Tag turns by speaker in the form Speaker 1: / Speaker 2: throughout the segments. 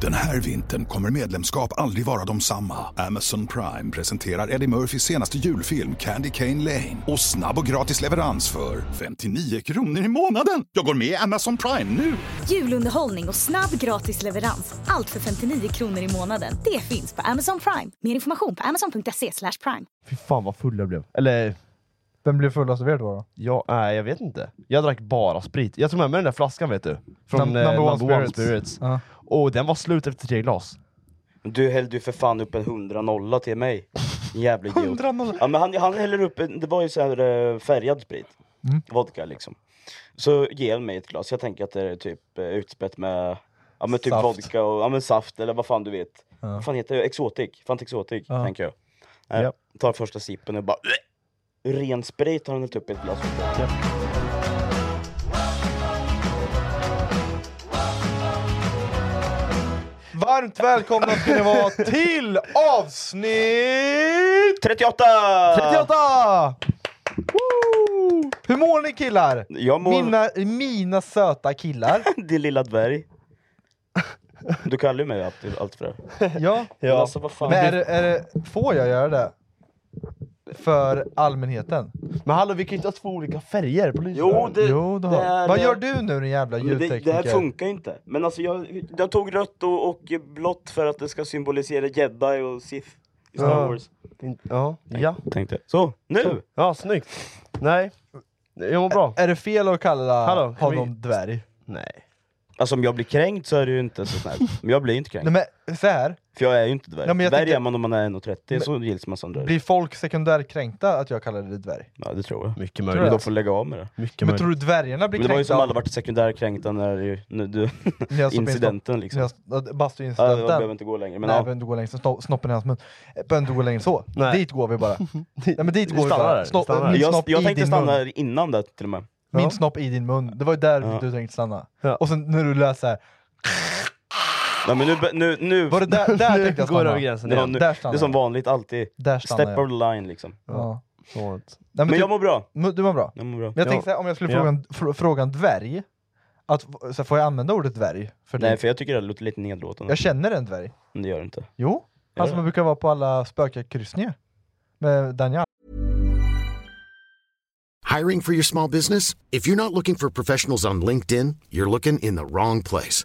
Speaker 1: Den här vintern kommer medlemskap aldrig vara de samma. Amazon Prime presenterar Eddie Murphys senaste julfilm Candy Cane Lane. Och snabb och gratis leverans för 59 kronor i månaden. Jag går med i Amazon Prime nu!
Speaker 2: Julunderhållning och snabb gratis leverans. Allt för 59 kronor i månaden. Det finns på Amazon Prime. Mer information på amazon.se slash prime.
Speaker 3: Fy fan vad full jag blev. Eller,
Speaker 4: Vem blev fullast av er då? då?
Speaker 3: ja, nej, jag vet inte. Jag drack bara sprit. Jag tog med mig den där flaskan vet du. Från
Speaker 4: Num-
Speaker 3: eh,
Speaker 4: number one
Speaker 3: One
Speaker 4: spirits.
Speaker 3: Spirits.
Speaker 4: Ja.
Speaker 3: Och den var slut efter tre glas.
Speaker 5: Du hällde ju för fan upp en 100 nolla till mig. En jävla idiot.
Speaker 4: 100 noll.
Speaker 5: Ja men han, han häller upp, en, det var ju så här eh, färgad sprit.
Speaker 4: Mm.
Speaker 5: Vodka liksom. Så ger han mig ett glas, jag tänker att det är typ eh, utspätt med, ja men typ
Speaker 4: Saft.
Speaker 5: vodka och, ja men saft eller vad fan du vet.
Speaker 4: Ja.
Speaker 5: Vad fan heter det? Exotic, Fanta Exotic
Speaker 4: Ja.
Speaker 5: tänker jag. Nej,
Speaker 3: Ja.
Speaker 5: Tar första sippen och bara "Ugh!" Ren sprit har han hällt upp i ett glas.
Speaker 4: Varmt välkomna ska ni vara till avsnitt
Speaker 5: 38!
Speaker 4: 38! Woo! Hur mår ni killar?
Speaker 5: Jag mår,
Speaker 4: Mina, mina söta killar.
Speaker 5: din lilla dvärg. Du kallar ju mig alltid, alltid för det.
Speaker 4: Ja.
Speaker 5: Men alltså vad fan.
Speaker 4: Men är, det- är, det- får jag göra det? För allmänheten?
Speaker 3: Men hallå vi kan ju inte ha två olika färger på lyset.
Speaker 5: Jo, det,
Speaker 4: jo, det
Speaker 5: det
Speaker 4: har.
Speaker 5: är-
Speaker 4: Vad gör du nu din jävla
Speaker 5: Men Det, det
Speaker 4: ljudtekniker?
Speaker 5: här funkar ju inte. Men alltså jag, jag tog rött och, och blått för att det ska symbolisera jedi och sith i Star
Speaker 3: Ja.
Speaker 5: Wars.
Speaker 3: In- Ja, ja.
Speaker 5: Tänkte. Så, nu!
Speaker 3: ja snyggt. Nej, jag mår bra.
Speaker 4: Är det fel att kalla
Speaker 3: Hallå, kan
Speaker 4: honom
Speaker 3: vi-
Speaker 4: dvärg?
Speaker 3: Nej.
Speaker 5: Alltså om jag blir kränkt så är det ju inte så snällt. Men jag blir inte kränkt.
Speaker 4: Nej men så här.
Speaker 5: för jag är ju inte dvärg.
Speaker 4: Nej, men jag
Speaker 5: dvärg
Speaker 4: tänker-
Speaker 5: är man om man är 1,30 så gills man som dvärg.
Speaker 4: Blir folk sekundärkränkta att jag kallar dig dvärg?
Speaker 5: Ja det tror jag.
Speaker 3: Mycket
Speaker 4: Tror
Speaker 5: Men
Speaker 4: du
Speaker 3: möjligt.
Speaker 5: de får lägga av med det.
Speaker 3: Mycket
Speaker 4: Men
Speaker 3: möjligt.
Speaker 4: tror du dvärgarna blir
Speaker 5: Men det var ju
Speaker 4: kränkta?
Speaker 5: som alla varit sekundärkränkta när ju- nu, du,
Speaker 4: när jag stoppade in stopp-
Speaker 5: incidenten liksom.
Speaker 4: när jag- ja,
Speaker 5: Ja, jag
Speaker 4: Bastuincidenten?
Speaker 5: behöver inte gå längre. Men
Speaker 4: Nej,
Speaker 5: ja.
Speaker 4: jag behöver inte gå längre, så sno- snoppen i hans mun. Eh, Jag behöver inte gå längre än så.
Speaker 3: Nej.
Speaker 4: Dit går vi bara. Nej men dit
Speaker 3: Vi
Speaker 4: går vi
Speaker 3: stannar
Speaker 4: bara.
Speaker 3: där, vi
Speaker 4: Snopp,
Speaker 3: stannar där.
Speaker 4: min
Speaker 5: jag,
Speaker 4: snopp
Speaker 5: jag
Speaker 4: i
Speaker 5: tänkte
Speaker 4: din
Speaker 5: stanna
Speaker 4: mun.
Speaker 5: här innan det till och med.
Speaker 4: Min
Speaker 3: Ja.
Speaker 4: snopp i din mun. Det var ju där du tänkte stanna.
Speaker 3: Ja.
Speaker 4: Och sen när du läste här.
Speaker 5: Nej, men nu, be- nu, nu,
Speaker 4: Var det där, där
Speaker 3: Nu
Speaker 4: tänkte jag
Speaker 3: går det över
Speaker 4: stanna?
Speaker 3: gränsen
Speaker 5: det, var
Speaker 3: igen.
Speaker 5: nu, det
Speaker 4: Där
Speaker 5: är
Speaker 4: stannar
Speaker 5: som
Speaker 4: jag.
Speaker 5: vanligt alltid.
Speaker 4: Där stannar
Speaker 5: Step
Speaker 4: jag.
Speaker 5: of the line liksom.
Speaker 4: Ja.
Speaker 3: Sånt.
Speaker 4: Nej, men
Speaker 5: Men
Speaker 4: typ,
Speaker 5: jag mår bra.
Speaker 4: mu- du mår bra.
Speaker 5: Jag mår bra.
Speaker 4: Men jag
Speaker 3: Ja.
Speaker 4: tänkte så här, om jag skulle
Speaker 3: Ja.
Speaker 4: fråga en, fr- fråga en dvärg. Att, f- så här, får jag använda ordet dvärg? För
Speaker 5: Nej
Speaker 4: dig?
Speaker 5: för jag tycker det låter lite nedlåtande.
Speaker 4: Jag känner en dvärg.
Speaker 5: Men det gör det inte.
Speaker 4: Jo.
Speaker 5: Gör
Speaker 4: Han som
Speaker 5: det?
Speaker 4: brukar vara på alla spökjakryssningar. Med Daniel.
Speaker 6: Hiring for your small business? If you're not looking for professionals on LinkedIn, you're looking in the wrong place.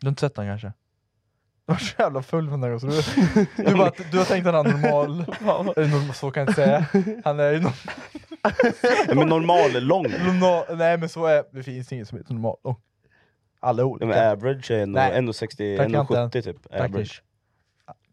Speaker 4: Du har inte sett den kanske? Du var så jävla full den där gången. så Du, du, bara, du har tänkt att han är normal. Eller norm- Så kan jag inte säga. Han är ju norm-
Speaker 5: Nej, men normal lång. Nej,
Speaker 4: normal. Nej men så är det. finns ingen som heter normal. Oh. Alla är
Speaker 5: men
Speaker 4: olika.
Speaker 5: average är
Speaker 4: Nej.
Speaker 5: 1,60,
Speaker 4: Tack, Ante.
Speaker 5: 1,70 typ. Average.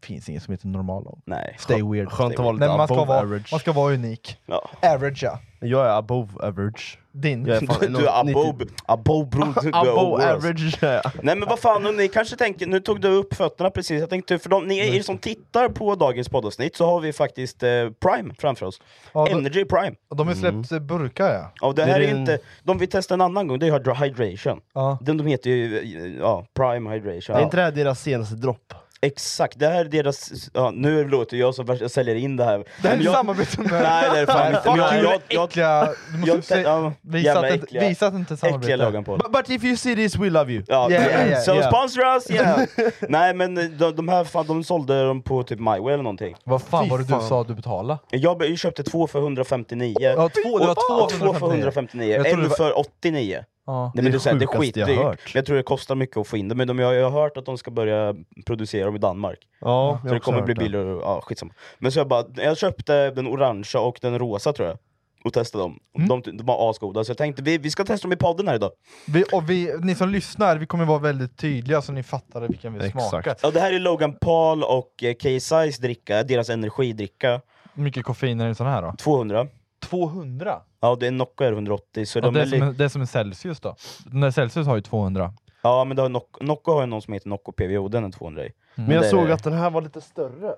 Speaker 4: finns ingen som heter normal. oh.
Speaker 5: Nej.
Speaker 4: Stay weird.
Speaker 3: Skönt att vara lite
Speaker 4: Nej, men man, ska
Speaker 3: above
Speaker 4: vara,
Speaker 3: average.
Speaker 4: man ska vara unik.
Speaker 5: Ja.
Speaker 4: Average ja.
Speaker 3: Jag är above average.
Speaker 4: Din.
Speaker 3: Jag är fan
Speaker 5: Du är
Speaker 3: 90
Speaker 5: above, above, bro,
Speaker 3: Above average. ja.
Speaker 5: Nej men vad fan, och ni kanske tänker, nu tog du upp fötterna precis, jag tänkte för de, ni er som tittar på dagens poddavsnitt så har vi faktiskt eh, Prime framför oss.
Speaker 4: Ja, då-
Speaker 5: Energy Prime.
Speaker 4: Och De har
Speaker 5: Mm.
Speaker 4: släppt eh, burkar ja.
Speaker 5: Ja, det
Speaker 3: Det är
Speaker 5: här är
Speaker 3: en-
Speaker 5: inte, de vi testade en annan gång, det är hydration.
Speaker 4: Ja.
Speaker 5: Den de heter ju eh, ja, Prime Hydration.
Speaker 3: Är inte det här deras senaste dropp?
Speaker 5: Exakt, det här är deras... Ja, nu låter jag som värsta- jag säljer in det här.
Speaker 4: Det här är
Speaker 5: Men jag,
Speaker 4: samarbete med...
Speaker 5: Nej, det är fan inte. Men
Speaker 4: Fuck
Speaker 5: jag-
Speaker 4: you,
Speaker 5: jag- jag-
Speaker 4: äckliga... Du måste
Speaker 5: jag-
Speaker 4: se-
Speaker 5: ja,
Speaker 4: visa,
Speaker 5: jävla
Speaker 4: att det inte,
Speaker 5: äckliga-
Speaker 4: visa att det inte är
Speaker 5: Äckliga
Speaker 4: samarbete.
Speaker 5: lagen på.
Speaker 3: But, but if you see this we love you!
Speaker 5: Ja,
Speaker 4: Yeah, yeah, yeah,
Speaker 5: so
Speaker 4: yeah.
Speaker 5: sponsor us! Yeah. Nej men eh, de, de här fan, de sålde dem på typ MyWay eller någonting.
Speaker 4: Vad fan
Speaker 3: Fy
Speaker 4: var det du
Speaker 3: fan.
Speaker 4: sa att du betalade?
Speaker 5: Jag be- köpte två för 159.
Speaker 4: Ja, två, det var
Speaker 5: Och
Speaker 4: två
Speaker 5: för 159,
Speaker 4: Jag trodde
Speaker 5: en
Speaker 4: det var-
Speaker 5: för 89.
Speaker 4: Ja.
Speaker 5: Nej, men det, är så här, det är
Speaker 3: sjukaste jag har
Speaker 5: skitdyrt. Men
Speaker 3: hört.
Speaker 5: jag tror det kostar mycket att få in det, men de, jag, jag har hört att de ska börja producera dem i Danmark.
Speaker 3: Ja, jag
Speaker 5: Så
Speaker 3: har
Speaker 5: det
Speaker 3: också
Speaker 5: kommer
Speaker 3: hört
Speaker 5: bli billigare, och- ja skitsamma. Men så jag bara, jag köpte den orangea och den rosa tror jag. Och testade dem. De, de var asgoda, så jag tänkte vi, vi ska testa dem i podden här idag.
Speaker 4: Vi, och vi, ni som lyssnar, vi kommer vara väldigt tydliga så ni fattar vilken vi
Speaker 3: Exakt.
Speaker 4: smakar.
Speaker 5: Ja, det här är Logan Paul och eh, KSI's dricka, deras energidricka.
Speaker 4: Hur mycket koffein är det i sån här då?
Speaker 5: 200.
Speaker 4: 200?
Speaker 5: Ja, det är Nocco är 180, så
Speaker 4: Ja,
Speaker 5: de
Speaker 4: det,
Speaker 5: är
Speaker 4: är som
Speaker 5: li-
Speaker 4: en, det är som en Celsius då. Den där Celsius har ju 200.
Speaker 5: Ja, men det har Nocco, Nocco har ju någon som heter Nocco PVO, den är 200 i.
Speaker 3: Men jag
Speaker 5: Det är
Speaker 3: såg
Speaker 5: det.
Speaker 3: att den här var lite större.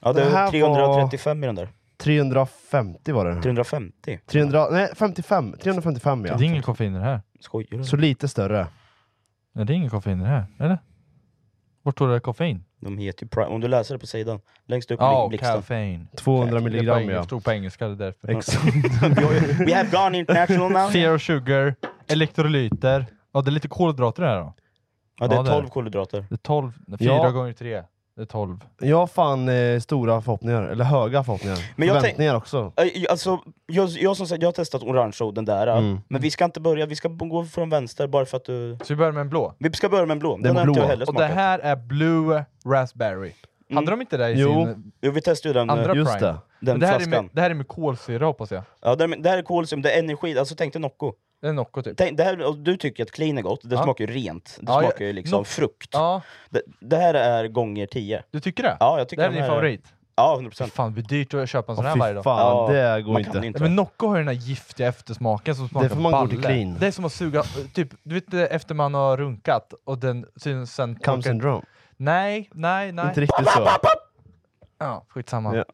Speaker 5: Ja, det
Speaker 3: Det här
Speaker 5: är
Speaker 3: var-
Speaker 5: 335 i den där.
Speaker 3: 350 var det.
Speaker 5: 350?
Speaker 3: 300, nej, 55. 355 ja.
Speaker 4: Det är ingen koffein i det här.
Speaker 5: Skojar du?
Speaker 3: Så lite större.
Speaker 4: Nej, det är ingen koffein i det här. Eller? Vart står det koffein?
Speaker 5: De heter ju Prime, om du läser det på sidan. Längst upp
Speaker 4: Ja,
Speaker 5: i blixten.
Speaker 4: caffeine.
Speaker 3: 200
Speaker 4: Det är på
Speaker 3: milligram
Speaker 4: engelska,
Speaker 3: ja.
Speaker 4: Det stod på engelska, det är därför.
Speaker 3: Exakt.
Speaker 5: We have gone international now.
Speaker 4: Zero sugar, elektrolyter. Ja, det är lite kolhydrater i det här då.
Speaker 5: Ja, det
Speaker 4: Ja,
Speaker 5: är
Speaker 4: det är
Speaker 5: 12 kolhydrater.
Speaker 4: Det är 12, 4
Speaker 3: Ja.
Speaker 4: gånger 3. Det är 12.
Speaker 3: Jag har fan eh, stora förhoppningar, eller höga förhoppningar.
Speaker 5: Men jag tänk-
Speaker 3: Förväntningar också.
Speaker 5: Äh, Alltså, jag, jag som sagt, jag har testat orange och den där.
Speaker 3: Mm.
Speaker 5: Men vi ska inte börja, vi ska b- gå från vänster bara för att du...
Speaker 4: Så vi börjar med en blå.
Speaker 5: Vi ska börja med en blå, den,
Speaker 3: Den
Speaker 5: har inte
Speaker 3: blå.
Speaker 5: jag heller
Speaker 4: Och det
Speaker 5: smakat.
Speaker 4: här är Blue Raspberry. Hade de inte det i
Speaker 3: Jo.
Speaker 4: sin...
Speaker 5: Jo, vi testade ju den, eh,
Speaker 4: Andra-
Speaker 3: Just
Speaker 4: Prime.
Speaker 3: det.
Speaker 5: den
Speaker 4: det, här är
Speaker 5: flaskan.
Speaker 4: med, det här är med kolsyra hoppas jag.
Speaker 5: Ja, det, här- det här är kolsyra, det är energi, alltså tänk dig Nocco.
Speaker 4: Det är Nocco typ.
Speaker 5: Tänk, det här, och du tycker att clean är gott, det
Speaker 4: Ja.
Speaker 5: smakar ju rent. Det
Speaker 4: Ja, ja.
Speaker 5: smakar ju liksom
Speaker 4: Noc-
Speaker 5: frukt.
Speaker 4: Ja,
Speaker 5: Det, det här är gånger 10.
Speaker 4: du tycker det?
Speaker 5: Ja, jag
Speaker 4: det
Speaker 5: tycker
Speaker 4: här är
Speaker 5: de
Speaker 4: din favorit?
Speaker 5: Ja, 100%.
Speaker 4: Fan, det blir dyrt att köpa en sån
Speaker 3: Åh,
Speaker 4: här varje
Speaker 3: fy
Speaker 4: dag.
Speaker 5: Ja,
Speaker 3: fan, det går
Speaker 5: Man kan
Speaker 3: inte.
Speaker 5: inte.
Speaker 4: Nej, men Nocco har ju den här giftiga eftersmaken som smakar
Speaker 3: får man gå till
Speaker 4: balle.
Speaker 3: clean.
Speaker 4: Det är som att suga, eh, typ, du vet eh, efter man har runkat och den syns sen...
Speaker 3: Cum syndrome.
Speaker 4: Nej, nej, nej.
Speaker 3: Inte riktigt så.
Speaker 4: Ja, skitsamma.
Speaker 3: Ja.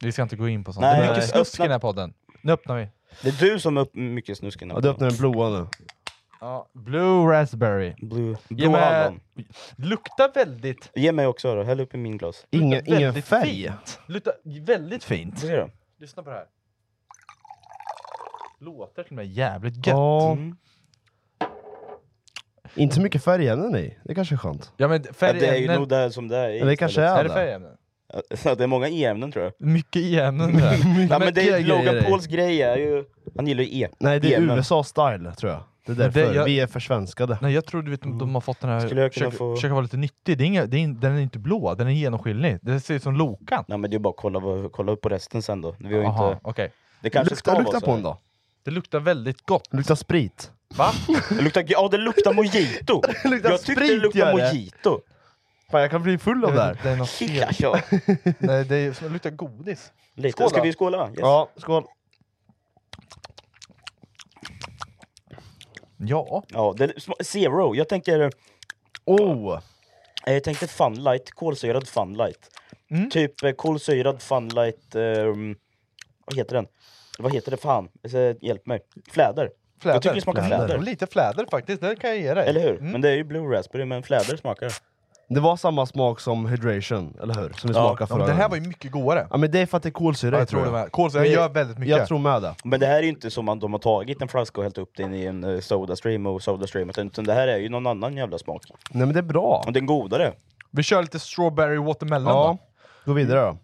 Speaker 4: Vi ska inte gå in på sånt.
Speaker 5: Nej,
Speaker 4: det är mycket
Speaker 5: nej.
Speaker 4: snusk i den
Speaker 5: Öppna-
Speaker 4: här podden. Nu öppnar vi.
Speaker 5: Det är du som är upp mycket snusken.
Speaker 3: Ja, du öppnar den blåa nu.
Speaker 4: Ja, Blue Raspberry.
Speaker 5: Blue,
Speaker 4: Ge
Speaker 5: blå
Speaker 4: mig,
Speaker 5: hallon.
Speaker 4: luktar väldigt...
Speaker 5: Ge mig också då, häll upp i min glas.
Speaker 3: Ingen,
Speaker 4: luktar
Speaker 3: ingen
Speaker 4: väldigt
Speaker 3: färg.
Speaker 4: Fint. Luktar väldigt fint.
Speaker 5: Får se då.
Speaker 4: Lyssna på det här. Låter till och med jävligt gött.
Speaker 3: Ja,
Speaker 5: Mm.
Speaker 3: inte så mycket färgämnen i. Det kanske är skönt.
Speaker 4: Ja men
Speaker 5: Ja, det är ju
Speaker 4: färgämnen.
Speaker 5: nog det som det är i
Speaker 3: Eller det kanske
Speaker 5: istället.
Speaker 3: är
Speaker 4: är det
Speaker 3: det.
Speaker 4: färgämnen?
Speaker 5: Ja, det är många e-ämnen tror jag.
Speaker 4: Mycket i-ämnen där.
Speaker 5: Ja, men det är
Speaker 3: grejer i
Speaker 5: Logan
Speaker 3: det.
Speaker 5: Pauls grej är ju... Han gillar ju e.
Speaker 3: Nej, det är
Speaker 5: e-ämnen.
Speaker 3: USA-style tror jag. Det
Speaker 4: Men
Speaker 3: är
Speaker 4: det-
Speaker 3: därför.
Speaker 4: jag-
Speaker 3: Vi är försvenskade.
Speaker 4: Nej jag tror du vet de har fått den här,
Speaker 5: Skulle jag kunna
Speaker 4: försöka,
Speaker 5: få-
Speaker 4: försöka vara lite nyttig, det är inga, det är, in- den är inte blå, den är genomskinlig. Det ser ut som Lokan.
Speaker 5: Nej men det är ju bara att kolla, vad- kolla upp på resten sen då. Vi har ju
Speaker 4: Jaha,
Speaker 5: inte...
Speaker 4: okej.
Speaker 5: Det kanske
Speaker 3: Lukta,
Speaker 5: ska
Speaker 3: lukta
Speaker 5: vara så
Speaker 3: på
Speaker 5: här.
Speaker 3: den då.
Speaker 4: Det luktar väldigt gott.
Speaker 3: Lukta sprit.
Speaker 4: Va?
Speaker 5: Det luktar, ja det luktar mojito!
Speaker 3: Det luktar
Speaker 5: jag tyckte det
Speaker 3: sprit,
Speaker 5: luktade
Speaker 3: gör det.
Speaker 5: mojito!
Speaker 3: Fan, jag kan bli full av det
Speaker 4: Jag vet
Speaker 3: här.
Speaker 4: inte, det är något
Speaker 5: Ja,
Speaker 4: fel.
Speaker 5: ja.
Speaker 4: Nej, det, är, som- det luktar godis.
Speaker 5: Lite.
Speaker 4: Skål
Speaker 5: Ska
Speaker 4: då.
Speaker 5: vi skåla? Yes.
Speaker 3: Ja, skål.
Speaker 4: Ja.
Speaker 5: Ja, det, sma- zero. Jag tänker...
Speaker 3: Oh!
Speaker 5: Eh, Jag tänkte funlight, kolsyrad funlight.
Speaker 4: Mm.
Speaker 5: Typ eh, kolsyrad funlight... ehm, vad heter den? Vad heter det fan? Eh, Hjälp mig. Fläder. Jag tycker det smakar fläder.
Speaker 4: Lite fläder Mm. faktiskt, det kan jag ge dig.
Speaker 5: Eller hur? Men det är ju blue raspberry, men fläder smakar det.
Speaker 3: Det var samma smak som hydration, eller hur? Som vi
Speaker 5: Ja.
Speaker 3: smakade
Speaker 4: Ja,
Speaker 3: förra
Speaker 4: men det här
Speaker 3: gången.
Speaker 4: var ju mycket godare.
Speaker 3: Ja men det är för att det är kolsyra
Speaker 4: Ja,
Speaker 3: i,
Speaker 4: jag tror det med. Kolsyra
Speaker 3: Men
Speaker 4: gör
Speaker 3: jag-
Speaker 4: väldigt mycket.
Speaker 3: Jag tror med det.
Speaker 5: Men det här är ju inte som att de har tagit en flaska och hällt upp den i en eh, Sodastream och Sodastream, utan utan det här är ju någon annan jävla smak.
Speaker 3: Nej men det är bra.
Speaker 5: Och den godare.
Speaker 4: Vi kör lite strawberry watermelon
Speaker 3: Ja,
Speaker 4: då.
Speaker 3: gå vidare då.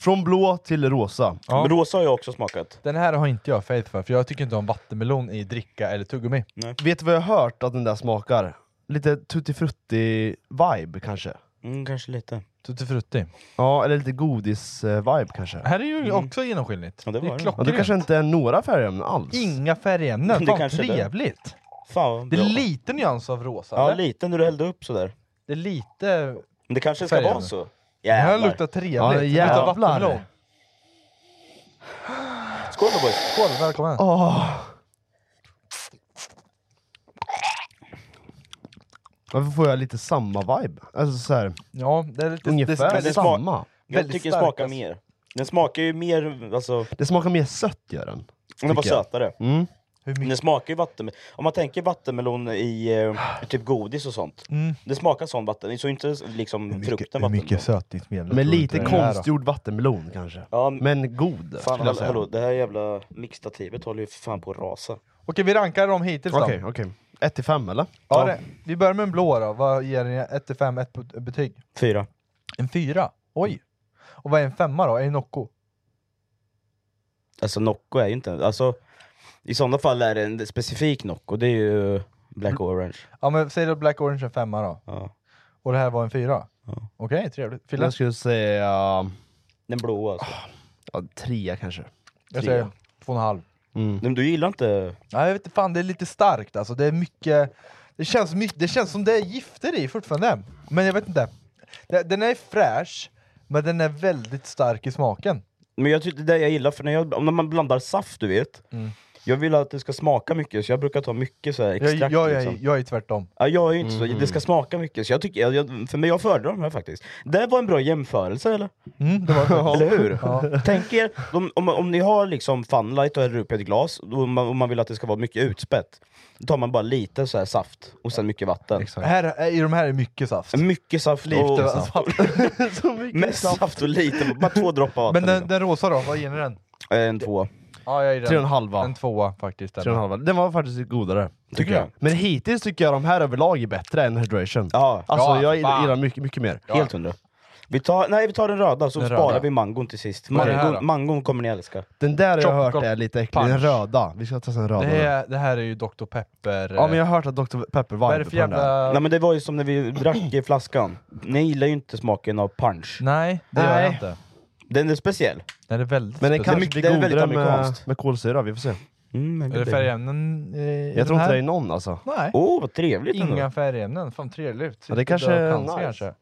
Speaker 3: Från blå till rosa.
Speaker 4: Ja.
Speaker 5: Men rosa har jag också smakat.
Speaker 4: Den här har inte jag faith för, för jag tycker inte om vattenmelon i dricka eller tuggummi.
Speaker 3: Vet du vad jag har hört att den där smakar? Lite tutti frutti vibe kanske?
Speaker 5: Mm, kanske lite.
Speaker 4: Tutti frutti.
Speaker 3: Ja, eller lite godis-vibe kanske?
Speaker 4: Här är ju också genomskinligt.
Speaker 5: Mm. Ja, det var det.
Speaker 3: Ja, det
Speaker 4: klockrent.
Speaker 3: kanske inte är några färgämnen alls.
Speaker 4: Inga färgämnen,
Speaker 5: Det
Speaker 4: fan
Speaker 5: kanske är det.
Speaker 4: trevligt!
Speaker 5: Fan vad
Speaker 4: Det
Speaker 5: bra.
Speaker 4: är lite nyans av rosa,
Speaker 5: Ja,
Speaker 4: eller?
Speaker 5: lite när du hällde upp sådär.
Speaker 4: Det är lite...
Speaker 5: Men det kanske ska
Speaker 4: Färgen.
Speaker 5: vara så.
Speaker 4: Det här
Speaker 5: Jävlar.
Speaker 4: luktar trevligt!
Speaker 3: Ja,
Speaker 4: det luktar
Speaker 3: jävlar.
Speaker 4: vattenmelon.
Speaker 5: Skål då boys!
Speaker 4: Skål, välkommen!
Speaker 3: Åh. Varför får jag lite samma vibe? Alltså så här,
Speaker 4: Ja, det är lite...
Speaker 3: ungefär
Speaker 5: men det smak-
Speaker 3: samma.
Speaker 5: Jag
Speaker 4: väldigt
Speaker 5: tycker den
Speaker 4: stark,
Speaker 5: smakar
Speaker 4: alltså.
Speaker 5: mer. Den smakar ju mer, alltså,
Speaker 3: Det smakar mer sött gör den.
Speaker 5: den var
Speaker 3: Tycker jag.
Speaker 5: sötare.
Speaker 3: Mm.
Speaker 4: Hur
Speaker 5: Men Den
Speaker 4: mycket?
Speaker 5: smakar ju vatten... Om man tänker vattenmelon i eh, typ godis och sånt.
Speaker 4: Mm.
Speaker 5: Det smakar sån vatten, så inte liksom frukten
Speaker 4: Hur mycket
Speaker 5: vattenmelon.
Speaker 4: sötningsmedel?
Speaker 3: Men
Speaker 4: tror du
Speaker 3: lite
Speaker 4: inte det är här då?
Speaker 3: konstgjord vattenmelon kanske.
Speaker 5: Ja, men...
Speaker 3: Men god, skulle
Speaker 5: Fan,
Speaker 3: jag
Speaker 5: hallå,
Speaker 3: säga.
Speaker 5: hallå,
Speaker 3: Okej,
Speaker 5: det här jävla mixtativet håller ju för fan på att rasa.
Speaker 4: Okej, vi rankar dem hittills då.
Speaker 3: okej. 1 till 5 eller?
Speaker 4: Ja, det, vi börjar med en blå då. Vad ger ni 1 till 5, ett bet- betyg?
Speaker 5: Fyra.
Speaker 4: En fyra. Oj! Och vad är en femma då? Är det Nocco?
Speaker 5: Alltså Nocco är ju inte... Alltså, I sådana fall är det en specifik Nocco, det är ju Black Orange.
Speaker 4: Ja men säg då Black Orange en femma då.
Speaker 5: Ja.
Speaker 4: Och det här var en fyra?
Speaker 5: Ja.
Speaker 4: Okej, trevligt. Fille?
Speaker 3: Jag skulle säga...
Speaker 5: Den blåa alltså.
Speaker 3: Ja, trea kanske.
Speaker 4: Jag säger
Speaker 5: trea.
Speaker 4: två och en halv.
Speaker 3: Mm.
Speaker 5: Men du gillar inte...
Speaker 4: Nej jag vet inte, fan det är lite starkt alltså. Det är mycket... Det känns, mycket, det känns som det är gifter i fortfarande. Men jag vet inte. Det- Den är fräsch, men den är väldigt stark i smaken.
Speaker 5: Men jag tycker det är det jag gillar, för när, jag, om man blandar saft du vet.
Speaker 4: Mm.
Speaker 5: Jag vill att det ska smaka mycket, så jag brukar ta mycket så här
Speaker 4: Jag,
Speaker 5: extrakt
Speaker 4: jag, jag, är-
Speaker 5: liksom.
Speaker 4: jag är tvärtom.
Speaker 5: Ja, jag är ju inte
Speaker 4: Mm,
Speaker 5: så, det ska smaka mycket, så jag tycker, jag, jag, för mig, jag föredrar de här faktiskt. Det var en bra jämförelse eller?
Speaker 4: Mm, det var det.
Speaker 5: Eller hur?
Speaker 4: Ja.
Speaker 5: Tänk er, om, om, om ni har liksom funlight och häller upp i ett glas, och man, och man vill att det ska vara mycket utspätt, då tar man bara lite så här saft, och sen mycket vatten.
Speaker 4: Här, I de här är mycket saft. Oh.
Speaker 5: Mycket saft och...
Speaker 4: Lite
Speaker 5: Saft.
Speaker 4: saft.
Speaker 5: Mest saft och lite, bara två droppar vatten.
Speaker 4: Men den, den rosa då, vad ger ni den?
Speaker 5: liksom. En två.
Speaker 4: Ja, jag ger
Speaker 3: Tre och en
Speaker 4: En
Speaker 3: halva.
Speaker 4: tvåa faktiskt.
Speaker 3: Tre och en halva. Den var faktiskt lite godare.
Speaker 5: Tycker jag.
Speaker 3: Men hittills tycker jag de här överlag är bättre än Hydration.
Speaker 5: Ja,
Speaker 3: Alltså
Speaker 4: Ja,
Speaker 3: jag
Speaker 4: fan.
Speaker 3: gillar mycket, mycket mer.
Speaker 5: helt hundra. Vi tar, nej vi tar den röda, så
Speaker 4: Den
Speaker 5: sparar
Speaker 4: röda.
Speaker 5: vi mangon till sist.
Speaker 4: Vad är det här
Speaker 5: Mangon,
Speaker 4: då?
Speaker 5: mangon kommer ni älska.
Speaker 3: Den där har jag
Speaker 4: Chocolate
Speaker 3: hört är lite äcklig, den
Speaker 4: punch.
Speaker 3: röda. Vi ska testa den röda.
Speaker 4: Det, här, det här är ju Dr Pepper...
Speaker 3: Ja men jag har hört att Dr Pepper var
Speaker 4: vad är det för jävla...
Speaker 5: Nej men det var ju som när vi drack i flaskan. Ni gillar ju inte smaken av punch.
Speaker 4: Nej, det gör
Speaker 3: Nej.
Speaker 4: jag inte.
Speaker 5: Den är speciell.
Speaker 4: Den är väldigt
Speaker 3: Men den
Speaker 4: speciell.
Speaker 3: kanske
Speaker 5: mycket- det
Speaker 3: blir
Speaker 5: är väldigt
Speaker 3: godare med,
Speaker 5: amerikanskt.
Speaker 3: med kolsyra, vi får se.
Speaker 5: Mm, men
Speaker 4: Är det
Speaker 5: det-
Speaker 4: färgämnen eh, i den
Speaker 3: Jag tror inte
Speaker 4: här?
Speaker 3: det är någon alltså.
Speaker 4: Nej.
Speaker 5: Åh, oh, vad trevligt ändå.
Speaker 4: Inga färgämnen, fan trevligt.
Speaker 3: Ja, det
Speaker 4: Lite
Speaker 3: kanske
Speaker 4: död
Speaker 3: är
Speaker 4: cancer
Speaker 3: nice.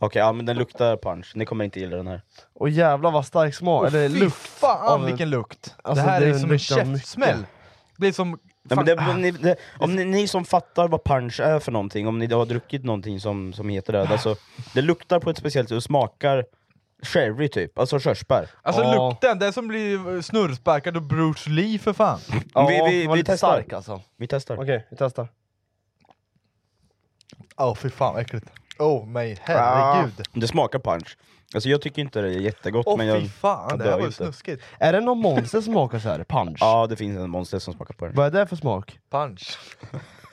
Speaker 5: Okej, ja men den luktar punch. Ni kommer inte gilla den här.
Speaker 3: Och jävla vad stark smak,
Speaker 4: Åh,
Speaker 3: eller
Speaker 4: fy
Speaker 3: lukt.
Speaker 4: Fan
Speaker 3: av-
Speaker 4: vilken lukt!
Speaker 3: Alltså,
Speaker 4: det här
Speaker 3: det
Speaker 4: är som en
Speaker 3: luktar mycket.
Speaker 4: käftsmäll. Det är som...
Speaker 5: Nej, men
Speaker 4: fan,
Speaker 5: det, ni, det, om ni, ni som fattar vad punch är för någonting, om ni har druckit någonting som, som heter det, alltså, det luktar på ett speciellt sätt och smakar sherry typ, alltså körsbär.
Speaker 4: Alltså
Speaker 3: Ja.
Speaker 4: lukten, det är som blir snurrsparkad och Bruce Lee för fan.
Speaker 3: Ja,
Speaker 5: vi, vi,
Speaker 3: den var
Speaker 5: vi
Speaker 3: lite
Speaker 5: testar.
Speaker 3: stark alltså.
Speaker 5: Vi testar.
Speaker 3: Okej, vi testar.
Speaker 4: Åh fy fan vad äckligt. Oh men herregud.
Speaker 5: Det smakar punch. Alltså jag tycker inte det är jättegott
Speaker 4: Åh
Speaker 5: Ah. men jag...
Speaker 4: fy fan,
Speaker 5: jag
Speaker 4: det
Speaker 5: dör
Speaker 4: här var ju
Speaker 5: inte.
Speaker 4: snuskigt.
Speaker 3: Är det någon monster som smakar så här? punch?
Speaker 5: Ja, det finns en monster som smakar på den.
Speaker 3: Vad är det för smak?
Speaker 4: Punch.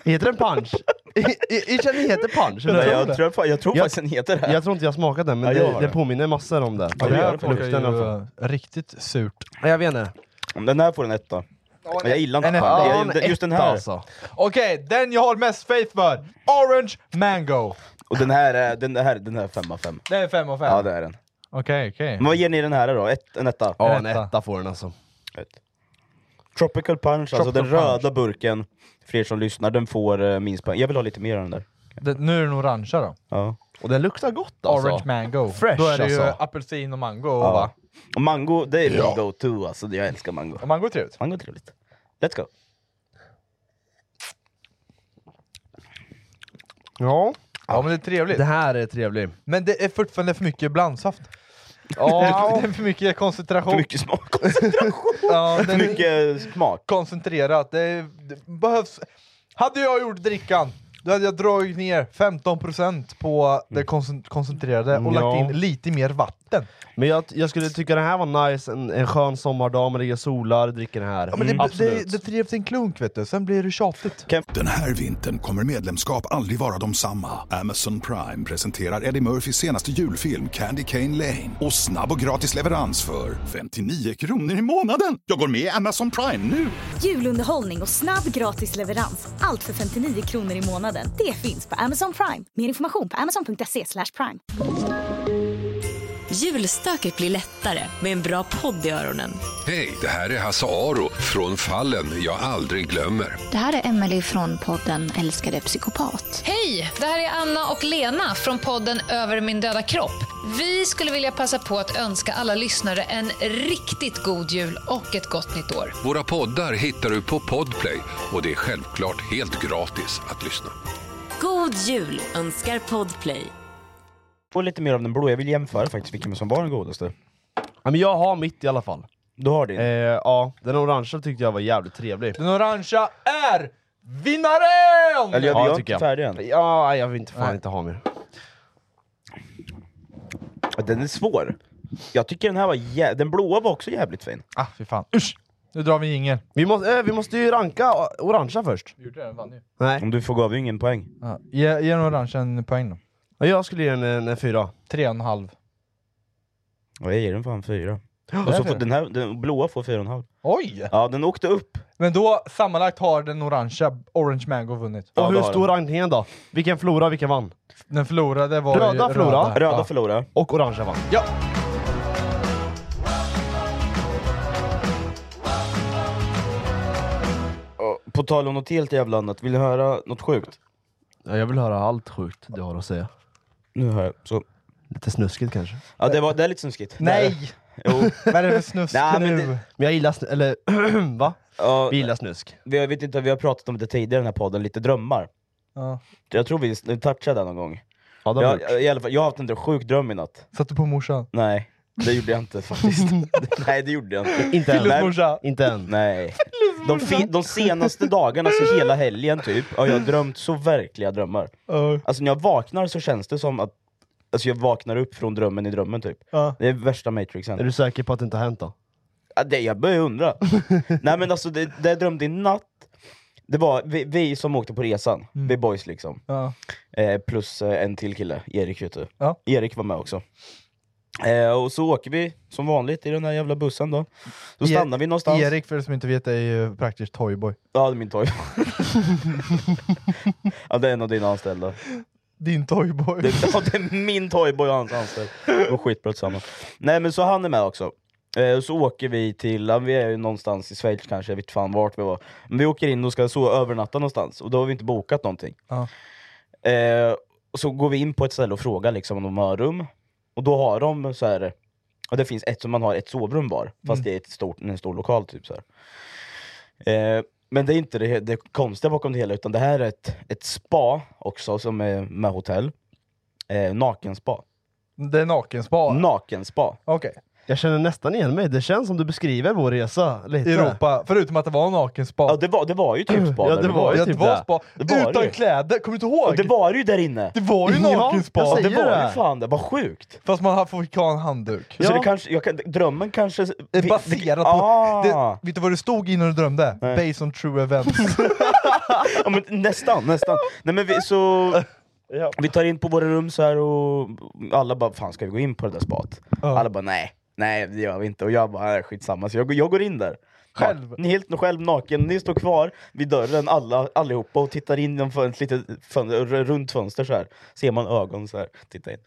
Speaker 3: Heter den punch? Jag känner den heter punch.
Speaker 5: Nej,
Speaker 3: eller?
Speaker 5: jag tror, fa- jag tror
Speaker 3: Jag-
Speaker 5: faktiskt den heter det.
Speaker 3: Jag tror inte jag smakat den, men
Speaker 5: Ja, jag
Speaker 3: det,
Speaker 5: har
Speaker 3: den
Speaker 5: det.
Speaker 3: påminner massor om det.
Speaker 5: Ja,
Speaker 4: Det här
Speaker 5: det
Speaker 4: smakar
Speaker 3: lukten i alla fall.
Speaker 4: ju riktigt surt.
Speaker 3: Ja, Jag vet inte.
Speaker 5: Den här får en etta. Men jag gillar inte
Speaker 4: en
Speaker 5: punch.
Speaker 4: etta.
Speaker 5: Jag- den- Just den här.
Speaker 3: Alltså.
Speaker 4: Okej, den jag har mest faith för! Orange Mango!
Speaker 5: Och den här är den här, den här är fem av fem.
Speaker 4: Det är fem av fem.
Speaker 5: Ja det Mm. är den.
Speaker 4: Okej, okej.
Speaker 5: Men vad ger ni den här då? Ett, en etta?
Speaker 3: Ja, en
Speaker 4: Berätta.
Speaker 3: etta får den alltså.
Speaker 5: Ett. Tropical punch, alltså den
Speaker 4: Tropical punch.
Speaker 5: röda burken. För er som lyssnar, den får eh, minst poäng. Jag vill ha lite mer av den där.
Speaker 4: Det- Nu är den orangea då.
Speaker 5: Ja.
Speaker 3: Och den luktar gott alltså.
Speaker 4: Orange mango.
Speaker 3: Fresh,
Speaker 4: då är det ju
Speaker 3: alltså.
Speaker 4: apelsin och mango va?
Speaker 5: Ja. Och mango, det är min go-to alltså. Jag älskar mango.
Speaker 4: Och mango är trevligt.
Speaker 5: Mango är trevligt. Let's go.
Speaker 3: Ja,
Speaker 4: Ja men det är trevligt.
Speaker 3: det här är trevlig.
Speaker 4: Men det är fortfarande för mycket blandsaft.
Speaker 3: Ja,
Speaker 4: Det är för mycket koncentration.
Speaker 5: För mycket smak.
Speaker 4: Ja, det
Speaker 5: För
Speaker 4: är
Speaker 5: mycket smak.
Speaker 4: koncentrerat. Det, är, det behövs... Hade jag gjort drickan, då hade jag dragit ner 15% på det koncen- koncentrerade och
Speaker 3: Ja.
Speaker 4: lagt in lite mer vatten.
Speaker 3: men jag, jag skulle tycka den här var nice, en, en skön sommardag, man ligger och solar, dricker den här. Mm.
Speaker 4: Ja, men det,
Speaker 3: Absolut.
Speaker 4: det, det trivs i en klunk vet du, sen blir det tjatigt.
Speaker 1: Den här vintern kommer medlemskap aldrig vara de samma. Amazon Prime presenterar Eddie Murphys senaste julfilm Candy Cane Lane. Och snabb och gratis leverans för 59 kronor i månaden. Jag går med i Amazon Prime nu!
Speaker 2: Julunderhållning och snabb gratis leverans. Allt för 59 kronor i månaden. Det finns på Amazon Prime. Mer information på amazon.se slash prime.
Speaker 7: Julstöket blir lättare med en bra podd i öronen.
Speaker 8: Hej, det här är Hasse Aro från Fallen jag aldrig glömmer.
Speaker 9: Det här är Emelie från podden Älskade psykopat.
Speaker 7: Hej! Det här är Anna och Lena från podden Över min döda kropp. Vi skulle vilja passa på att önska alla lyssnare en riktigt god jul och ett gott nytt år.
Speaker 8: Våra poddar hittar du på Podplay och det är självklart helt gratis att lyssna.
Speaker 7: God jul önskar Podplay.
Speaker 5: Och lite mer av den blå. Jag vill jämföra faktiskt vilken som var den godaste.
Speaker 3: Ja, men jag har mitt i alla fall.
Speaker 5: Du har din?
Speaker 3: Eh, ja, den orangea tyckte jag var jävligt trevlig.
Speaker 4: Den orangea är vinnaren!
Speaker 5: Eller jag- vi har inte färdig än.
Speaker 3: Ja, jag vill inte, fan
Speaker 5: Nej.
Speaker 3: inte ha mer.
Speaker 5: Ja, Den är svår. Jag tycker den här var jä... Den blåa var också jävligt fin.
Speaker 4: Ah, fy fan. Usch! Nu drar vi ingen.
Speaker 3: Vi måste, eh, vi måste ju ranka o- orangea först.
Speaker 4: gjorde det, den vann ju.
Speaker 3: Nej.
Speaker 5: Om du får gav ju ingen poäng.
Speaker 4: Ja, ge, ge den orangea en poäng då.
Speaker 3: Ja, jag skulle ge den en, en fyra.
Speaker 4: Tre och en halv.
Speaker 5: Ja, jag ger den fan fyra.
Speaker 4: det
Speaker 5: Och
Speaker 4: är
Speaker 5: så får
Speaker 4: fyra.
Speaker 5: den, här, den blåa får fyra och en halv.
Speaker 4: Oj!
Speaker 5: Ja, den åkte upp.
Speaker 4: Men då sammanlagt har den orangea Orange Mango vunnit.
Speaker 3: Och
Speaker 5: Ja, det
Speaker 3: hur
Speaker 5: har
Speaker 3: står rankingen då? Vilken förlorade, vilken vann?
Speaker 4: Den förlorade var ju
Speaker 3: Röda förlorade,
Speaker 5: Röda
Speaker 4: Ja.
Speaker 5: förlorade.
Speaker 3: och orangea vann.
Speaker 4: Ja!
Speaker 5: Och På tal om något helt jävla annat, vill du höra något sjukt?
Speaker 3: Ja, jag vill höra allt sjukt du har att säga.
Speaker 5: Nu hör jag. Så.
Speaker 3: Lite snuskigt kanske.
Speaker 5: Ja, det, var, det är lite snuskigt.
Speaker 4: Nej!
Speaker 5: Det är det. Jo.
Speaker 4: Vad är det för snusk
Speaker 5: Nej, men
Speaker 4: nu?
Speaker 5: det-
Speaker 3: Men jag gillar snusk, eller va?
Speaker 5: Ja,
Speaker 3: Vi gillar snusk.
Speaker 5: vi, jag vet inte, vi har pratat om det tidigare i den här podden, lite drömmar.
Speaker 4: Ja.
Speaker 5: Jag tror vi touchade det någon gång.
Speaker 3: Ja, det har vi gjort.
Speaker 5: Jag, jag, i alla fall, jag har haft en dr- sjuk dröm i natt.
Speaker 4: Satte på morsan.
Speaker 5: Nej, det gjorde jag inte faktiskt. Nej, det gjorde jag inte.
Speaker 3: Inte än.
Speaker 5: Nej.
Speaker 4: Morsa.
Speaker 3: Inte än.
Speaker 5: Nej. De, fi- de senaste dagarna, så hela helgen typ, har jag drömt så verkliga drömmar.
Speaker 4: Ja.
Speaker 5: Alltså när jag vaknar så känns det som att alltså, jag vaknar upp från drömmen i drömmen typ.
Speaker 4: Ja.
Speaker 5: Det är värsta matrixen.
Speaker 3: Är du säker på att det inte har hänt då?
Speaker 5: Ja, det, jag börjar undra. Nej men alltså det, det jag drömde i natt, det var vi, vi som åkte på resan,
Speaker 3: Mm.
Speaker 5: vi boys liksom.
Speaker 4: Ja.
Speaker 5: Eh, plus eh, en till kille, Erik vet du.
Speaker 4: Ja.
Speaker 5: Erik var med också. Eh, och så åker vi som vanligt i den här jävla bussen då. Då
Speaker 4: E-
Speaker 5: stannar vi någonstans.
Speaker 4: Erik, för er som inte vet, är ju praktiskt toyboy.
Speaker 5: Ja, det är min toy. ja, det är en av dina anställda.
Speaker 4: Din toyboy.
Speaker 5: Det, ja, det är min toyboy och hans anställd. Och skitbra tillsammans. Nej men så han är med också. Eh, Så åker vi till, ja, vi är ju någonstans i Schweiz kanske, jag vet fan vart vi var. Men vi åker in och ska så övernatta någonstans, och då har vi inte bokat någonting.
Speaker 4: Ja.
Speaker 5: Eh, och så går vi in på ett ställe och frågar liksom, om de har rum. Och då har de så här, och det finns ett som man har ett sovrum var, fast
Speaker 4: Mm.
Speaker 5: det är ett stort, en stor lokal typ så här. Eh, men det är inte det, det konstiga bakom det hela, utan det här är ett, ett spa också som är med hotell. Eh, nakenspa.
Speaker 4: Det är nakenspa.
Speaker 5: Mm. Nakenspa.
Speaker 4: Okej.
Speaker 3: Jag känner nästan igen mig, det känns som du beskriver vår resa lite.
Speaker 4: Europa, förutom att det var nakenspa.
Speaker 5: Ja det var, det var ju typ spa
Speaker 3: Ja,
Speaker 5: där
Speaker 3: det
Speaker 5: vi
Speaker 3: var ju
Speaker 4: Ja,
Speaker 5: Ja,
Speaker 4: det
Speaker 3: typ
Speaker 4: var
Speaker 3: det.
Speaker 4: spa.
Speaker 5: Det var
Speaker 4: Utan
Speaker 5: det.
Speaker 4: kläder, kommer du inte ihåg?
Speaker 5: Och det var ju där inne!
Speaker 4: Det var ju
Speaker 3: Ja,
Speaker 4: nakenspa!
Speaker 3: jag
Speaker 5: Ja, det
Speaker 3: säger
Speaker 5: var
Speaker 3: det.
Speaker 5: ju fan det, vad sjukt!
Speaker 4: Fast man har- får ha en handduk.
Speaker 5: Så det kanske, jag kan, drömmen kanske...
Speaker 4: Det är
Speaker 5: vi-
Speaker 4: baserat på...
Speaker 5: Ah.
Speaker 4: Det, vet du vad det stod innan du drömde?
Speaker 5: Nej.
Speaker 4: Based on true events.
Speaker 5: Ja, men nästan, nästan. Nej, men vi, så, vi tar in på våra rum så här och alla bara 'Fan ska vi gå in på det där spat?'
Speaker 4: Ja.
Speaker 5: Alla bara 'Nej, nej det gör vi inte' och jag bara "Äh, 'Skitsamma' så jag, går- jag går in där.
Speaker 4: Själv?
Speaker 5: Ja, ni är helt själv naken, ni står kvar vid dörren alla, allihopa och tittar in genom fön- ett litet fön- r- runt fönster så här. Ser man ögon så här, titta in.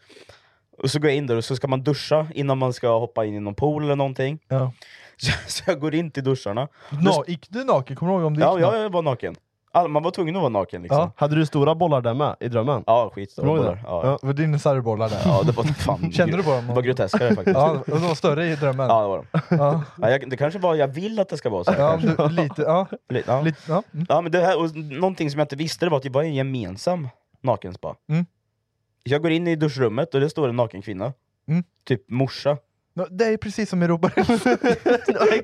Speaker 5: Och så går jag in där och så ska man duscha innan man ska hoppa in i någon pool eller någonting.
Speaker 4: ja.
Speaker 5: Så, så jag går in till duscharna.
Speaker 4: Na, gick du naken? Kommer du ihåg om du gick
Speaker 5: Ja,
Speaker 4: naken?
Speaker 5: jag var naken. All, man var tvungen att vara naken liksom.
Speaker 4: Ja.
Speaker 3: Hade du stora bollar där med, i drömmen?
Speaker 5: Ja, skitstora
Speaker 3: Kommer du ihåg
Speaker 5: bollar.
Speaker 3: det?
Speaker 5: Ja.
Speaker 3: Ja.
Speaker 5: Ja.
Speaker 4: Det var dinosauriebollar där.
Speaker 5: det var fan...
Speaker 4: Kände du på dem?
Speaker 5: Det var groteskare faktiskt.
Speaker 4: Ja,
Speaker 5: ja.
Speaker 4: och de var större i drömmen.
Speaker 5: det var de.
Speaker 4: Ja.
Speaker 5: Ja, jag, det kanske var, jag vill att det ska vara så här,
Speaker 4: Ja, om
Speaker 5: kanske.
Speaker 4: du, lite, ja.
Speaker 5: Li- ja.
Speaker 4: Lite, ja. Mm.
Speaker 5: ja, men det här, och någonting som jag inte visste det var att det var en gemensam nakenspa.
Speaker 4: Mm.
Speaker 5: Jag går in i duschrummet och det står en naken kvinna.
Speaker 4: Mm.
Speaker 5: Typ morsa.
Speaker 4: Nå, Det är precis som i Europa.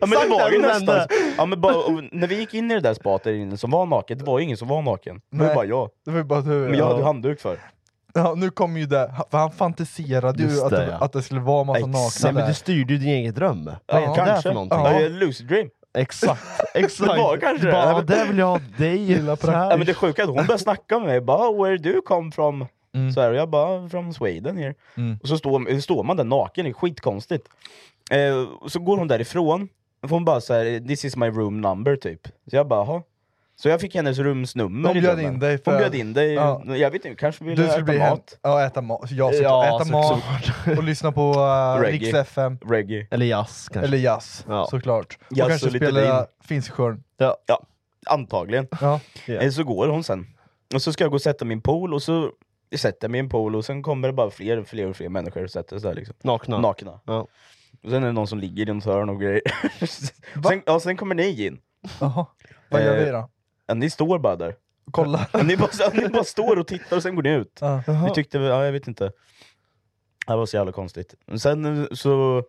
Speaker 5: Ja men det var ju
Speaker 3: det som
Speaker 5: nästan...
Speaker 3: hände.
Speaker 5: Ja, men bara, och när vi gick in i det där spat där inne som var naket, det var ju ingen som var naken. Det var
Speaker 4: Nej.
Speaker 5: ju bara jag.
Speaker 4: Det var ju bara du.
Speaker 5: Men jag hade ju
Speaker 4: ja.
Speaker 5: handduk för.
Speaker 4: Ja, nu kom ju det, för han fantiserade ju
Speaker 3: Just
Speaker 4: att,
Speaker 3: det,
Speaker 4: det,
Speaker 3: ja.
Speaker 4: att det skulle vara en massa
Speaker 5: Exakt.
Speaker 4: Alltså, nakna
Speaker 3: Nej men
Speaker 4: där.
Speaker 3: du styrde ju din egen dröm. Vad
Speaker 5: Ja,
Speaker 3: är det där
Speaker 5: kanske.
Speaker 3: för någonting?
Speaker 5: Ja.
Speaker 4: Ja.
Speaker 5: jag är lucid dream.
Speaker 3: Exakt, exakt.
Speaker 5: Det var kanske
Speaker 3: Du
Speaker 5: det.
Speaker 3: bara,
Speaker 5: Nej,
Speaker 3: ja,
Speaker 5: men-
Speaker 3: där vill jag ha dig.
Speaker 4: Lilla
Speaker 3: Så här.
Speaker 5: Ja, men det sjuka är att hon började snacka med mig, bara oh, where do you come from?
Speaker 4: Mm.
Speaker 5: Så här, och jag bara from Sweden here.
Speaker 4: Mm.
Speaker 5: Och så står, står man där naken, det är skitkonstigt. Eh, och så går hon därifrån, och hon bara så här, this is my room number typ. Så jag bara jaha. Så jag fick hennes rumsnummer
Speaker 4: Hon
Speaker 5: i
Speaker 4: bjöd
Speaker 5: drömmen.
Speaker 4: in dig för-
Speaker 5: Hon bjöd in dig,
Speaker 4: Ja.
Speaker 5: jag vet inte, kanske ville
Speaker 4: Du skulle
Speaker 5: äta
Speaker 4: bli
Speaker 5: mat?
Speaker 4: hem, ja, äta mat. Ja, såklart.
Speaker 3: Ja,
Speaker 4: äta
Speaker 3: såklart.
Speaker 4: mat och lyssna på uh,
Speaker 5: Reggae.
Speaker 4: Riks FM
Speaker 5: Reggae.
Speaker 3: Eller jazz kanske.
Speaker 4: eller jazz
Speaker 3: Ja.
Speaker 4: såklart. Och
Speaker 5: Jazz
Speaker 4: kanske
Speaker 5: och lite
Speaker 4: spela
Speaker 5: din.
Speaker 4: Finskskörn.
Speaker 3: Ja.
Speaker 5: Ja, antagligen.
Speaker 4: Ja.
Speaker 3: Yeah.
Speaker 5: Eh, Så går hon sen. Och så ska jag gå och sätta min pool, och så sätter jag mig i en pool, och sen kommer det bara fler och fler och fler människor och sätter sig där liksom.
Speaker 3: Nakna.
Speaker 5: Nakna.
Speaker 3: Ja.
Speaker 5: Och sen är det någon som ligger i något hörn och grejer. sen, ja, sen kommer ni in.
Speaker 4: Jaha. Vad gör
Speaker 5: Eh,
Speaker 4: vi då?
Speaker 5: Ja, ni står bara där.
Speaker 4: Kolla.
Speaker 5: Ja, Ni bara, ni bara står och tittar och sen går ni ut.
Speaker 4: Ja.
Speaker 5: Ni tyckte, väl- ja, jag vet inte. Det var så jävla konstigt. Men sen eh, så...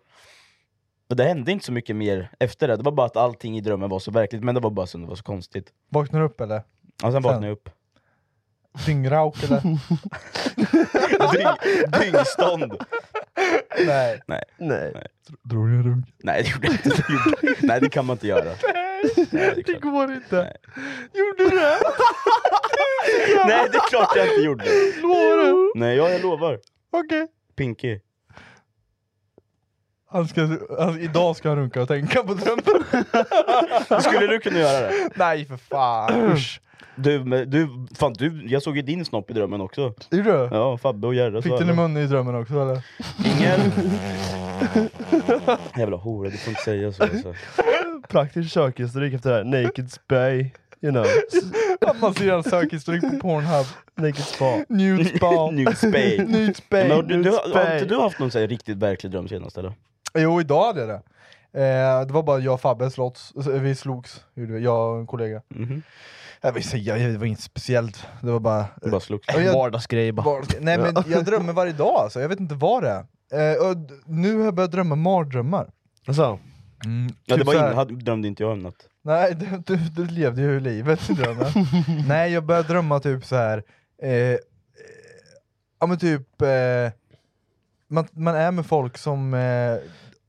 Speaker 5: Och det hände inte så mycket mer efter det, det var bara att allting i drömmen var så verkligt, men det var bara så, det var så konstigt.
Speaker 4: Vaknar du upp eller?
Speaker 5: Ja, sen vaknade jag upp.
Speaker 4: Dyngrauk eller?
Speaker 5: Dyng, dyngstånd!
Speaker 4: Nej.
Speaker 5: Nej.
Speaker 3: Nej.
Speaker 4: Drog jag runk?
Speaker 5: Nej, det gjorde jag inte. Det gjorde- Nej, det kan man inte göra. Nej, det, är klart.
Speaker 4: går inte. Gjorde du det?
Speaker 5: Nej, det är klart jag inte gjorde.
Speaker 4: Lovar du?
Speaker 5: Nej, ja, jag lovar.
Speaker 4: Okej.
Speaker 5: Pinky.
Speaker 4: Han ska, han, idag ska han runka och tänka på drömmen.
Speaker 5: Skulle du kunna göra det?
Speaker 4: Nej för fan. Usch.
Speaker 5: Du, men du, fan, du, jag såg ju din snopp i drömmen också.
Speaker 4: Gjorde du?
Speaker 5: Ja, Fabbe och Gerda.
Speaker 4: Fick
Speaker 5: så
Speaker 4: den i
Speaker 5: alla.
Speaker 4: munnen i drömmen också eller?
Speaker 5: Ingen. Jävla hora, du får inte säga så. Alltså.
Speaker 3: Praktisk sökhistorik efter det här. Naked spy. You know.
Speaker 4: Att man ser en sökhistorik på Pornhub.
Speaker 3: Naked spa.
Speaker 4: Nude spa.
Speaker 5: Nude spay.
Speaker 4: Nude spay.
Speaker 5: Men har, du, du,
Speaker 4: nude
Speaker 5: har
Speaker 4: spay.
Speaker 5: inte du haft någon så här riktigt verklig dröm senast eller?
Speaker 4: Jo, idag hade jag det. Eh, det var bara jag och Fabbe slogs, vi slogs, gjorde vi, jag och en kollega.
Speaker 5: Mhm.
Speaker 4: Jag vill säga, det var inget speciellt, det var bara...
Speaker 5: Du bara slogs?
Speaker 4: Och jag,
Speaker 3: Vardagsgrej bara.
Speaker 4: var, nej men jag drömmer varje dag alltså, jag vet inte vad det är. Eh, och d- nu har jag börjat drömma mardrömmar.
Speaker 3: Alltså,
Speaker 5: Ja, det
Speaker 4: Typ
Speaker 5: var
Speaker 4: så här-
Speaker 5: in, hade- drömde inte jag om något.
Speaker 4: Nej, du, du, du levde ju livet i drömmen. Nej, jag började drömma typ så här. Eh, eh, ja men typ, eh, man, man är med folk som, eh,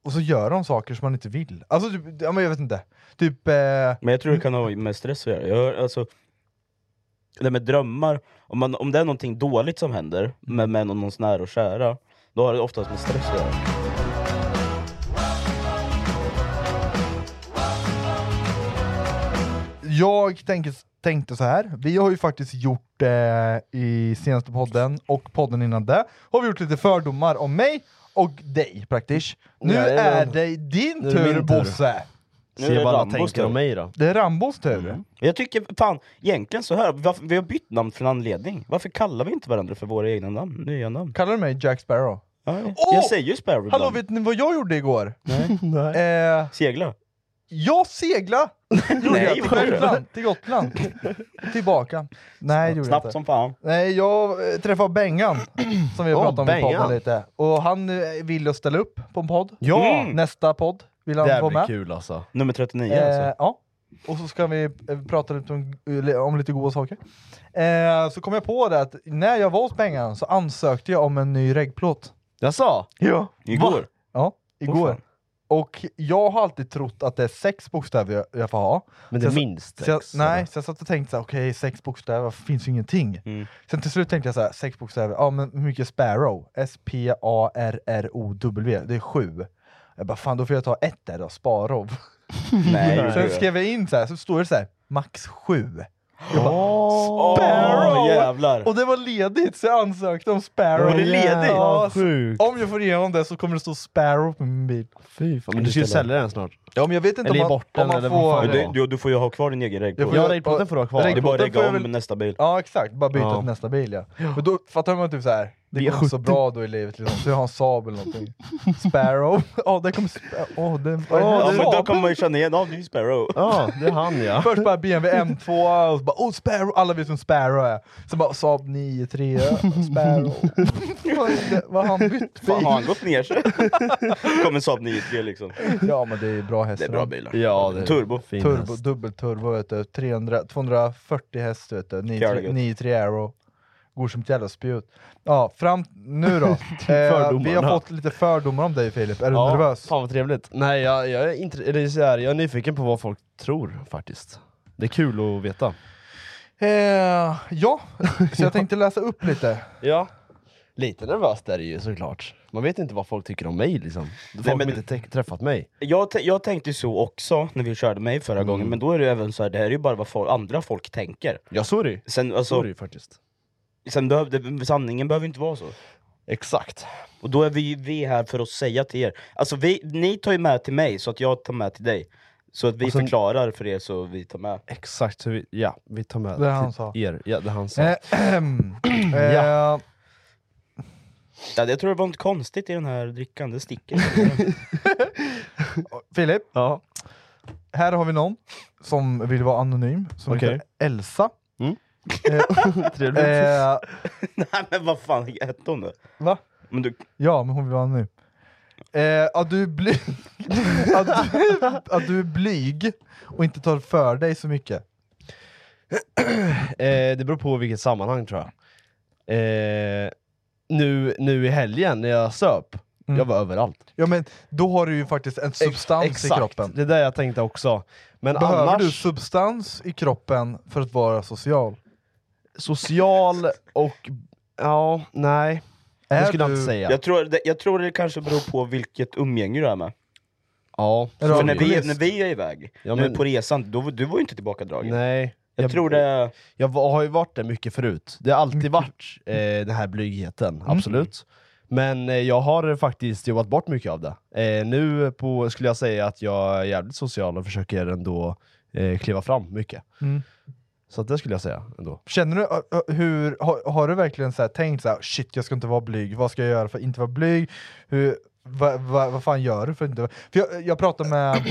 Speaker 4: och så gör de saker som man inte vill. Alltså typ, ja, men jag vet inte. Typ, eh,
Speaker 5: Men jag tror det kan ha med stress att göra. Jag, hör- alltså, det med drömmar, om, man, om det är någonting dåligt som händer med, med någon, någons nära och kära, då har det oftast med stress att göra.
Speaker 4: jag tänkte, tänkte så här. vi har ju faktiskt gjort eh, i senaste podden, och podden innan det, har vi gjort lite fördomar om mig och dig praktiskt. Nu
Speaker 3: Nej, det är-
Speaker 4: är det din
Speaker 3: nu är det
Speaker 4: tur
Speaker 3: min tur.
Speaker 4: Bosse!
Speaker 5: Nu
Speaker 3: se
Speaker 5: är det
Speaker 3: vad alla
Speaker 5: Rambos
Speaker 3: tänker
Speaker 5: tur.
Speaker 3: om mig då.
Speaker 4: Det är Rambos tur.
Speaker 3: Mm.
Speaker 5: Jag tycker fan, egentligen så här, varför, vi har bytt namn för en anledning. Varför kallar vi inte varandra för våra egna namn? Nya namn?
Speaker 4: Kallar du mig Jack Sparrow?
Speaker 5: Ja, ja.
Speaker 4: Åh!
Speaker 5: Jag säger ju Sparrow
Speaker 4: Hallå,
Speaker 5: ibland.
Speaker 4: vet ni vad jag gjorde igår?
Speaker 3: Nej.
Speaker 4: Eh,
Speaker 5: Segla.
Speaker 4: jag segla gjorde jag
Speaker 5: Nej,
Speaker 4: till
Speaker 5: vad gjorde du?
Speaker 4: Gotland. Till Gotland. Tillbaka. Nej, det gjorde jag
Speaker 5: Snabbt
Speaker 4: inte.
Speaker 5: som fan.
Speaker 4: Nej, jag eh, träffade Bengan, som vi har
Speaker 3: Åh,
Speaker 4: pratat om i podden
Speaker 3: Bengan.
Speaker 4: lite. Och han eh, ville ställa upp på en podd.
Speaker 3: Ja!
Speaker 5: Mm.
Speaker 4: Nästa podd vill han
Speaker 3: Det här
Speaker 4: vara
Speaker 3: blir
Speaker 4: med.
Speaker 3: kul alltså.
Speaker 5: Nummer 39
Speaker 4: Eh,
Speaker 5: alltså.
Speaker 4: ja. Och så ska vi eh, prata lite om, om lite goda saker. Eh, så kom jag på det att när jag var hos Bengan så ansökte jag om en ny reggplåt.
Speaker 3: Jag sa.
Speaker 4: Ja.
Speaker 5: Igår.
Speaker 4: Ja, igår.
Speaker 5: fan.
Speaker 4: och jag har alltid trott att det är sex bokstäver jag, jag får ha.
Speaker 3: Men
Speaker 4: Så
Speaker 3: det
Speaker 4: jag-
Speaker 3: minst
Speaker 4: Så jag,
Speaker 3: sex.
Speaker 4: nej, så jag satt och tänkte såhär, okej sex bokstäver, finns ju ingenting.
Speaker 5: Mm.
Speaker 4: Sen till slut tänkte jag såhär, sex bokstäver, ja men hur mycket är sparrow? S-P-A-R-R-O-W, det är sju. Jag bara, fan då får jag ta ett där då, sparrow.
Speaker 5: Nej, gjorde
Speaker 4: Sen
Speaker 5: du.
Speaker 4: skrev jag in såhär, så står det såhär, max sju. Jag bara,
Speaker 5: Åh,
Speaker 4: Sparrow!
Speaker 5: jävlar.
Speaker 4: och det var ledigt, så jag ansökte om sparrow.
Speaker 5: Var det ledigt?
Speaker 4: Ja,
Speaker 3: Ja,
Speaker 4: så-
Speaker 3: sjukt.
Speaker 4: om jag får igenom det så kommer det stå sparrow på min bil.
Speaker 3: Fy fan. Men du ska ju sälja den snart.
Speaker 4: Ja men jag vet inte
Speaker 3: Eller
Speaker 4: om
Speaker 3: ge
Speaker 4: man,
Speaker 3: bort den,
Speaker 4: om man
Speaker 3: eller vad
Speaker 4: får...
Speaker 3: fan
Speaker 5: Men
Speaker 3: det
Speaker 5: du, du, du får ju ha kvar din egen
Speaker 4: Jag
Speaker 5: reggplåt.
Speaker 4: får-
Speaker 3: Ja, reggplåten får du ha kvar.
Speaker 5: Det är bara att
Speaker 4: Den får
Speaker 5: regga
Speaker 4: jag
Speaker 5: om
Speaker 4: väl-
Speaker 5: nästa bil.
Speaker 4: Ja exakt, bara byta
Speaker 3: Ja.
Speaker 4: till nästa bil ja. Men då fattar man typ så här. det
Speaker 3: Vi är
Speaker 4: går inte så
Speaker 3: 70.
Speaker 4: bra då i livet liksom, så jag har en Saab eller någonting. Sparrow, ja där kommer Sparrow, åh den var
Speaker 3: Åh,
Speaker 5: Ja,
Speaker 4: oh,
Speaker 5: men då kommer man ju känna igen, ja det är ju Sparrow.
Speaker 3: Ja, det är han ja.
Speaker 4: Först bara BMW M2, och så bara oh Sparrow, alla vet som Sparrow är. Sen bara Saab 93, Sparrow. Vad är det- Vad har han bytt
Speaker 5: Fan, har han
Speaker 4: bil?
Speaker 5: gått ner sig? Kommer Saab 9-3 liksom.
Speaker 4: Ja men det är bra hästar.
Speaker 5: Det är bra bilar.
Speaker 3: Ja, det är
Speaker 5: Turbo.
Speaker 3: fin
Speaker 4: Turbo,
Speaker 3: häst.
Speaker 4: dubbelturbo vet du, 300, 240 häst vet du,
Speaker 5: Jävla gött.
Speaker 4: 93 93 Arrow. Går som ett jävla spjut. Ja, fram nu då. eh, vi har
Speaker 3: Fördomarna.
Speaker 4: fått lite fördomar om dig Filip, är du
Speaker 3: Ja,
Speaker 4: nervös?
Speaker 3: Fan vad trevligt. Nej, jag, jag, är, inte, eller så här, jag är nyfiken på vad folk tror faktiskt. Det är kul att veta.
Speaker 4: Eh, ja, så jag tänkte läsa upp lite.
Speaker 3: Ja. Lite nervöst är det ju såklart. Man vet inte vad folk tycker om mig liksom. Folk
Speaker 5: men-
Speaker 3: som inte tä- träffat mig.
Speaker 5: Jag, tä- jag tänkte så också när vi körde mig förra
Speaker 3: Mm.
Speaker 5: gången, men då är det ju även så här, det här är ju bara vad folk, andra folk tänker.
Speaker 3: Ja, sorry.
Speaker 5: Sen, alltså,
Speaker 3: Sorry faktiskt.
Speaker 5: sen behöv, det, sanningen behöver ju inte vara så.
Speaker 3: Exakt.
Speaker 5: Och då är vi, vi här för att säga till er. Alltså vi, ni tar ju med till mig så att jag tar med till dig. Så att vi
Speaker 3: Och sen-
Speaker 5: förklarar för er så vi tar med.
Speaker 3: Exakt. Så vi, ja, vi tar med
Speaker 4: Det han
Speaker 3: till
Speaker 4: sa.
Speaker 3: er. Ja, det han sa.
Speaker 4: Eh, eh,
Speaker 5: Ja, jag tror det var något konstigt i den här drickan, det sticker.
Speaker 4: Filip,
Speaker 3: Ja.
Speaker 4: här har vi någon som vill vara anonym, som
Speaker 3: Okej.
Speaker 4: heter Elsa.
Speaker 3: Mm.
Speaker 4: Eh,
Speaker 3: Trevligt.
Speaker 4: eh,
Speaker 5: Nej men vad fan hette hon då?
Speaker 4: va?
Speaker 5: Men du,
Speaker 4: Ja, men hon vill vara anonym. Eh, att, du är blyg, att, du, att du är blyg och inte tar för dig så mycket.
Speaker 3: Eh, det beror på vilket sammanhang tror jag. Eh, nu, nu i helgen när jag söp, jag var överallt.
Speaker 4: Ja men då har du ju faktiskt en Mm. substans
Speaker 3: Exakt,
Speaker 4: i kroppen.
Speaker 3: det är det jag tänkte också. Men
Speaker 4: Behöver
Speaker 3: annars,
Speaker 4: du substans i kroppen för att vara social?
Speaker 3: social och... Ja, nej.
Speaker 4: Är
Speaker 3: det skulle jag
Speaker 4: du-
Speaker 3: inte säga.
Speaker 5: Jag tror, det, jag tror det kanske beror på vilket umgänge du är med.
Speaker 3: ja,
Speaker 5: För
Speaker 3: sorry.
Speaker 5: när, vi, när vi är iväg,
Speaker 3: Ja,
Speaker 5: nu
Speaker 3: men-
Speaker 5: på resan, då, var- du var ju inte tillbakadragen.
Speaker 3: Nej.
Speaker 5: Jag tror det-
Speaker 3: Jag var- har ju varit det mycket förut. Det har alltid varit eh, den här blygheten,
Speaker 4: Mm.
Speaker 3: absolut. Men eh, jag har faktiskt jobbat bort mycket av det. Eh, nu på, skulle jag säga att jag är jävligt social och försöker ändå eh, kliva fram mycket.
Speaker 4: Mm.
Speaker 3: Så att det skulle jag säga ändå.
Speaker 4: Känner du, ö- ö- hur, har, har du verkligen så här tänkt så här, shit jag ska inte vara blyg, vad ska jag göra för att inte vara blyg? Hur, va, va, vad fan gör du för att inte vara- för jag, jag pratade med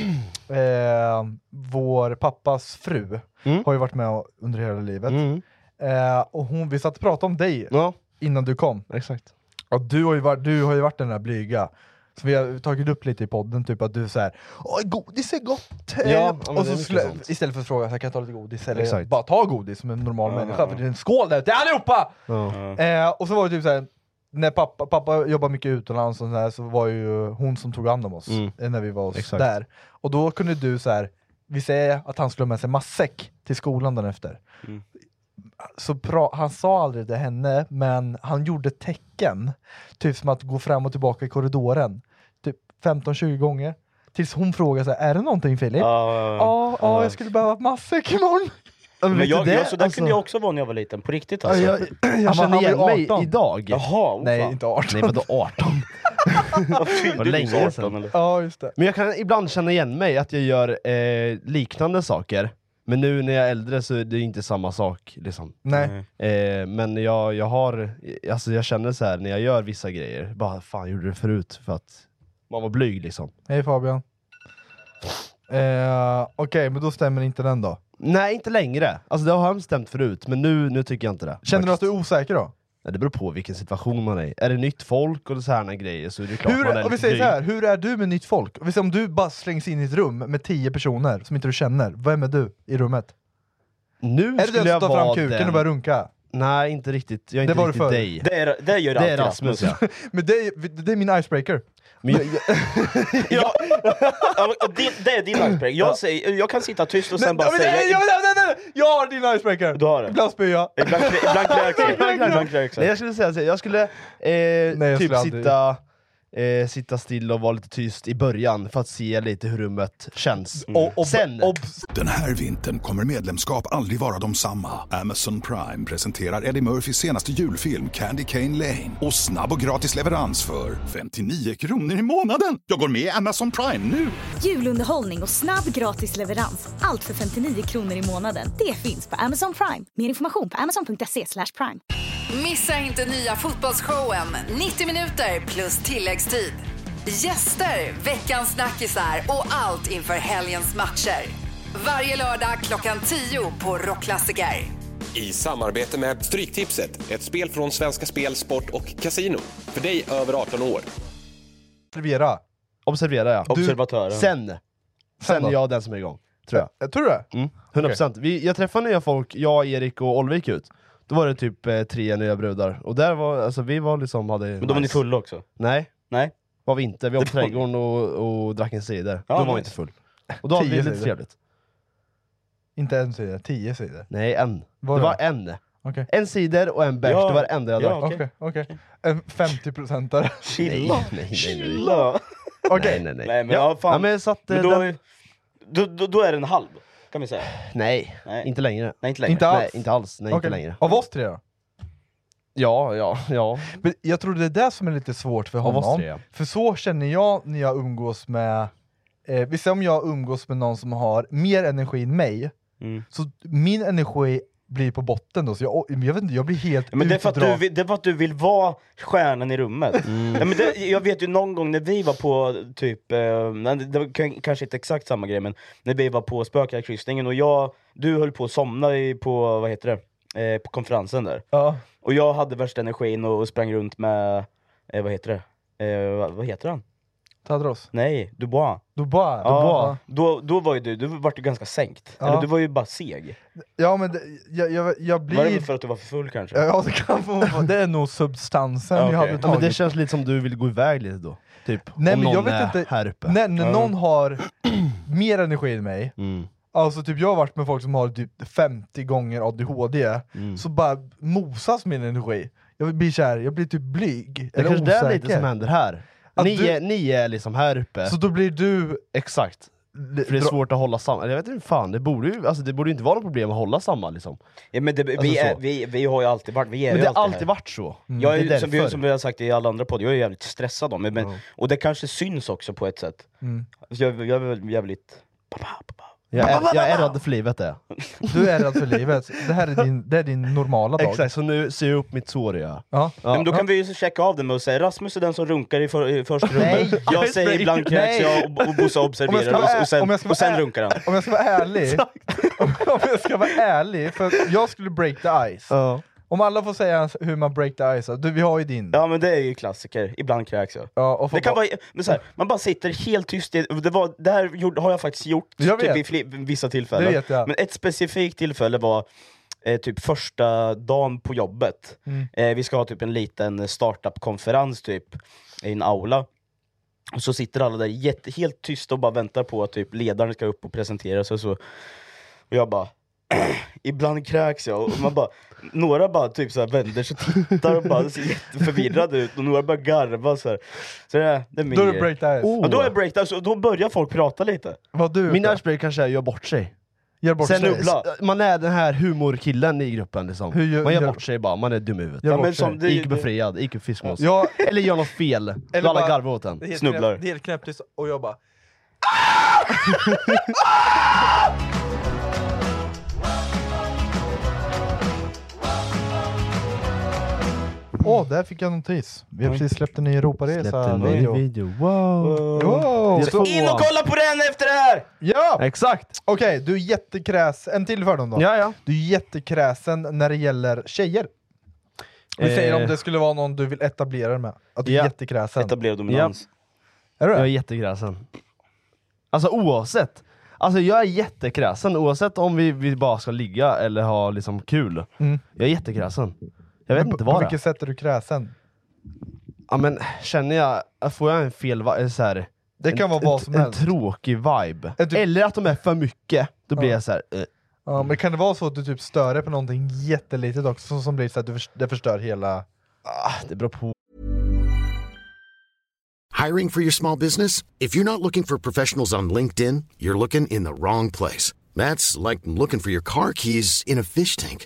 Speaker 4: eh, vår pappas fru, har ju varit med och- under hela livet. Eh, och hon, vi satt och pratade om dig
Speaker 3: Ja,
Speaker 4: innan du kom.
Speaker 3: exakt.
Speaker 4: Ja, du, har ju varit, du har ju varit den där blyga. Så vi har tagit upp lite i podden, typ att du såhär Åh, godis är gott! Eh,
Speaker 3: Ja, ja, men det är
Speaker 4: och så
Speaker 3: mycket
Speaker 4: skulle,
Speaker 3: sånt.
Speaker 4: istället för att fråga så här, kan jag ta lite godis, eller
Speaker 3: Exakt.
Speaker 4: bara ta godis som en normal människa, för det är en skål där ute, allihopa!
Speaker 3: Ja.
Speaker 4: Eh, och så var det typ såhär, när pappa, pappa jobbade mycket utomlands och sådär, så var ju hon som tog hand om oss
Speaker 3: Mm.
Speaker 4: eh, när vi var
Speaker 3: Exakt.
Speaker 4: Exakt. där. Och då kunde du så här, vi säger att han skulle ha med sig matsäck till skolan dagen efter.
Speaker 5: Mm.
Speaker 4: Så pra, han sa aldrig det henne, men han gjorde tecken, typ som att gå fram och tillbaka i korridoren, typ 15-20 gånger. Tills hon frågade så här, är det någonting Filip? Ja,
Speaker 5: Ja,
Speaker 4: ja,
Speaker 5: ja.
Speaker 4: jag skulle behöva matsäck imorgon.
Speaker 5: Men
Speaker 3: vet du
Speaker 5: jag,
Speaker 3: det?
Speaker 5: jag, så där
Speaker 3: Alltså-
Speaker 5: kunde jag också vara när jag var liten, på riktigt
Speaker 3: Ja,
Speaker 5: alltså.
Speaker 3: jag jag
Speaker 4: Han var-
Speaker 3: känner
Speaker 4: han
Speaker 3: igen
Speaker 4: var ju
Speaker 3: mig
Speaker 4: 18.
Speaker 3: idag.
Speaker 5: Jaha, oh,
Speaker 4: Nej,
Speaker 5: fan.
Speaker 4: inte 18.
Speaker 3: Nej vadå 18?
Speaker 5: Vad fyllde
Speaker 3: Vad
Speaker 5: du
Speaker 3: länge
Speaker 5: så 18,
Speaker 3: sedan.
Speaker 5: eller?
Speaker 4: Ja, just det.
Speaker 3: Men jag kan ibland känna igen mig att jag gör eh, liknande saker. Men nu när jag är äldre så är det inte samma sak. Liksom.
Speaker 4: Nej.
Speaker 3: Eh, men jag, jag har, alltså jag känner så här när jag gör vissa grejer, bara fan gjorde det förut för att man var blyg liksom.
Speaker 4: Hej Fabian. Eh, Okej, men då stämmer inte den då.
Speaker 3: Nej inte längre, alltså det har jag bestämt förut, men nu, nu tycker jag inte det.
Speaker 4: Känner du att
Speaker 3: faktiskt.
Speaker 4: du är osäker då?
Speaker 3: Nej, Det beror på vilken situation man är i. Är det nytt folk och sådana grejer så är det klart man är
Speaker 4: Hur,
Speaker 3: lite
Speaker 4: om vi säger
Speaker 3: blyg.
Speaker 4: så här, hur är du med nytt folk? Om vi säger Om du bara slängs in i ett rum med tio personer som inte du känner, vem är du i rummet?
Speaker 3: Nu
Speaker 4: Är det
Speaker 3: skulle
Speaker 4: den som
Speaker 3: jag
Speaker 4: tar fram
Speaker 3: vara
Speaker 4: kuken
Speaker 3: den...
Speaker 4: och börjar runka?
Speaker 3: Nej inte riktigt, jag är
Speaker 4: Det
Speaker 3: inte
Speaker 4: var du
Speaker 3: riktigt
Speaker 4: förr.
Speaker 3: dig.
Speaker 5: Det, är, det gör
Speaker 3: Det är
Speaker 5: alltid
Speaker 3: Rasmus ja.
Speaker 4: Men det är, det är min icebreaker.
Speaker 3: Men jag,
Speaker 5: Ja, och det, det är din icebreaker. Jag, säger, jag kan sitta tyst och sen
Speaker 4: Men-
Speaker 5: bara
Speaker 4: ja, men-
Speaker 5: säga...
Speaker 4: nej, jag, nej, nej, nej, jag har din icebreaker!
Speaker 5: Du har det.
Speaker 4: Ibland spyr jag.
Speaker 5: Ibland klä- ibland kräks jag.
Speaker 4: Ibland kräks
Speaker 5: Ibland kräks
Speaker 3: Nej
Speaker 5: jag.
Speaker 3: jag skulle säga så, här, jag skulle eh,
Speaker 4: jag
Speaker 3: typ
Speaker 4: skulle aldrig-
Speaker 3: sitta, eh, sitta still och vara lite tyst i början för att se lite hur rummet känns.
Speaker 4: Mm. Och, och,
Speaker 3: Sen,
Speaker 4: obs-
Speaker 1: Den här vintern kommer medlemskap aldrig vara de samma. Amazon Prime presenterar Eddie Murphys senaste julfilm Candy Cane Lane. Och snabb och gratis leverans för 59 kronor i månaden. Jag går med i Amazon Prime nu!
Speaker 2: Julunderhållning och snabb gratis leverans. Allt för 59 kronor i månaden. Det finns på Amazon Prime. Mer information på amazon.se slash prime.
Speaker 10: Missa inte nya fotbollsshowen 90 minuter plus tilläggstid. Gäster, veckans snackisar och allt inför helgens matcher. Varje lördag klockan 10 på Rockklassiker.
Speaker 11: I samarbete med Stryktipset, ett spel från Svenska Spel, Sport och Casino. För dig över 18 år.
Speaker 4: observera.
Speaker 3: observera ja.
Speaker 5: Observatören.
Speaker 3: Sen, sen
Speaker 4: då?
Speaker 3: är jag den som är igång. Tror jag.
Speaker 4: Jag tror du det?
Speaker 3: Mm, 100%. Vi, jag träffade nya folk, jag, Erik och Olve gick ut. Då var det typ eh, tre nya brudar, och där var, alltså vi var liksom, hade
Speaker 5: Men då var ni fulla också?
Speaker 3: Nej,
Speaker 5: Nej?
Speaker 3: var vi inte. Vi åkte
Speaker 5: var ni.
Speaker 3: trädgården och, och drack en cider.
Speaker 5: Ja,
Speaker 3: då var vi
Speaker 5: nice.
Speaker 3: inte full. Och då hade vi
Speaker 4: Tio
Speaker 3: lite
Speaker 4: cider.
Speaker 3: trevligt.
Speaker 4: Inte en sida, tio sidor.
Speaker 3: Nej, en.
Speaker 4: Var
Speaker 3: det
Speaker 4: det?
Speaker 3: var en.
Speaker 4: Okej.
Speaker 3: En cider och en bärs,
Speaker 5: Ja.
Speaker 3: det var det enda jag
Speaker 5: Ja.
Speaker 3: drack.
Speaker 4: Okej, okej. En 50-procentare.
Speaker 3: Nej,
Speaker 5: Chilla.
Speaker 3: nej, nej, nej.
Speaker 5: Chilla.
Speaker 4: Okej.
Speaker 3: Nej, nej, nej.
Speaker 5: Nej, men ja, fan.
Speaker 3: Ja, men så att, eh,
Speaker 5: Men då,
Speaker 3: den,
Speaker 5: är- då, då, då är det en halv, kan vi säga.
Speaker 3: nej,
Speaker 5: Nej.
Speaker 3: inte längre.
Speaker 5: Nej, inte längre.
Speaker 4: Inte alls.
Speaker 3: Nej, inte alls. Nej, inte
Speaker 4: Okej.
Speaker 3: längre.
Speaker 4: Av oss tre då?
Speaker 3: Ja, ja, ja.
Speaker 4: Men jag tror det är det som är lite svårt för
Speaker 3: Av oss
Speaker 4: honom.
Speaker 3: tre, ja.
Speaker 4: För så känner jag när jag umgås med... Eh, vi säger om jag umgås med någon som har mer energi än mig,
Speaker 5: Mm.
Speaker 4: så min energi blir på botten då, så jag, jag vet inte, jag blir helt
Speaker 5: Men det är, för att du,
Speaker 4: utdragen.
Speaker 5: vill- det är för att du vill vara stjärnan i rummet. Nej, men det, jag vet ju någon gång när vi var på typ, eh, nej, det var k- kanske inte exakt samma grej, men när vi var på spökjaktkryssningen och jag, du höll på att somna i, på, vad heter det, eh, på konferensen där.
Speaker 4: Ja.
Speaker 5: Och jag hade värsta energin och, och sprang runt med, eh, vad heter det, eh, vad, vad heter han?
Speaker 4: Tadros?
Speaker 5: Nej, Dubois.
Speaker 4: Dubois?
Speaker 5: Ja, då, då var ju du, du var ju ganska sänkt.
Speaker 4: Ja.
Speaker 5: Eller du var ju bara seg.
Speaker 4: Ja men det, jag, jag, jag blir...
Speaker 5: Var det väl för att du var för full kanske?
Speaker 4: Ja det kan få Det är nog substansen jag hade tagit.
Speaker 3: ja, men det känns lite som du vill gå iväg lite då. Typ,
Speaker 4: Nej
Speaker 3: om
Speaker 4: men jag
Speaker 3: någon
Speaker 4: vet
Speaker 3: är
Speaker 4: inte,
Speaker 3: här uppe.
Speaker 4: när, när
Speaker 3: Ja.
Speaker 4: någon har mer energi än mig,
Speaker 5: Mm.
Speaker 4: alltså typ jag har varit med folk som har typ 50 gånger ADHD,
Speaker 5: Mm.
Speaker 4: så bara mosas min energi. Jag blir såhär, jag blir typ blyg,
Speaker 3: Det
Speaker 4: eller
Speaker 3: kanske det är lite
Speaker 4: osäker.
Speaker 3: som händer här.
Speaker 4: Att
Speaker 3: Ni,
Speaker 4: du-
Speaker 3: är, ni är liksom här uppe.
Speaker 4: Så då blir du...
Speaker 3: Exakt. För det är svårt att hålla samman. Jag vet inte fan, det borde ju alltså, det borde ju inte vara något problem att hålla samman liksom.
Speaker 5: Ja, men det, vi,
Speaker 3: Alltså,
Speaker 5: är,
Speaker 3: så.
Speaker 5: vi, vi har ju alltid varit, vi är
Speaker 3: Men
Speaker 5: ju
Speaker 3: det har
Speaker 5: alltid,
Speaker 3: alltid
Speaker 5: här.
Speaker 3: varit så. Mm.
Speaker 5: Jag är,
Speaker 3: Det är
Speaker 5: som, vi,
Speaker 3: därför.
Speaker 5: som vi har sagt i alla andra poddar, jag är jävligt stressad av mig. Men, Och det kanske syns också på ett sätt. Alltså,
Speaker 4: Mm.
Speaker 5: Jag, jag är väl jävligt...
Speaker 3: Jag är, jag är rädd för livet det.
Speaker 4: Du är rädd för livet, det här är din, det är din normala dag.
Speaker 3: Exakt, så nu ser jag upp mitt sår ja.
Speaker 4: Ja.
Speaker 5: men då kan vi ju så checka av det med att säga Rasmus är den som runkar i, för, i första rummet. Jag säger ibland kräks
Speaker 4: Nej.
Speaker 5: jag och, och Bosse
Speaker 4: Om jag ska
Speaker 5: observerar
Speaker 4: vara
Speaker 5: och, och, sen,
Speaker 4: ä- om jag ska
Speaker 5: och sen
Speaker 4: vara ä-
Speaker 5: runkar han.
Speaker 4: Om jag ska vara ärlig, om jag ska vara ärlig, för jag skulle break the ice. Om alla får säga hur man break the ice, du, vi har ju din.
Speaker 5: Ja men det är ju klassiker, ibland kräks jag.
Speaker 4: Ja, och får
Speaker 5: Det kan
Speaker 4: bara-
Speaker 5: vara, men så här, man bara sitter helt tyst, i- det, var, det här gjorde, har jag faktiskt gjort
Speaker 4: Jag
Speaker 5: typ
Speaker 4: vet.
Speaker 5: i fli- vissa tillfällen.
Speaker 4: Det vet jag.
Speaker 5: Men ett specifikt tillfälle var eh, typ första dagen på jobbet.
Speaker 4: Mm.
Speaker 5: Eh, vi ska ha typ en liten startup-konferens typ, i en aula. Och så sitter alla där jätte, helt tysta och bara väntar på att typ, ledaren ska upp och presentera sig. Så, och jag bara Ibland kräks jag och man bara, några bara typ så här vänder sig och tittar och bara ser jätteförvirrade ut och några börjar garva så här. Så det, är- det är min
Speaker 4: Då är det
Speaker 5: grej.
Speaker 4: break the ice.
Speaker 3: Oh.
Speaker 5: Ja, då är det breakdown, så då börjar folk prata lite.
Speaker 4: Vad du
Speaker 3: Min icebreaker kanske är gör bort sig.
Speaker 4: Gör bort
Speaker 3: Sen,
Speaker 4: sig.
Speaker 3: s- man är den här humorkillen i gruppen liksom.
Speaker 4: Hur gör-
Speaker 3: man gör
Speaker 4: gör-
Speaker 3: bort sig bara, man är dum i huvudet.
Speaker 4: Gör Ja, bort men sig. som det-
Speaker 3: IQ-befriad, IQ-fiskmås.
Speaker 4: Ja.
Speaker 3: Eller gör något fel, då alla garvar åt en.
Speaker 4: Helt, helt knäpptyst, och jag bara... Åh, oh, där fick jag notis. Vi har precis släppt en ny
Speaker 3: Släppte en
Speaker 4: Europaresa
Speaker 3: ny
Speaker 4: video. Wow! wow.
Speaker 5: Så in och kolla på den efter det här!
Speaker 4: Ja!
Speaker 3: Exakt!
Speaker 4: Okej, du är jättekräs. En till fördom då.
Speaker 3: Ja, ja.
Speaker 4: Du är jättekräsen när det gäller tjejer. Vi
Speaker 3: Eh.
Speaker 4: säger om det skulle vara någon du vill etablera dig med. Att du
Speaker 3: Ja.
Speaker 4: är jättekräsen.
Speaker 5: Etablera
Speaker 3: dominans.
Speaker 4: Är du
Speaker 3: Jag är
Speaker 4: det?
Speaker 3: jättekräsen. Alltså oavsett. Alltså jag är jättekräsen oavsett om vi, vi bara ska ligga eller ha liksom kul.
Speaker 4: Mm.
Speaker 3: Jag är jättekräsen. Jag vet
Speaker 4: Men
Speaker 3: inte
Speaker 4: på, på
Speaker 3: vad det är.
Speaker 4: vilket sätt är du kräsen?
Speaker 3: Ja men känner jag, får jag en fel vi- eller så här,
Speaker 4: Det kan
Speaker 3: en,
Speaker 4: vara vad
Speaker 3: en-
Speaker 4: som
Speaker 3: En
Speaker 4: helst.
Speaker 3: tråkig vibe.
Speaker 4: Är typ- du-
Speaker 3: Eller att de är för mycket, då blir jag så här. eh.
Speaker 4: Ja, men kan det vara så att du typ stör dig på någonting jättelitet också, som, som blir så att du förs- det förstör hela...
Speaker 3: ah, det beror på.
Speaker 6: Hiring for your small business? If you're not looking for professionals on LinkedIn, you're looking in the wrong place. That's like looking for your car keys in a fish tank.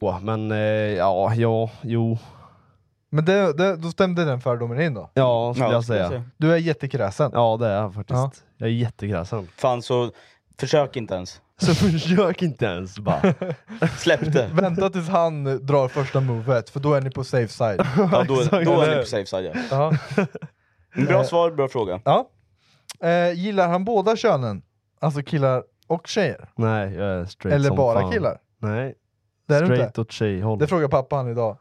Speaker 3: Åh, Men eh, ja, ja, jo.
Speaker 4: Men det, det, då stämde den fördomen in då?
Speaker 3: Ja, skulle
Speaker 5: Ja,
Speaker 3: jag
Speaker 5: skulle
Speaker 3: säga.
Speaker 5: jag säga.
Speaker 4: Du är jättekräsen.
Speaker 3: Ja det är jag faktiskt.
Speaker 4: Ja.
Speaker 3: Jag är jättekräsen.
Speaker 5: Fan så, försök inte ens.
Speaker 3: Så försök inte ens bara.
Speaker 5: Släpp det.
Speaker 4: Vänta tills han drar första movet, för då är ni på safe side.
Speaker 5: Ja, då, då är
Speaker 3: eller?
Speaker 5: ni på safe side ja.
Speaker 4: Ja.
Speaker 5: Bra svar, bra fråga.
Speaker 4: ja. Eh, gillar han båda könen? Alltså killar och tjejer?
Speaker 3: Nej, jag är straight
Speaker 4: Eller
Speaker 3: som
Speaker 4: bara
Speaker 3: fan.
Speaker 4: killar?
Speaker 3: Nej,
Speaker 4: Det är du
Speaker 3: straight
Speaker 4: inte?
Speaker 3: åt tjejhåll.
Speaker 4: Det frågar pappa han idag.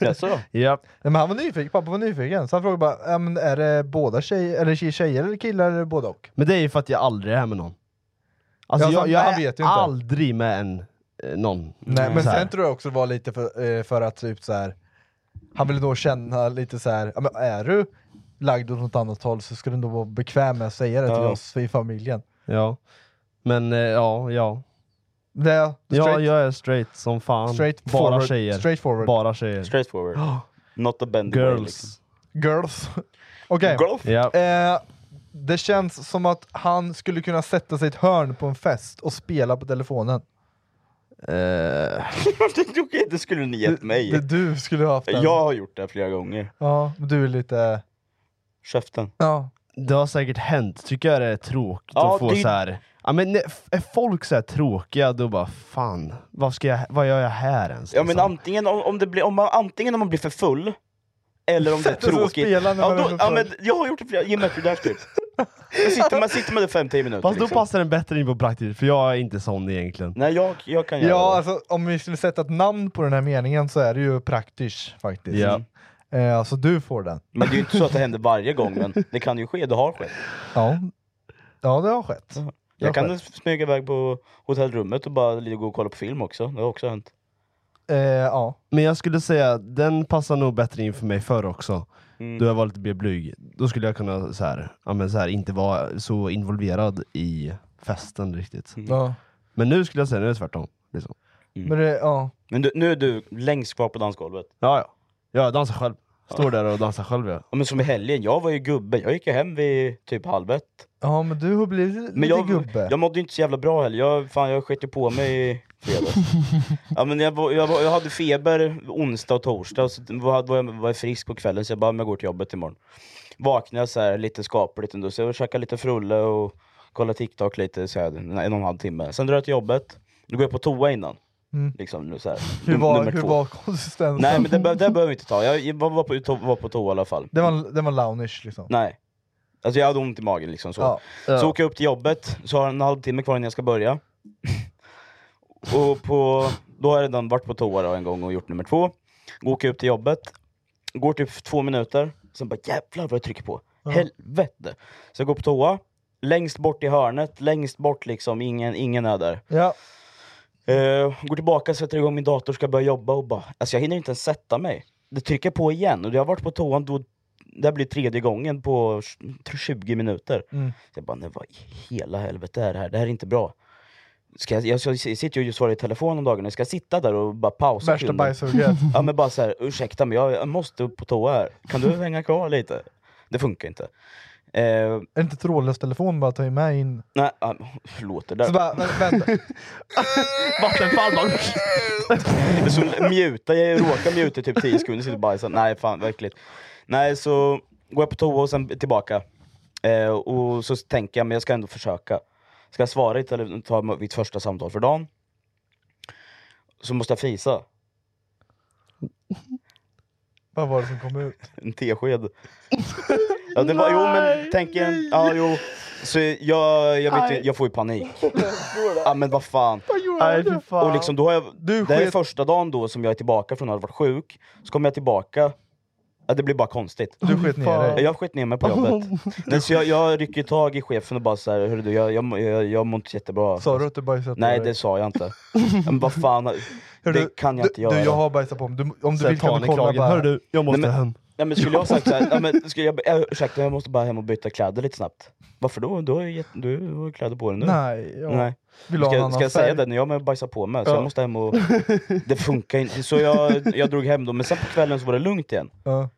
Speaker 5: Jaså då?
Speaker 3: Ja.
Speaker 4: Nej, men han var nyfiken, pappa var nyfiken, så han frågade bara ja, men är det båda tjejer, eller tje- tjejer eller killar eller både och?
Speaker 3: Men det är ju för att jag aldrig är här med någon. Alltså
Speaker 4: Ja,
Speaker 3: jag,
Speaker 4: så-
Speaker 3: jag
Speaker 4: han
Speaker 3: är
Speaker 4: vet ju inte. Mm.
Speaker 3: aldrig med en, eh, någon.
Speaker 4: Nej, men
Speaker 3: Så här.
Speaker 4: sen tror jag också det var lite för, eh, för att typ så här. han ville då känna lite så här. Ja, men är du lagd åt något annat håll så skulle du då vara bekväm med att säga det till
Speaker 5: Ja.
Speaker 4: oss i familjen.
Speaker 3: Ja. Men eh, ja, ja.
Speaker 4: Det är du
Speaker 3: Ja,
Speaker 4: straight?
Speaker 3: jag är straight som fan.
Speaker 4: Straight
Speaker 3: Bara
Speaker 4: forward.
Speaker 3: tjejer.
Speaker 4: Straight forward.
Speaker 3: Bara tjejer.
Speaker 5: Straight forward.
Speaker 4: Ja.
Speaker 5: Not a bend liksom.
Speaker 3: Girls.
Speaker 4: Girls. Okej.
Speaker 5: Girls?
Speaker 3: Ja.
Speaker 4: Eh, det känns som att han skulle kunna sätta sig i ett hörn på en fest och spela på telefonen.
Speaker 3: Eh,
Speaker 5: det skulle ni gett mig.
Speaker 4: Det du skulle ha haft den.
Speaker 5: Jag har gjort det flera gånger.
Speaker 4: Ja, men du är lite...
Speaker 5: Käften.
Speaker 4: Ja.
Speaker 3: Det har säkert hänt. Tycker jag det är tråkigt
Speaker 5: Ja,
Speaker 3: att få
Speaker 5: det är ju-
Speaker 3: så här. Ja, men när- f- är folk så här tråkiga, då bara fan, vad, ska jag, vad gör jag här ens?
Speaker 5: Ja men
Speaker 3: liksom?
Speaker 5: antingen om, om, det blir, om man, antingen om man blir för full, eller om det är
Speaker 3: Sätter sig och
Speaker 5: tråkigt.
Speaker 3: spelar när
Speaker 5: ja,
Speaker 3: man är
Speaker 5: då,
Speaker 3: för
Speaker 5: ja,
Speaker 3: full.
Speaker 5: men jag har gjort det flera, ge mig ett productive. Då sitter man, sitter man där 5-10 minuter.
Speaker 3: Fast då
Speaker 5: liksom.
Speaker 3: passar den bättre in på praktik, för jag är inte sån egentligen.
Speaker 5: Nej jag, jag kan göra
Speaker 4: Ja,
Speaker 5: det.
Speaker 4: alltså om vi skulle sätta ett namn på den här meningen så är det ju praktiskt faktiskt.
Speaker 5: Ja.
Speaker 4: Eh, alltså du får den.
Speaker 5: Men det är ju inte så att det händer varje gång, men det kan ju ske, det har skett.
Speaker 4: Ja, ja det har skett. Det har
Speaker 5: Jag kan
Speaker 4: skett.
Speaker 5: smyga iväg på hotellrummet och bara ligga och gå och kolla på film också, det har också hänt.
Speaker 4: Eh, ja.
Speaker 3: Men jag skulle säga, den passar nog bättre in för mig förr också.
Speaker 5: Mm.
Speaker 3: Då jag var lite mer blyg. Då skulle jag kunna så här, ja, men så här, inte vara så involverad i festen riktigt.
Speaker 4: Ja.
Speaker 3: Men nu skulle jag säga, nu är det tvärtom. Liksom.
Speaker 4: Mm. Men det, ja.
Speaker 5: Men du, nu är du längst kvar på dansgolvet.
Speaker 3: Ja, ja. Jag dansar själv. Står där och dansar själv ja.
Speaker 5: Ja, men som i helgen, jag var ju gubbe, jag gick ju hem vid typ halv ett.
Speaker 4: ja, men du har blivit lite
Speaker 5: Men jag,
Speaker 4: gubbe.
Speaker 5: jag mådde ju inte så jävla bra heller, jag, fan, jag sket ju på mig i fredags. ja, men jag, var- jag, var- jag hade feber onsdag och torsdag, så var, var, jag, var jag frisk på kvällen så jag bara, "Men jag går till jobbet imorgon. Vaknade så här lite skapligt ändå, så jag käkade lite frulle och kollade TikTok lite så här, en och en halv timme. Sen drar jag till jobbet, då går jag på toa innan.
Speaker 4: Mm.
Speaker 5: Liksom, nu så här,
Speaker 4: hur,
Speaker 5: num-
Speaker 4: var,
Speaker 5: nummer
Speaker 4: hur
Speaker 5: två.
Speaker 4: var konsistensen?
Speaker 5: Nej men det, be- det behöver vi inte ta, jag jag var var på, to- var på toa i alla fall.
Speaker 4: det var, det var lounge liksom.
Speaker 5: Nej. Alltså jag hade ont i magen liksom så.
Speaker 4: Ja.
Speaker 5: Så åker jag upp till jobbet, så har jag en halvtimme kvar innan jag ska börja. och på, då har jag redan varit på toa då en gång och gjort nummer två. Då åker jag upp till jobbet, går typ två minuter, sen bara jävlar vad jag trycker på. Helvete! Så jag går på toa, längst bort i hörnet, längst bort liksom, ingen, ingen är där.
Speaker 4: Ja.
Speaker 5: Eh, går tillbaka, sätter igång min dator, ska börja jobba och bara, alltså jag hinner inte ens sätta mig. Det trycker på igen och jag har varit på toan då, det här blir tredje gången på tj- 20 minuter.
Speaker 4: Mm.
Speaker 5: Så jag bara, nej, vad i hela helvete är det här? Det här är inte bra. Ska jag, jag, jag sitter ju och svarar i telefon om dagarna, ska jag sitta där och bara pausa
Speaker 4: Värsta
Speaker 5: kunden?
Speaker 4: bajshugget.
Speaker 5: Ja men bara så här, ursäkta men jag, jag måste upp på toa här, kan du hänga kvar lite? Det funkar inte. Eh,
Speaker 4: Är det inte trådlös telefon bara ta med in?
Speaker 5: nej, ah, förlåt det där.
Speaker 4: Så bara, vä- vänta.
Speaker 3: Vattenfall bara...
Speaker 5: Så muta, jag råkar muta i typ 10 sekunder, sitter och bajsar. Nej fan, verkligt. Nej, så går jag på toa och sen tillbaka. Eh, och så tänker jag, men jag ska ändå försöka. Ska jag svara i tele- ta mitt första samtal för dagen? Så måste jag fisa.
Speaker 4: Vad var det som kom ut?
Speaker 5: En tesked. ja, det var, jo men tänk er, ja jo. Så jag, jag, vet ju,
Speaker 4: Nej.
Speaker 5: jag får ju panik. Ja men vad fan.
Speaker 3: Nej fy fan.
Speaker 5: Och liksom, då har jag,
Speaker 4: Du
Speaker 5: det här är
Speaker 4: sket-
Speaker 5: första dagen då som jag är tillbaka från att ha varit sjuk, så kommer jag tillbaka, ja, det blir bara konstigt.
Speaker 4: Du sket ner dig.
Speaker 5: Jag har skett ner mig på jobbet. Nej, så jag, jag rycker tag i chefen och bara så här, "Hörru du, jag, jag, jag, jag mår inte jättebra.
Speaker 4: Sa du att du bajsade på
Speaker 5: Nej
Speaker 4: dig?
Speaker 5: det sa jag inte. Men vad fan,
Speaker 4: Hörru,
Speaker 5: det kan jag
Speaker 4: du-
Speaker 5: inte göra.
Speaker 4: Du, jag har bajsat på mig. Du, om du
Speaker 3: Så här,
Speaker 4: vill
Speaker 3: ta
Speaker 4: kan
Speaker 3: ner
Speaker 4: du kolla
Speaker 3: kragen.
Speaker 4: bara.
Speaker 3: Hörru du, jag måste
Speaker 5: Nej, men-
Speaker 3: hem.
Speaker 5: Nej, men skulle jag ha sagt såhär, ja, men skulle jag, äh, ursäkta jag måste bara hem och byta kläder lite snabbt. Varför då? Du har ju jätte- du har ju kläder på dig nu.
Speaker 4: Nej, ja.
Speaker 5: Mm. Nej.
Speaker 4: Vill du ha en
Speaker 5: Ska,
Speaker 4: annan
Speaker 5: ska jag säga
Speaker 4: färg?
Speaker 5: det? när Jag har bajsat på mig, så
Speaker 4: Ja.
Speaker 5: jag måste hem och... Det funkar inte. Så jag, jag drog hem då, men sen på kvällen så var det lugnt igen.
Speaker 4: Ja.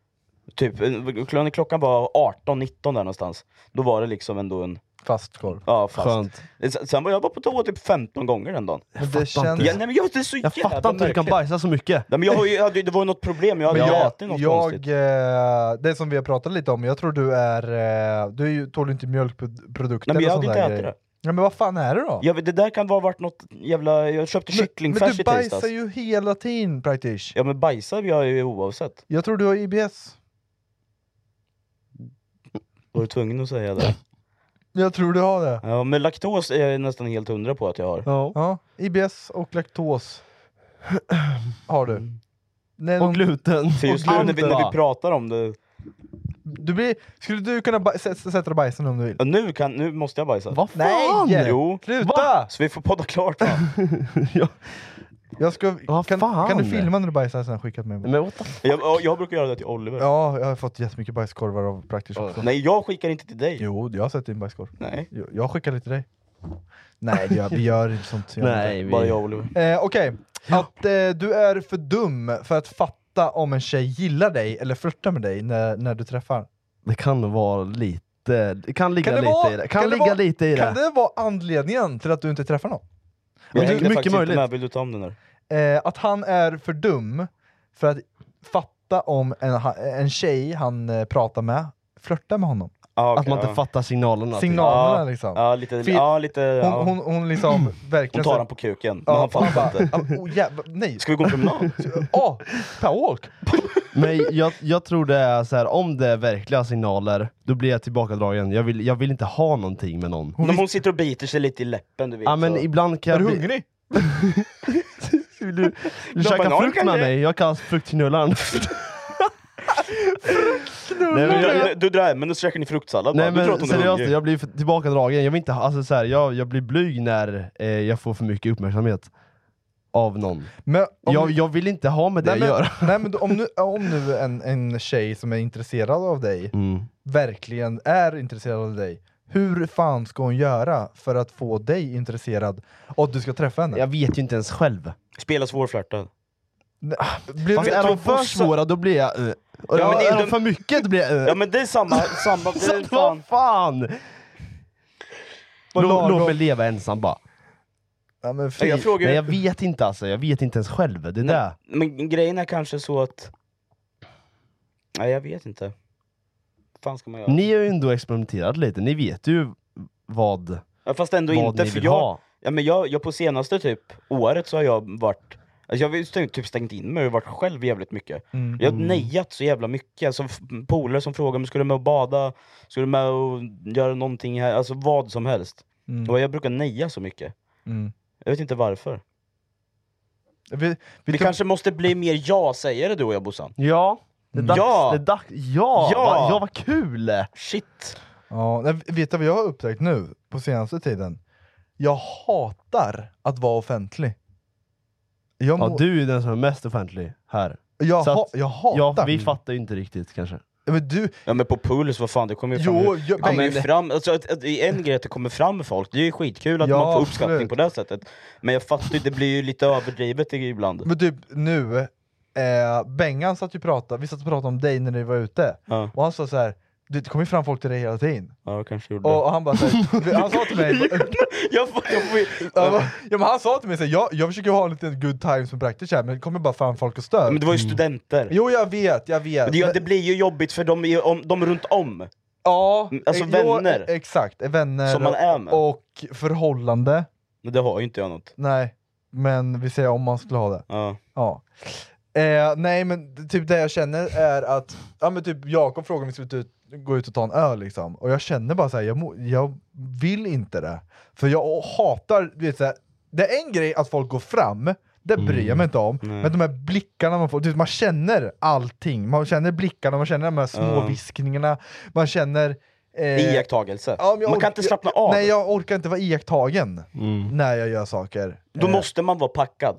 Speaker 5: Typ, eh, klockan- klockan var 18-19 där någonstans. Då var det liksom ändå en...
Speaker 4: Fast korv.
Speaker 5: Ja, fast.
Speaker 3: Skönt.
Speaker 5: Sen- Sen var jag bara på toa typ 15 gånger den dagen.
Speaker 4: Men det
Speaker 3: fattar
Speaker 4: känns...
Speaker 3: inte.
Speaker 5: Ja, nej, men jag, det är så
Speaker 3: Jag
Speaker 5: jävla
Speaker 3: fattar inte hur du kan
Speaker 5: märkligt.
Speaker 3: bajsa så mycket.
Speaker 5: Nej, men jag, har ju- jag hade, ju- Det var ju något problem, jag hade
Speaker 4: Men
Speaker 5: ju
Speaker 4: jag,
Speaker 5: ätit något
Speaker 4: jag,
Speaker 5: konstigt.
Speaker 4: eh, det som vi har pratat lite om, jag tror du är... eh, Du är ju- tål inte mjölkprodukter
Speaker 5: Nej,
Speaker 4: och
Speaker 5: men jag hade
Speaker 4: sådana
Speaker 5: inte
Speaker 4: där
Speaker 5: ätit
Speaker 4: grejer.
Speaker 5: det.
Speaker 4: Ja, men vad fan är det då?
Speaker 5: Jag, vet- det där kan ha varit något jävla... Jag köpte kycklingfärs
Speaker 4: men du
Speaker 5: i tisdags.
Speaker 4: bajsar ju hela tiden praktiskt.
Speaker 5: Ja men bajsar jag ju oavsett.
Speaker 4: Jag tror du har IBS.
Speaker 5: Var du tvungen att säga det?
Speaker 4: Jag tror du har det.
Speaker 5: Ja men laktos är jag nästan helt hundra på att jag har.
Speaker 3: Ja.
Speaker 4: Ja, IBS och laktos har du.
Speaker 5: Mm.
Speaker 4: Nej,
Speaker 3: Och
Speaker 4: någon,
Speaker 3: gluten.
Speaker 5: För just nu när vi, när vi pratar om det,
Speaker 4: du blir, skulle du kunna baj- sä- sä- sätta dig i bajsen om du vill?
Speaker 5: ja, nu, kan, nu måste jag bajsa.
Speaker 3: Vad fan?
Speaker 4: Nej!
Speaker 5: Jo.
Speaker 4: Sluta!
Speaker 5: Så vi får podda klart va?
Speaker 4: Jag ska,
Speaker 3: Vad
Speaker 4: kan,
Speaker 3: fan?
Speaker 4: kan du filma när du bajsar sen skicka till mig?
Speaker 3: Men what the f-
Speaker 5: Jag, jag brukar göra det till Oliver.
Speaker 4: Ja, jag har fått jättemycket bajskorvar av praktiskt också.
Speaker 5: Nej jag skickar inte till dig.
Speaker 4: Jo, jag har sett din bajskorv.
Speaker 5: Nej.
Speaker 4: Jo, Jag skickar lite till dig. Nej, det gör, vi gör inte sånt.
Speaker 3: Nej, vi- Bara jag och Oliver.
Speaker 4: Eh, Okej, att eh, du är för dum för att fatta om en tjej gillar dig eller flörtar med dig när, när du träffar.
Speaker 3: Det kan vara lite... Det kan ligga
Speaker 4: det
Speaker 3: lite
Speaker 4: vara-
Speaker 3: i det. Kan,
Speaker 4: kan det
Speaker 3: ligga
Speaker 4: vara-
Speaker 3: lite i
Speaker 4: Kan
Speaker 3: det.
Speaker 4: det vara anledningen till att du inte träffar någon?
Speaker 5: Jag
Speaker 3: Men det är
Speaker 5: hängde faktiskt
Speaker 3: mycket
Speaker 5: inte
Speaker 3: möjligt.
Speaker 5: Med. Vill du ta om den här?
Speaker 4: Eh, att han är för dum för att fatta om en, ha- en tjej han eh, pratar med flörtar med honom.
Speaker 3: att man inte fattar signalerna. typ. till-
Speaker 4: Signalerna liksom.
Speaker 5: Ja, lite...
Speaker 4: För-
Speaker 5: Ja, lite
Speaker 4: Hon,
Speaker 5: ja.
Speaker 4: hon, hon liksom verkligen...
Speaker 5: Hon tar
Speaker 4: så-
Speaker 5: den på kuken,
Speaker 4: Ja,
Speaker 5: men han
Speaker 4: hon
Speaker 5: fattar
Speaker 4: bara,
Speaker 5: inte.
Speaker 4: "Ah, oh, jävla, nej.
Speaker 5: Ska vi gå en promenad?
Speaker 4: Åh, per Walk!
Speaker 3: Men jag, jag tror det är så här, om det är verkliga signaler, då blir jag tillbakadragen. Jag vill, jag vill inte ha någonting med någon.
Speaker 5: Hon, hon sitter och biter sig lite i läppen du vet.
Speaker 3: Ja men
Speaker 5: så.
Speaker 3: ibland kan jag bli- Vill du, vill du
Speaker 5: Någon
Speaker 3: käka
Speaker 5: banan
Speaker 3: frukt med
Speaker 5: kanske?
Speaker 3: mig? Jag kallas fruktknullaren.
Speaker 5: Du,
Speaker 3: Nej, men jag-
Speaker 5: du, du drar men då käkar ni fruktsallad bara.
Speaker 3: Nej
Speaker 5: Du
Speaker 3: men
Speaker 5: tror att hon är
Speaker 3: seriöst,
Speaker 5: hungrig.
Speaker 3: jag blir för- tillbakadragen. Jag, vill inte, ha- alltså, så här, jag, jag blir blyg när eh, jag får för mycket uppmärksamhet av någon.
Speaker 4: Men om-
Speaker 3: jag, jag vill inte ha med det
Speaker 4: Nej
Speaker 3: att
Speaker 4: men,
Speaker 3: göra.
Speaker 4: nej, men om nu, om nu en, en tjej som är intresserad av dig
Speaker 3: Mm.
Speaker 4: verkligen är intresserad av dig, hur fan ska hon göra för att få dig intresserad och att du ska träffa henne?
Speaker 3: Jag vet ju inte ens själv.
Speaker 5: Spela svårflörtad.
Speaker 4: Nej, Blir
Speaker 3: Fast
Speaker 4: du,
Speaker 3: är de för
Speaker 5: först så-
Speaker 3: svåra då blir jag... eh. Och
Speaker 5: Ja, men det
Speaker 3: är
Speaker 5: är
Speaker 3: de
Speaker 5: de-
Speaker 3: för mycket då blir jag... eh.
Speaker 5: Ja men det är samma, samma, det
Speaker 3: Så
Speaker 5: är fan.
Speaker 3: vad fan! Lå,
Speaker 4: lagom.
Speaker 3: låt mig leva ensam bara.
Speaker 4: ja, men
Speaker 5: Nej,
Speaker 4: fri,
Speaker 5: Jag frågar
Speaker 3: Nej jag
Speaker 5: ju,
Speaker 3: vet inte alltså, jag vet inte ens själv. Det är det.
Speaker 5: men grejen är kanske så att... Nej jag vet inte. Vad fan ska man göra?
Speaker 3: Ni har ju ändå experimenterat lite, ni vet ju vad...
Speaker 5: Ja, Fast ändå
Speaker 3: vad
Speaker 5: inte,
Speaker 3: ni
Speaker 5: för
Speaker 3: vill
Speaker 5: jag,
Speaker 3: ha.
Speaker 5: ja, men jag, jag på senaste typ året så har jag varit, alltså jag har ju stängt- typ stängt in mig och varit själv jävligt mycket.
Speaker 4: Mm.
Speaker 5: Jag har nejat så jävla mycket, alltså f- polare som frågar mig, ska du med och bada? Ska du med och göra någonting här? Alltså vad som helst.
Speaker 4: Mm.
Speaker 5: Och jag brukar neja så mycket.
Speaker 4: Mm.
Speaker 5: Jag vet inte varför.
Speaker 4: Vi, vi,
Speaker 5: Vi
Speaker 4: kan-
Speaker 5: kanske måste bli mer ja-sägare du och jag Bossan.
Speaker 3: Ja, det är dags.
Speaker 5: Mm. Ja!
Speaker 3: Det är dags. Ja!
Speaker 5: Ja!
Speaker 3: Vad, ja, vad kul!
Speaker 5: Shit!
Speaker 4: Ja, nej, vet du vad jag har upptäckt nu på senaste tiden? Jag hatar att vara offentlig. Jag,
Speaker 3: Ja,
Speaker 4: må-
Speaker 3: du är ju den som är mest offentlig här.
Speaker 4: jag,
Speaker 3: så att-
Speaker 4: ha, jag hatar...
Speaker 3: Ja, vi fattar ju inte riktigt kanske.
Speaker 4: Ja, men du,
Speaker 5: Ja men på puls, vad fan det kommer ju fram.
Speaker 4: jo, jag,
Speaker 5: Ja, men
Speaker 4: men-
Speaker 5: fram, alltså, att, att, det är en grej att det kommer fram folk, det är ju skitkul att
Speaker 4: Ja,
Speaker 5: man får uppskattning
Speaker 4: absolut.
Speaker 5: på det sättet. Men jag fattar ju, det blir ju lite överdrivet ibland.
Speaker 4: Men typ nu, eh, Bengan satt ju och pratade, vi satt och pratade om dig när ni var ute,
Speaker 5: Ja,
Speaker 4: och han sa så här. "Du, Det kommer ju fram folk till dig hela tiden.
Speaker 5: ja jag kanske gjorde
Speaker 4: Och,
Speaker 5: det.
Speaker 4: och han bara så här, han sa till mig,
Speaker 5: Jag får, jag får,
Speaker 4: han bara- ja, men han sa till mig så här, jag, jag försöker ha lite good times med praktiskt här, men det kommer bara fram folk och stör.
Speaker 5: men det var ju studenter.
Speaker 4: Jo jag vet, jag vet.
Speaker 5: Men Det, gör-
Speaker 4: Men-
Speaker 5: det blir ju jobbigt för de, är ju om, de runt om.
Speaker 4: Ja,
Speaker 5: Alltså
Speaker 4: eh,
Speaker 5: vänner.
Speaker 4: Jo, exakt, vänner
Speaker 5: Som man är med.
Speaker 4: och förhållande.
Speaker 5: Men det har ju inte jag något.
Speaker 4: Nej, men vi säger om man skulle ha det.
Speaker 5: Ja.
Speaker 4: Ja. Eh, nej men d- typ det jag känner är att, ja men typ Jakob frågade om vi skulle ut, gå ut och ta en öl liksom, och jag känner bara såhär, jag, må- jag vill inte det. För jag hatar, du vet såhär, det är en grej att folk går fram, det bryr
Speaker 5: Mm.
Speaker 4: jag mig inte om, men de här blickarna man får, du vet, man känner allting, man känner blickarna, man känner de här små
Speaker 5: Ja.
Speaker 4: viskningarna, man känner... eh,
Speaker 5: Iakttagelse.
Speaker 4: ja, men jag
Speaker 5: man kan
Speaker 4: orkar-
Speaker 5: inte slappna av. Mm.
Speaker 4: Nej jag orkar inte vara iakttagen när jag gör saker.
Speaker 5: Då
Speaker 4: Eh,
Speaker 5: måste man vara packad.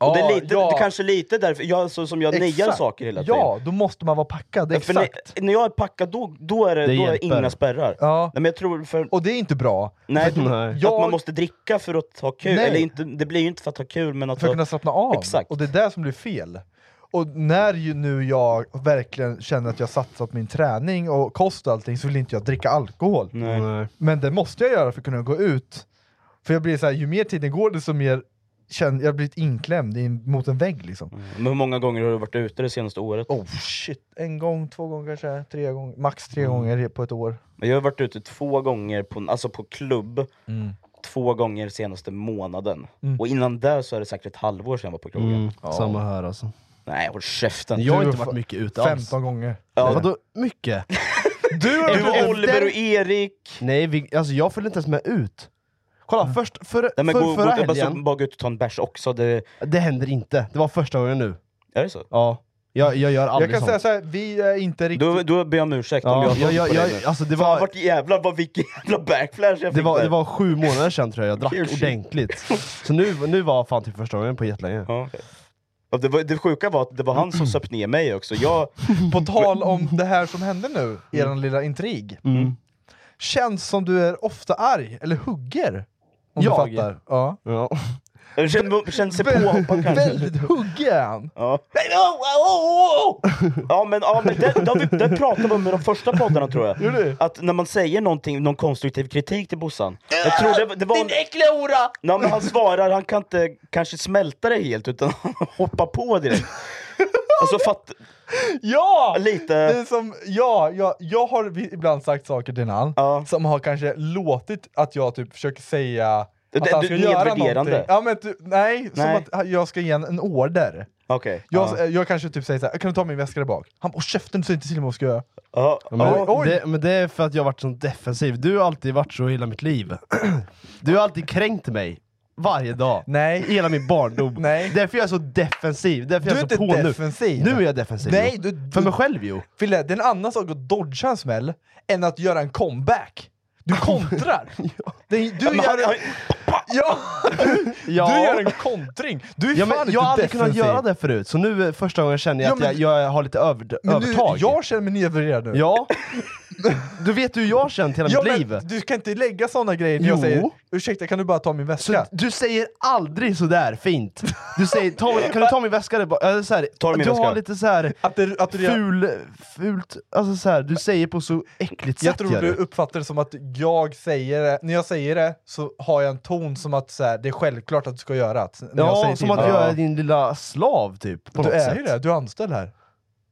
Speaker 4: ja,
Speaker 5: och det är lite,
Speaker 4: ja.
Speaker 5: det kanske är lite därför, jag, så, som jag nejar
Speaker 4: Exakt.
Speaker 5: saker hela tiden.
Speaker 4: Ja, då måste man vara packad,
Speaker 5: Ja,
Speaker 4: exakt.
Speaker 5: När, när jag är packad, då, då är det,
Speaker 3: Det
Speaker 5: då är
Speaker 3: hjälper.
Speaker 5: inga spärrar.
Speaker 4: Ja,
Speaker 5: Nej, men jag tror för...
Speaker 4: och det är inte bra.
Speaker 5: Nej,
Speaker 3: Nej.
Speaker 5: att
Speaker 4: Jag-
Speaker 5: man måste dricka för att ha kul.
Speaker 4: Nej.
Speaker 5: Eller inte, det blir ju inte för att ha kul, men att...
Speaker 4: För att
Speaker 5: ha-
Speaker 4: kunna slappna av.
Speaker 5: Exakt.
Speaker 4: Och det är det som blir fel. Och när ju nu jag verkligen känner att jag satsat på min träning och kost och allting så vill inte jag dricka alkohol.
Speaker 5: Nej.
Speaker 4: Men det måste jag göra för att kunna gå ut. För jag blir så här, ju mer tiden går desto mer känner jag blivit inklämd i, mot en vägg liksom.
Speaker 5: Men hur många gånger har du varit ute det senaste året?
Speaker 4: Oh shit, en gång, två gånger kanske, tre gånger, max tre
Speaker 5: Mm.
Speaker 4: gånger på ett år.
Speaker 5: Jag har varit ute två gånger på, alltså på klubb,
Speaker 4: Mm.
Speaker 5: två gånger senaste månaden. Och innan det så är det säkert ett halvår sedan jag var på krogen.
Speaker 3: Mm, Samma här alltså.
Speaker 5: Nej, håll käften!
Speaker 3: Jag har
Speaker 4: Du
Speaker 3: inte
Speaker 4: har
Speaker 3: varit
Speaker 4: fa-
Speaker 3: mycket ute alls.
Speaker 4: 15 gånger.
Speaker 5: Ja.
Speaker 3: Vadå mycket?
Speaker 4: Du
Speaker 5: Du och Oliver och Erik!
Speaker 3: Nej, vi, alltså jag följde inte ens med ut. Kolla,
Speaker 4: Mm.
Speaker 3: först, för,
Speaker 5: Nej men
Speaker 3: för,
Speaker 5: gå,
Speaker 3: förra
Speaker 5: gå, alltså,
Speaker 3: helgen,
Speaker 5: bara gå ut och ta en bärs också, det,
Speaker 3: det händer inte. Det var första gången nu.
Speaker 5: är det så?
Speaker 3: Ja. Jag, jag gör
Speaker 4: Jag
Speaker 3: aldrig
Speaker 4: kan
Speaker 3: sånt.
Speaker 4: säga så här, vi är inte riktigt...
Speaker 5: Då, då ber jag om ursäkt om
Speaker 3: ja,
Speaker 5: jag
Speaker 3: jag, jag,
Speaker 5: har på dig
Speaker 3: jag,
Speaker 5: nu.
Speaker 3: alltså det,
Speaker 5: Fan
Speaker 3: var,
Speaker 5: vart jävlar vad vilken jävla backflash
Speaker 3: det,
Speaker 5: jag fick
Speaker 3: var,
Speaker 5: där.
Speaker 3: det var sju månader sedan tror jag jag
Speaker 5: Kul
Speaker 3: drack
Speaker 5: shit.
Speaker 3: ordentligt. Så nu, nu var fan typ första gången på jättelänge.
Speaker 5: Ja, okej. Ja, det, var, det sjuka var att det var han som söp ner mig också. Jag, Mm.
Speaker 4: På tal om det här som hände nu, er lilla intrig.
Speaker 3: Mm.
Speaker 4: Känns som du är ofta arg, eller hugger. Om
Speaker 5: Jag?
Speaker 4: du fattar. Ja.
Speaker 3: ja.
Speaker 5: Känner, känner sig påhoppad kanske.
Speaker 4: Väldigt huggig är han.
Speaker 5: Ja. Ja men, ja, men det, det, har vi, det pratade vi om i de första poddarna tror jag. Att när man säger någonting, någon konstruktiv kritik till Bossan. Jag tror det, det var... Din äckliga hora! Nej, men han svarar, han kan inte kanske smälta det helt utan han hoppar på direkt. Alltså fatt...
Speaker 4: Ja!
Speaker 5: Lite...
Speaker 4: Det är som, ja, jag, jag har vi- ibland sagt saker till han som har kanske låtit att jag typ försöker säga
Speaker 5: Det-
Speaker 4: att
Speaker 5: det-
Speaker 4: han
Speaker 5: det-
Speaker 4: ska göra
Speaker 5: nedvärderande.
Speaker 4: någonting. Ja, men du, nej,
Speaker 5: Nej.
Speaker 4: som att jag ska ge en, en order.
Speaker 5: Okej.
Speaker 4: Jag,
Speaker 5: ja.
Speaker 4: jag kanske typ säger såhär, kan du ta min väska där bak? Han bara, käften du säger inte till mig vad jag ska göra.
Speaker 5: Ja,
Speaker 3: Men,
Speaker 4: Oj, oj.
Speaker 3: Det, men det är för att jag har varit så defensiv. Du har alltid varit så hela mitt liv. Du har alltid kränkt mig. Varje dag.
Speaker 4: Nej.
Speaker 3: Hela min barndom.
Speaker 4: Nej.
Speaker 3: Därför jag är så defensiv. Därför
Speaker 4: Du
Speaker 3: jag
Speaker 4: är
Speaker 3: så
Speaker 4: inte
Speaker 3: på
Speaker 4: defensiv.
Speaker 3: Nu. nu är jag defensiv.
Speaker 4: Nej,
Speaker 3: jo.
Speaker 4: du, du,
Speaker 3: För mig själv ju.
Speaker 4: Fille, det är en annan sak att dodga en smäll än att göra en comeback. Du kontrar! Det är- du,
Speaker 5: men han-
Speaker 4: gör, en- ja,
Speaker 3: Ja.
Speaker 4: du gör en kontring! Du är
Speaker 3: Ja, men
Speaker 4: fan
Speaker 3: jag
Speaker 4: inte
Speaker 3: har aldrig
Speaker 4: defensiv.
Speaker 3: kunnat göra det förut, så nu eh, första gången känner jag
Speaker 4: Ja,
Speaker 3: att
Speaker 4: men-
Speaker 3: jag, jag har lite över,
Speaker 4: Men du,
Speaker 3: övertag.
Speaker 4: jag känner mig nedvärderad nu.
Speaker 3: Ja. Du vet hur jag har känt hela
Speaker 4: Ja,
Speaker 3: mitt
Speaker 4: men
Speaker 3: liv.
Speaker 4: Du kan inte lägga såna grejer när
Speaker 3: Jo.
Speaker 4: jag säger ursäkta kan du bara ta min
Speaker 3: Så
Speaker 4: väska?
Speaker 3: du säger aldrig sådär fint. Du säger ta, min- kan du ta min väska där bak? Eller så här,
Speaker 5: Ta min
Speaker 3: du
Speaker 5: väska.
Speaker 3: har lite så här
Speaker 4: Att det, att det,
Speaker 3: ful, fult, alltså så här, du säger på så äckligt
Speaker 4: jag
Speaker 3: sätt.
Speaker 4: tror
Speaker 3: gör
Speaker 4: du uppfattar det som att jag säger det, när jag säger det så har jag en ton som att så här, det är självklart att du ska göra det. När jag
Speaker 3: Ja,
Speaker 4: säger
Speaker 3: som
Speaker 4: till
Speaker 3: att
Speaker 4: dig.
Speaker 3: jag är din lilla slav typ. På
Speaker 4: Du
Speaker 3: något
Speaker 4: är
Speaker 3: sätt.
Speaker 4: ju det, du är anställd här.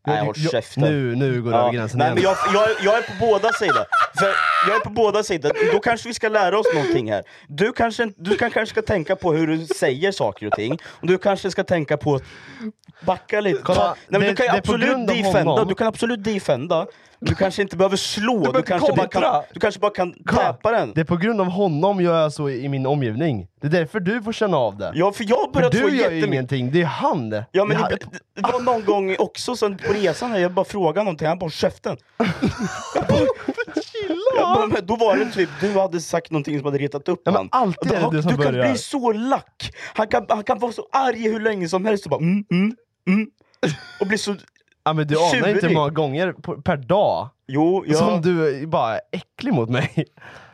Speaker 5: Nej håll
Speaker 3: Jag-
Speaker 5: käften.
Speaker 3: Nu, nu går du över gränsen
Speaker 5: Nej,
Speaker 3: igen.
Speaker 5: men jag, jag, jag är på båda sidor. För jag är på båda sidor. Då kanske vi ska lära oss någonting här. Du kanske, inte- du kan, kanske ska tänka på hur du säger saker och ting. Och du kanske ska tänka på att backa lite.
Speaker 3: Kolla,
Speaker 5: Ta- Nej, men
Speaker 3: det-
Speaker 5: du kan ju
Speaker 3: det är på
Speaker 5: absolut
Speaker 3: grund av
Speaker 5: defenda.
Speaker 3: honom.
Speaker 5: Du kan absolut defenda. Du kanske inte behöver slå. Du
Speaker 4: behöver
Speaker 5: kanske, bara
Speaker 4: kontra.
Speaker 5: kan, du kanske bara kan
Speaker 3: Kolla,
Speaker 5: täpa den.
Speaker 3: Det är på grund av honom jag är så i min omgivning. Det är därför du får känna av det.
Speaker 5: Ja, för jag har
Speaker 3: För
Speaker 5: börjat få
Speaker 3: du gör ju
Speaker 5: jättemycket...
Speaker 3: ingenting, det är han.
Speaker 5: Ja men
Speaker 3: det,
Speaker 5: det,
Speaker 3: han-
Speaker 5: det var någon gång också sen på resan, här, jag bara frågade någonting, han bara käften. Jag bara, jag bara, men då var det typ, du hade sagt någonting som hade retat upp
Speaker 3: Ja, men
Speaker 5: han.
Speaker 3: alltid
Speaker 5: Och då-
Speaker 3: är det du som
Speaker 5: kan
Speaker 3: börjar.
Speaker 5: bli så lack, han kan, han kan vara så arg hur länge som helst och bara mm, mm, mm. Och bli så,
Speaker 3: ja, men du anar inte hur
Speaker 5: tjurig.
Speaker 3: många gånger på, per dag
Speaker 5: jo, ja.
Speaker 3: som du är bara är äcklig mot mig.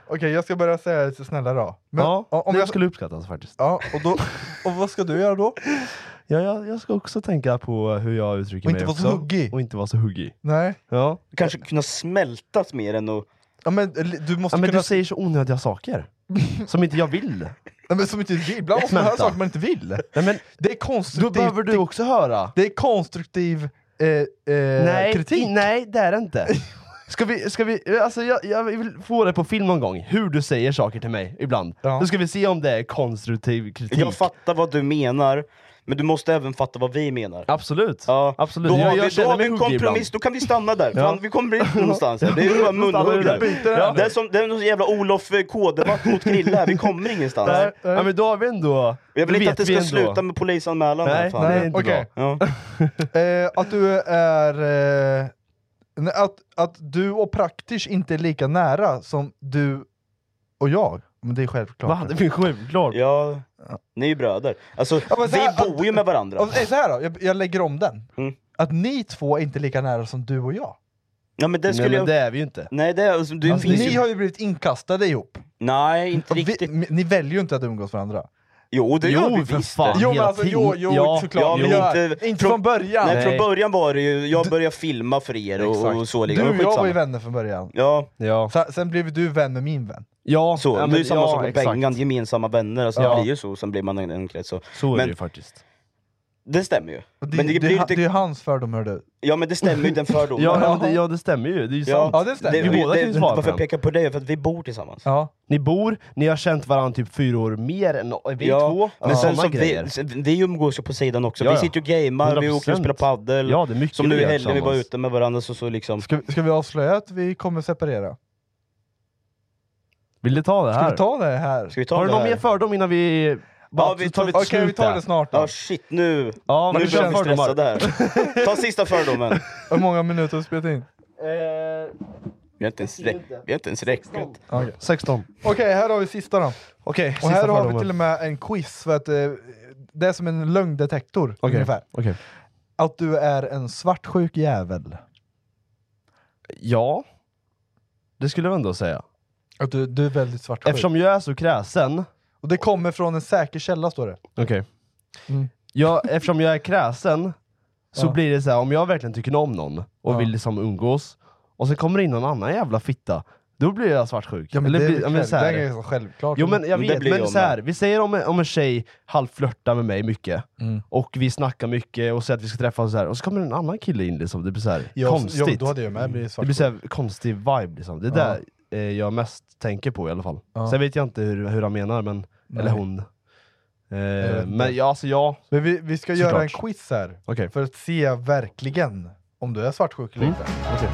Speaker 4: Okej, jag ska börja säga lite snällare då. Men,
Speaker 3: ja,
Speaker 4: ja, om
Speaker 3: det
Speaker 4: jag,
Speaker 3: skulle uppskattas faktiskt.
Speaker 4: ja, och då. Och vad ska du göra då?
Speaker 3: Ja, jag, jag ska också tänka på hur jag uttrycker
Speaker 4: Och
Speaker 3: mig
Speaker 4: inte vara
Speaker 3: också.
Speaker 4: så huggig.
Speaker 3: Och inte vara så huggig.
Speaker 4: Nej.
Speaker 3: Ja.
Speaker 5: kanske kunna smältas mer än att,
Speaker 4: Ja, men, li- du måste
Speaker 3: Ja, men
Speaker 4: kunna...
Speaker 3: du säger så onödiga saker. Som inte jag vill.
Speaker 4: Nej, men som inte vill. Ibland måste man höra
Speaker 3: Smälta.
Speaker 4: saker man inte vill.
Speaker 3: Nej, men
Speaker 4: Det är
Speaker 3: då
Speaker 4: konstruktivt.
Speaker 3: behöver du också höra.
Speaker 4: Det är konstruktiv eh, eh,
Speaker 3: Nej,
Speaker 4: kritik.
Speaker 3: i- nej det är det inte. Ska vi, ska vi, alltså jag, jag vill få det på film någon gång, hur du säger saker till mig ibland.
Speaker 4: Ja.
Speaker 3: Då ska vi se om det är konstruktiv kritik.
Speaker 5: jag fattar vad du menar, men du måste även fatta vad vi menar.
Speaker 3: Absolut.
Speaker 5: Ja,
Speaker 3: Absolut.
Speaker 5: Då
Speaker 3: Jag-
Speaker 5: har vi,
Speaker 3: jag
Speaker 5: då
Speaker 3: känner
Speaker 5: har vi
Speaker 3: mig
Speaker 5: en
Speaker 3: huggig
Speaker 5: kompromiss, då kan vi stanna där. Fan, vi kommer inte någonstans. här. Det är bara munhugg
Speaker 3: Stannar
Speaker 5: där.
Speaker 3: du där?
Speaker 5: Ja. Det är som det är någon jävla Olof eh, K-debatt mot Grille här, vi kommer ingenstans.
Speaker 3: Nej, ja, men då har vi ändå...
Speaker 5: Jag vill
Speaker 3: då
Speaker 5: inte
Speaker 3: vet
Speaker 5: att det
Speaker 3: vi
Speaker 5: ska
Speaker 3: ändå.
Speaker 5: sluta med polisanmälan. här,
Speaker 3: Nej,
Speaker 5: fan.
Speaker 3: nej, inte
Speaker 4: Okej.
Speaker 3: bra.
Speaker 5: Ja.
Speaker 4: Eh, att du är... Eh, nej, att, att du och praktisch inte är lika nära som du och jag. Men det är självklart.
Speaker 3: Va? Det är självklart.
Speaker 5: ja, ni är ju bröder. Alltså,
Speaker 4: Ja, men så
Speaker 5: vi
Speaker 4: här-
Speaker 5: bor ju med varandra.
Speaker 4: Och,
Speaker 3: alltså,
Speaker 4: eh, så här då, jag, jag lägger om den.
Speaker 5: Mm.
Speaker 4: Att ni två är inte lika nära som du och jag.
Speaker 5: Ja, men det
Speaker 3: Nej,
Speaker 5: skulle
Speaker 3: men
Speaker 5: jag...
Speaker 3: det är vi ju inte.
Speaker 5: Nej, det är... Alltså, det
Speaker 4: Alltså,
Speaker 5: finns
Speaker 4: ni
Speaker 5: ju...
Speaker 4: har ju blivit inkastade ihop.
Speaker 5: Nej, inte
Speaker 4: Och vi-
Speaker 5: riktigt.
Speaker 4: m- ni väljer ju inte att umgås varandra.
Speaker 5: Jo, det gör
Speaker 3: Jo,
Speaker 5: vi
Speaker 3: för
Speaker 5: visst.
Speaker 3: fan.
Speaker 4: Jo men
Speaker 3: hela
Speaker 4: alltså,
Speaker 3: tiden.
Speaker 4: jo, jo
Speaker 3: Ja.
Speaker 4: såklart.
Speaker 5: Ja, men
Speaker 4: Jo,
Speaker 5: inte-
Speaker 4: inte från början.
Speaker 5: Nej,
Speaker 3: Nej.
Speaker 5: från början var det ju... Jag började filma för er och, och så. liksom.
Speaker 4: Du
Speaker 5: Men
Speaker 4: och jag var
Speaker 5: skitsamma.
Speaker 4: ju vänner från början.
Speaker 5: Ja,
Speaker 3: Ja.
Speaker 4: Sen, sen blev du vän med min vän.
Speaker 3: Ja, ja,
Speaker 5: så. det är ju
Speaker 3: men-
Speaker 5: samma
Speaker 3: ja,
Speaker 5: sak med
Speaker 3: exakt.
Speaker 5: Bengan, gemensamma vänner. Alltså,
Speaker 3: Ja.
Speaker 5: Det blir ju så, sen blir man en, en krets. Så.
Speaker 3: Så är
Speaker 5: Men-
Speaker 3: det ju faktiskt.
Speaker 5: Det stämmer ju.
Speaker 4: Och Det,
Speaker 5: men
Speaker 4: det,
Speaker 5: det,
Speaker 4: det,
Speaker 5: blir ju
Speaker 4: är ha-
Speaker 5: inte...
Speaker 4: det är hans fördom hördu.
Speaker 5: Ja, men det stämmer ju, den
Speaker 3: Ja,
Speaker 5: fördomen.
Speaker 3: ja, det, ja, det stämmer ju. Det är ju
Speaker 5: Ja,
Speaker 3: sant.
Speaker 4: Ja det stämmer.
Speaker 3: Vi båda kan ju svara på
Speaker 5: Varför jag
Speaker 3: den.
Speaker 5: pekar på dig? För att vi bor tillsammans.
Speaker 4: Ja.
Speaker 3: Ni bor, ni har känt varandra typ fyra år mer än vi två.
Speaker 5: men sen
Speaker 3: Såna
Speaker 5: så
Speaker 3: grejer.
Speaker 5: vi, sen- vi umgås ju på sidan också.
Speaker 3: Ja,
Speaker 5: vi
Speaker 3: ja.
Speaker 5: sitter ju och gamear, vi åker och
Speaker 3: 100%.
Speaker 5: spelar padel.
Speaker 3: Ja, det är mycket
Speaker 5: som nu
Speaker 3: vi
Speaker 5: i
Speaker 3: gör
Speaker 5: helgen, vi var
Speaker 3: tillsammans.
Speaker 5: ute med varandra så, så liksom...
Speaker 4: Ska, vi- ska vi avslöja att vi kommer separera?
Speaker 3: Vill du ta det
Speaker 4: Ska
Speaker 3: här?
Speaker 4: vi ta det här?
Speaker 5: Ska vi ta
Speaker 3: har du
Speaker 5: det
Speaker 3: någon
Speaker 5: här?
Speaker 3: mer fördom innan vi... Bara,
Speaker 5: Ja, vi
Speaker 3: så tar vi ett
Speaker 4: Okej, vi
Speaker 3: slut
Speaker 4: tar
Speaker 3: där.
Speaker 4: det snart
Speaker 5: Ja
Speaker 4: då.
Speaker 5: shit nu!
Speaker 3: Ja,
Speaker 5: nu
Speaker 3: vi kör
Speaker 5: blir vi
Speaker 3: fördomar.
Speaker 5: stressade här. Ta sista fördomen.
Speaker 4: Hur många minuter har vi spelat in?
Speaker 5: Vi har inte ens, rä- vi har inte ens räknat.
Speaker 4: Okej,
Speaker 3: 16.
Speaker 4: här har vi sista då.
Speaker 3: Okej,
Speaker 4: Och här har vi till och med en quiz, för att eh, det är som en lögndetektor ungefär.
Speaker 3: Okej.
Speaker 4: Att du är en svartsjuk jävel.
Speaker 3: Ja, det skulle jag ändå säga.
Speaker 4: Att du, du är väldigt svartsjuk.
Speaker 3: Eftersom jag är så kräsen...
Speaker 4: Och det kommer från en säker källa står det.
Speaker 3: Okej. Jag, eftersom jag är kräsen, så
Speaker 4: Mm. Ja.
Speaker 3: blir det så här, om jag verkligen tycker om någon och
Speaker 4: Ja.
Speaker 3: vill liksom umgås, och så kommer det in någon annan jävla fitta, då blir jag svartsjuk.
Speaker 4: Ja, men det är
Speaker 3: blir-
Speaker 4: väl
Speaker 3: men
Speaker 4: själv-
Speaker 3: så här-
Speaker 4: det är ganska självklart.
Speaker 3: Jo men jag
Speaker 4: Men det
Speaker 3: vet,
Speaker 4: blir
Speaker 3: men
Speaker 4: jag
Speaker 3: så här,
Speaker 4: med.
Speaker 3: vi säger om, en- om en tjej halvflörtar med mig mycket,
Speaker 4: Mm.
Speaker 3: och vi snackar mycket och säger att vi ska träffas och så här, och så kommer en annan kille in liksom, det blir så här
Speaker 4: Ja,
Speaker 3: konstigt. Mm.
Speaker 4: ja, då hade jag med blivit
Speaker 3: det blir så här konstig vibe liksom. Det är
Speaker 4: Ja.
Speaker 3: det eh, jag mest tänker på i alla fall.
Speaker 4: Ja.
Speaker 3: Sen vet jag inte hur, hur han menar, men,
Speaker 4: Nej.
Speaker 3: eller hon.
Speaker 4: vet
Speaker 3: Eh,
Speaker 4: inte.
Speaker 3: men ja, alltså jag...
Speaker 4: Men vi, vi ska göra en quiz här,
Speaker 3: Okej.
Speaker 4: för att se verkligen om du är svartsjuk eller
Speaker 3: Mm.
Speaker 4: inte.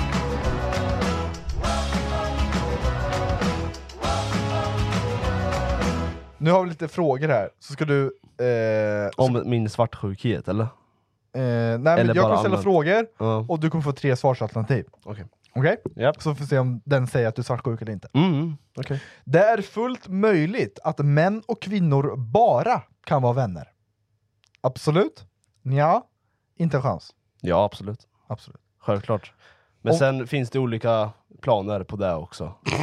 Speaker 4: Nu har vi lite frågor här, så ska du... Eh,
Speaker 3: Om min svartsjukhet eller?
Speaker 4: Eh, nej, men
Speaker 3: Eller
Speaker 4: jag kommer
Speaker 3: bara
Speaker 4: ställa
Speaker 3: allmänt.
Speaker 4: frågor
Speaker 3: Ja.
Speaker 4: och du kommer få tre svarsalternativ.
Speaker 3: Okej.
Speaker 4: Okej?
Speaker 3: Japp.
Speaker 4: Så får vi se om den säger att du är svartsjuk eller inte.
Speaker 3: Mm. Okej.
Speaker 4: Det är fullt möjligt att män och kvinnor bara kan vara vänner. Absolut? Ja. Inte en chans.
Speaker 3: Ja, absolut.
Speaker 4: Absolut.
Speaker 3: Självklart. Men
Speaker 4: Om-
Speaker 3: sen finns det olika planer på det också. ja,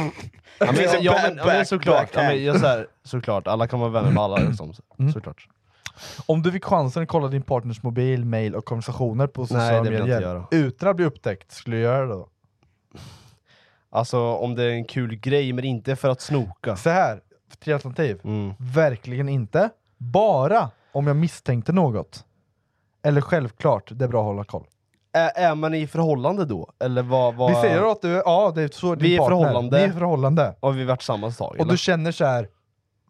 Speaker 3: men,
Speaker 4: Finns det
Speaker 3: ja,
Speaker 4: back-
Speaker 3: men, ja, men
Speaker 4: back-
Speaker 3: såklart. Ja, men,
Speaker 4: backhand?
Speaker 3: jag, så här, såklart, alla kan vara vänner med alla. Liksom.
Speaker 4: Mm.
Speaker 3: Såklart.
Speaker 4: Om du fick chansen att kolla din partners mobil, mail och konversationer på
Speaker 3: Nej,
Speaker 4: sociala
Speaker 3: det vill jag inte
Speaker 4: medier
Speaker 3: göra.
Speaker 4: utan att bli upptäckt, skulle du göra det då?
Speaker 3: Alltså om det är en kul grej, men inte för att snoka.
Speaker 4: Så här, tre alternativ.
Speaker 3: Mm.
Speaker 4: Verkligen inte. Bara om jag misstänkte något. Eller självklart, det är bra att hålla koll.
Speaker 3: Är, är man i förhållande då? Eller vad... vad
Speaker 4: Vi säger att du, ja det är så din
Speaker 3: eh, Vi är i
Speaker 4: partner.
Speaker 3: förhållande.
Speaker 4: Ni är i förhållande.
Speaker 3: Har vi varit tillsammans ett tag?
Speaker 4: Och
Speaker 3: eller?
Speaker 4: du känner så här,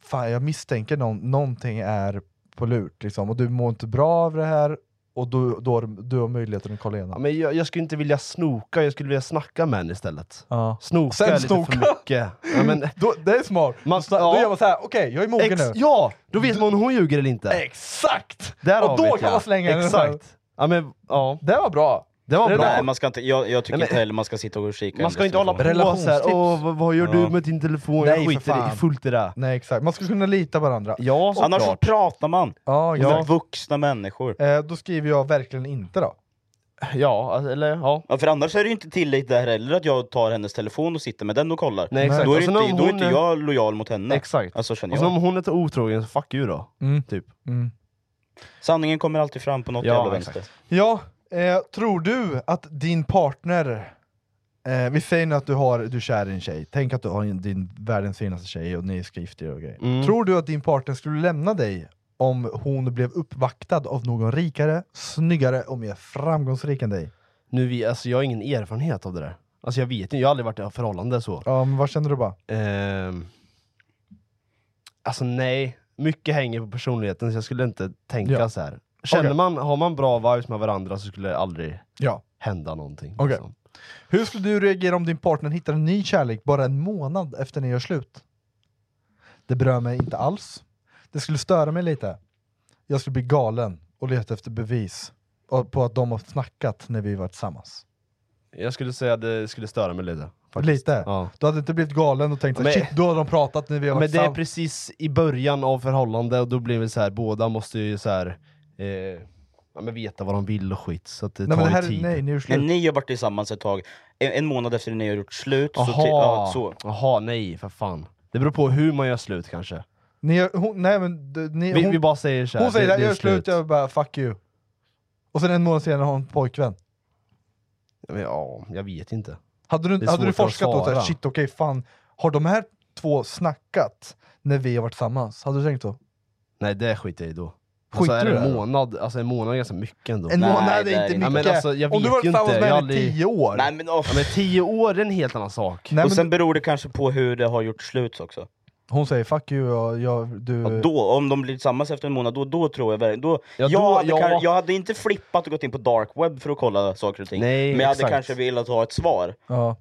Speaker 4: fan jag misstänker någon, någonting är på lurt liksom, och du mår inte bra av det här, och då, då har du- du har möjligheten att kolla
Speaker 3: ja,
Speaker 4: igenom.
Speaker 3: men jag, jag skulle inte vilja snoka, jag skulle vilja snacka med en istället.
Speaker 4: Ja.
Speaker 3: Snoka
Speaker 4: Sen
Speaker 3: är lite
Speaker 4: snoka.
Speaker 3: för mycket. Ja, men,
Speaker 4: Då, det är smart!
Speaker 3: man,
Speaker 4: Då
Speaker 3: ja.
Speaker 4: gör man så här, okej jag är mogen
Speaker 3: Ex-
Speaker 4: nu.
Speaker 3: Ja! Då vet man om hon ljuger eller inte.
Speaker 4: Exakt!
Speaker 3: Där
Speaker 4: och
Speaker 3: har
Speaker 4: då
Speaker 3: vi det,
Speaker 4: kan
Speaker 3: ja.
Speaker 4: man slänga den.
Speaker 3: Exakt. Ja, men, ja.
Speaker 4: Det var bra!
Speaker 3: Det var
Speaker 4: Det
Speaker 3: bra.
Speaker 4: där-
Speaker 5: Nej, man ska inte, jag, jag tycker
Speaker 3: Nej, men-
Speaker 5: inte heller man ska sitta och kika. i
Speaker 3: Man ska
Speaker 5: andras
Speaker 3: inte hålla på
Speaker 5: telefoner.
Speaker 3: såhär,
Speaker 4: Relationstips.
Speaker 3: åh vad, vad gör du
Speaker 5: Ja.
Speaker 3: med din telefon?
Speaker 4: Nej,
Speaker 3: jag
Speaker 4: för
Speaker 3: skiter i
Speaker 4: fan.
Speaker 3: fullt i det.
Speaker 4: Nej exakt, man ska kunna lita på varandra.
Speaker 3: Ja
Speaker 5: Annars så
Speaker 3: såklart.
Speaker 5: pratar man.
Speaker 4: Ja,
Speaker 5: Ja.
Speaker 4: exakt.
Speaker 5: Vuxna människor.
Speaker 4: Eh, då skriver jag verkligen inte då.
Speaker 3: Ja, alltså, eller ja.
Speaker 5: Ja, för annars är det ju inte tillit där heller att jag tar hennes telefon och sitter med den och kollar.
Speaker 3: Nej, exakt.
Speaker 5: Då är,
Speaker 3: Och
Speaker 5: det
Speaker 3: sen
Speaker 5: inte,
Speaker 3: om
Speaker 5: då är
Speaker 3: hon
Speaker 5: inte
Speaker 3: är-
Speaker 5: jag lojal mot henne.
Speaker 3: Exakt.
Speaker 5: Alltså känner
Speaker 3: Och sen
Speaker 5: jag.
Speaker 3: om hon är otrogen, så fuck you då.
Speaker 4: Mm.
Speaker 3: Typ.
Speaker 4: Mm.
Speaker 5: Sanningen kommer alltid fram på något
Speaker 3: Ja,
Speaker 5: jävla
Speaker 3: exakt.
Speaker 5: vänster.
Speaker 4: Ja, eh, tror du att din partner, eh, vi säger nu att du, har, du är kär i en tjej, tänk att du har en- din världens finaste tjej och ni ska gifta er och grejer.
Speaker 3: Mm.
Speaker 4: Tror du att din partner skulle lämna dig om hon blev uppvaktad av någon rikare, snyggare och mer framgångsrik än dig?
Speaker 3: Nu, vi, alltså, jag har ingen erfarenhet av det där. Alltså jag vet inte, jag har aldrig varit i ett förhållande så.
Speaker 4: Ja, men vad känner du bara?
Speaker 3: Ehm, alltså nej, mycket hänger på personligheten så jag skulle inte tänka
Speaker 4: Ja.
Speaker 3: så här. Känner
Speaker 4: Okej.
Speaker 3: man, har man bra vibes med varandra så skulle det aldrig
Speaker 4: Ja.
Speaker 3: hända någonting.
Speaker 4: Okej.
Speaker 3: liksom.
Speaker 4: Hur skulle du reagera om din partner hittar en ny kärlek bara en månad efter ni gör slut? Det berör mig inte alls. Det skulle störa mig lite. Jag skulle bli galen och leta efter bevis och- på att de har snackat när vi var tillsammans.
Speaker 3: Jag skulle säga att det skulle störa mig lite. faktiskt.
Speaker 4: Lite?
Speaker 3: Ja.
Speaker 4: Du hade inte blivit galen och tänkt
Speaker 3: Men-
Speaker 4: att shit, då har de pratat när vi har
Speaker 3: Men
Speaker 4: varit
Speaker 3: det är
Speaker 4: tillsammans.
Speaker 3: precis i början av förhållande och då blir det så här, båda måste ju så här, eh, ja, men veta vad de vill och skit, så att det
Speaker 4: Nej, men
Speaker 3: tar
Speaker 4: det
Speaker 3: ju
Speaker 4: här,
Speaker 3: tid.
Speaker 4: nej, ni är ju
Speaker 5: Men
Speaker 4: slut.
Speaker 5: ni har varit tillsammans ett tag, en, en månad efter ni har gjort slut, så,
Speaker 3: Aha.
Speaker 5: ti- ja, så
Speaker 3: Aha, nej för fan. Det beror på hur man gör slut kanske.
Speaker 4: Ni, har- hon, nej, men, du- ni,
Speaker 3: Vi,
Speaker 4: hon,
Speaker 3: vi bara säger så här,
Speaker 4: hon säger
Speaker 3: det,
Speaker 4: det,
Speaker 3: det är
Speaker 4: jag gör slut, jag bara fuck you. Och sen en månad senare har hon pojkvän.
Speaker 3: Ja, men, ja, jag vet inte.
Speaker 4: Hade
Speaker 3: Det
Speaker 4: du,
Speaker 3: är
Speaker 4: hade du
Speaker 3: svårt att
Speaker 4: forskat då, såhär,
Speaker 3: svara.
Speaker 4: shit okej fan, har de här två snackat när vi har varit tillsammans? Hade du tänkt så?
Speaker 3: Nej det skiter jag i då.
Speaker 4: Skiter
Speaker 3: alltså, är
Speaker 4: du
Speaker 3: det
Speaker 4: i
Speaker 3: en
Speaker 4: det då?
Speaker 3: månad, alltså en månad är ganska mycket ändå.
Speaker 4: En
Speaker 5: Nej,
Speaker 4: månad
Speaker 5: det är
Speaker 4: är inte
Speaker 5: det
Speaker 3: Ja,
Speaker 4: mycket.
Speaker 3: men alltså, jag
Speaker 4: Om du
Speaker 3: vet
Speaker 4: varit
Speaker 3: ju
Speaker 4: tillsammans
Speaker 3: inte,
Speaker 4: med
Speaker 3: jag
Speaker 4: henne i
Speaker 3: aldrig-
Speaker 4: tio år.
Speaker 5: Nej men åh.
Speaker 3: Ja, men tio år är en helt annan sak.
Speaker 4: Nej,
Speaker 5: och
Speaker 4: men
Speaker 5: sen beror det kanske på hur det har gjort slut också.
Speaker 4: hon säger fuck you, jag, jag, du...
Speaker 5: Ja, då, om de blir tillsammans efter en månad, då, då tror jag verkligen... Då,
Speaker 3: Eh. Ja,
Speaker 5: jag,
Speaker 3: då-
Speaker 5: hade,
Speaker 3: ja.
Speaker 5: kan- jag hade inte flippat och gått in på dark web för att kolla saker och ting.
Speaker 3: Nej,
Speaker 5: men jag hade
Speaker 3: exakt.
Speaker 5: kanske velat ha ett svar.
Speaker 4: ja.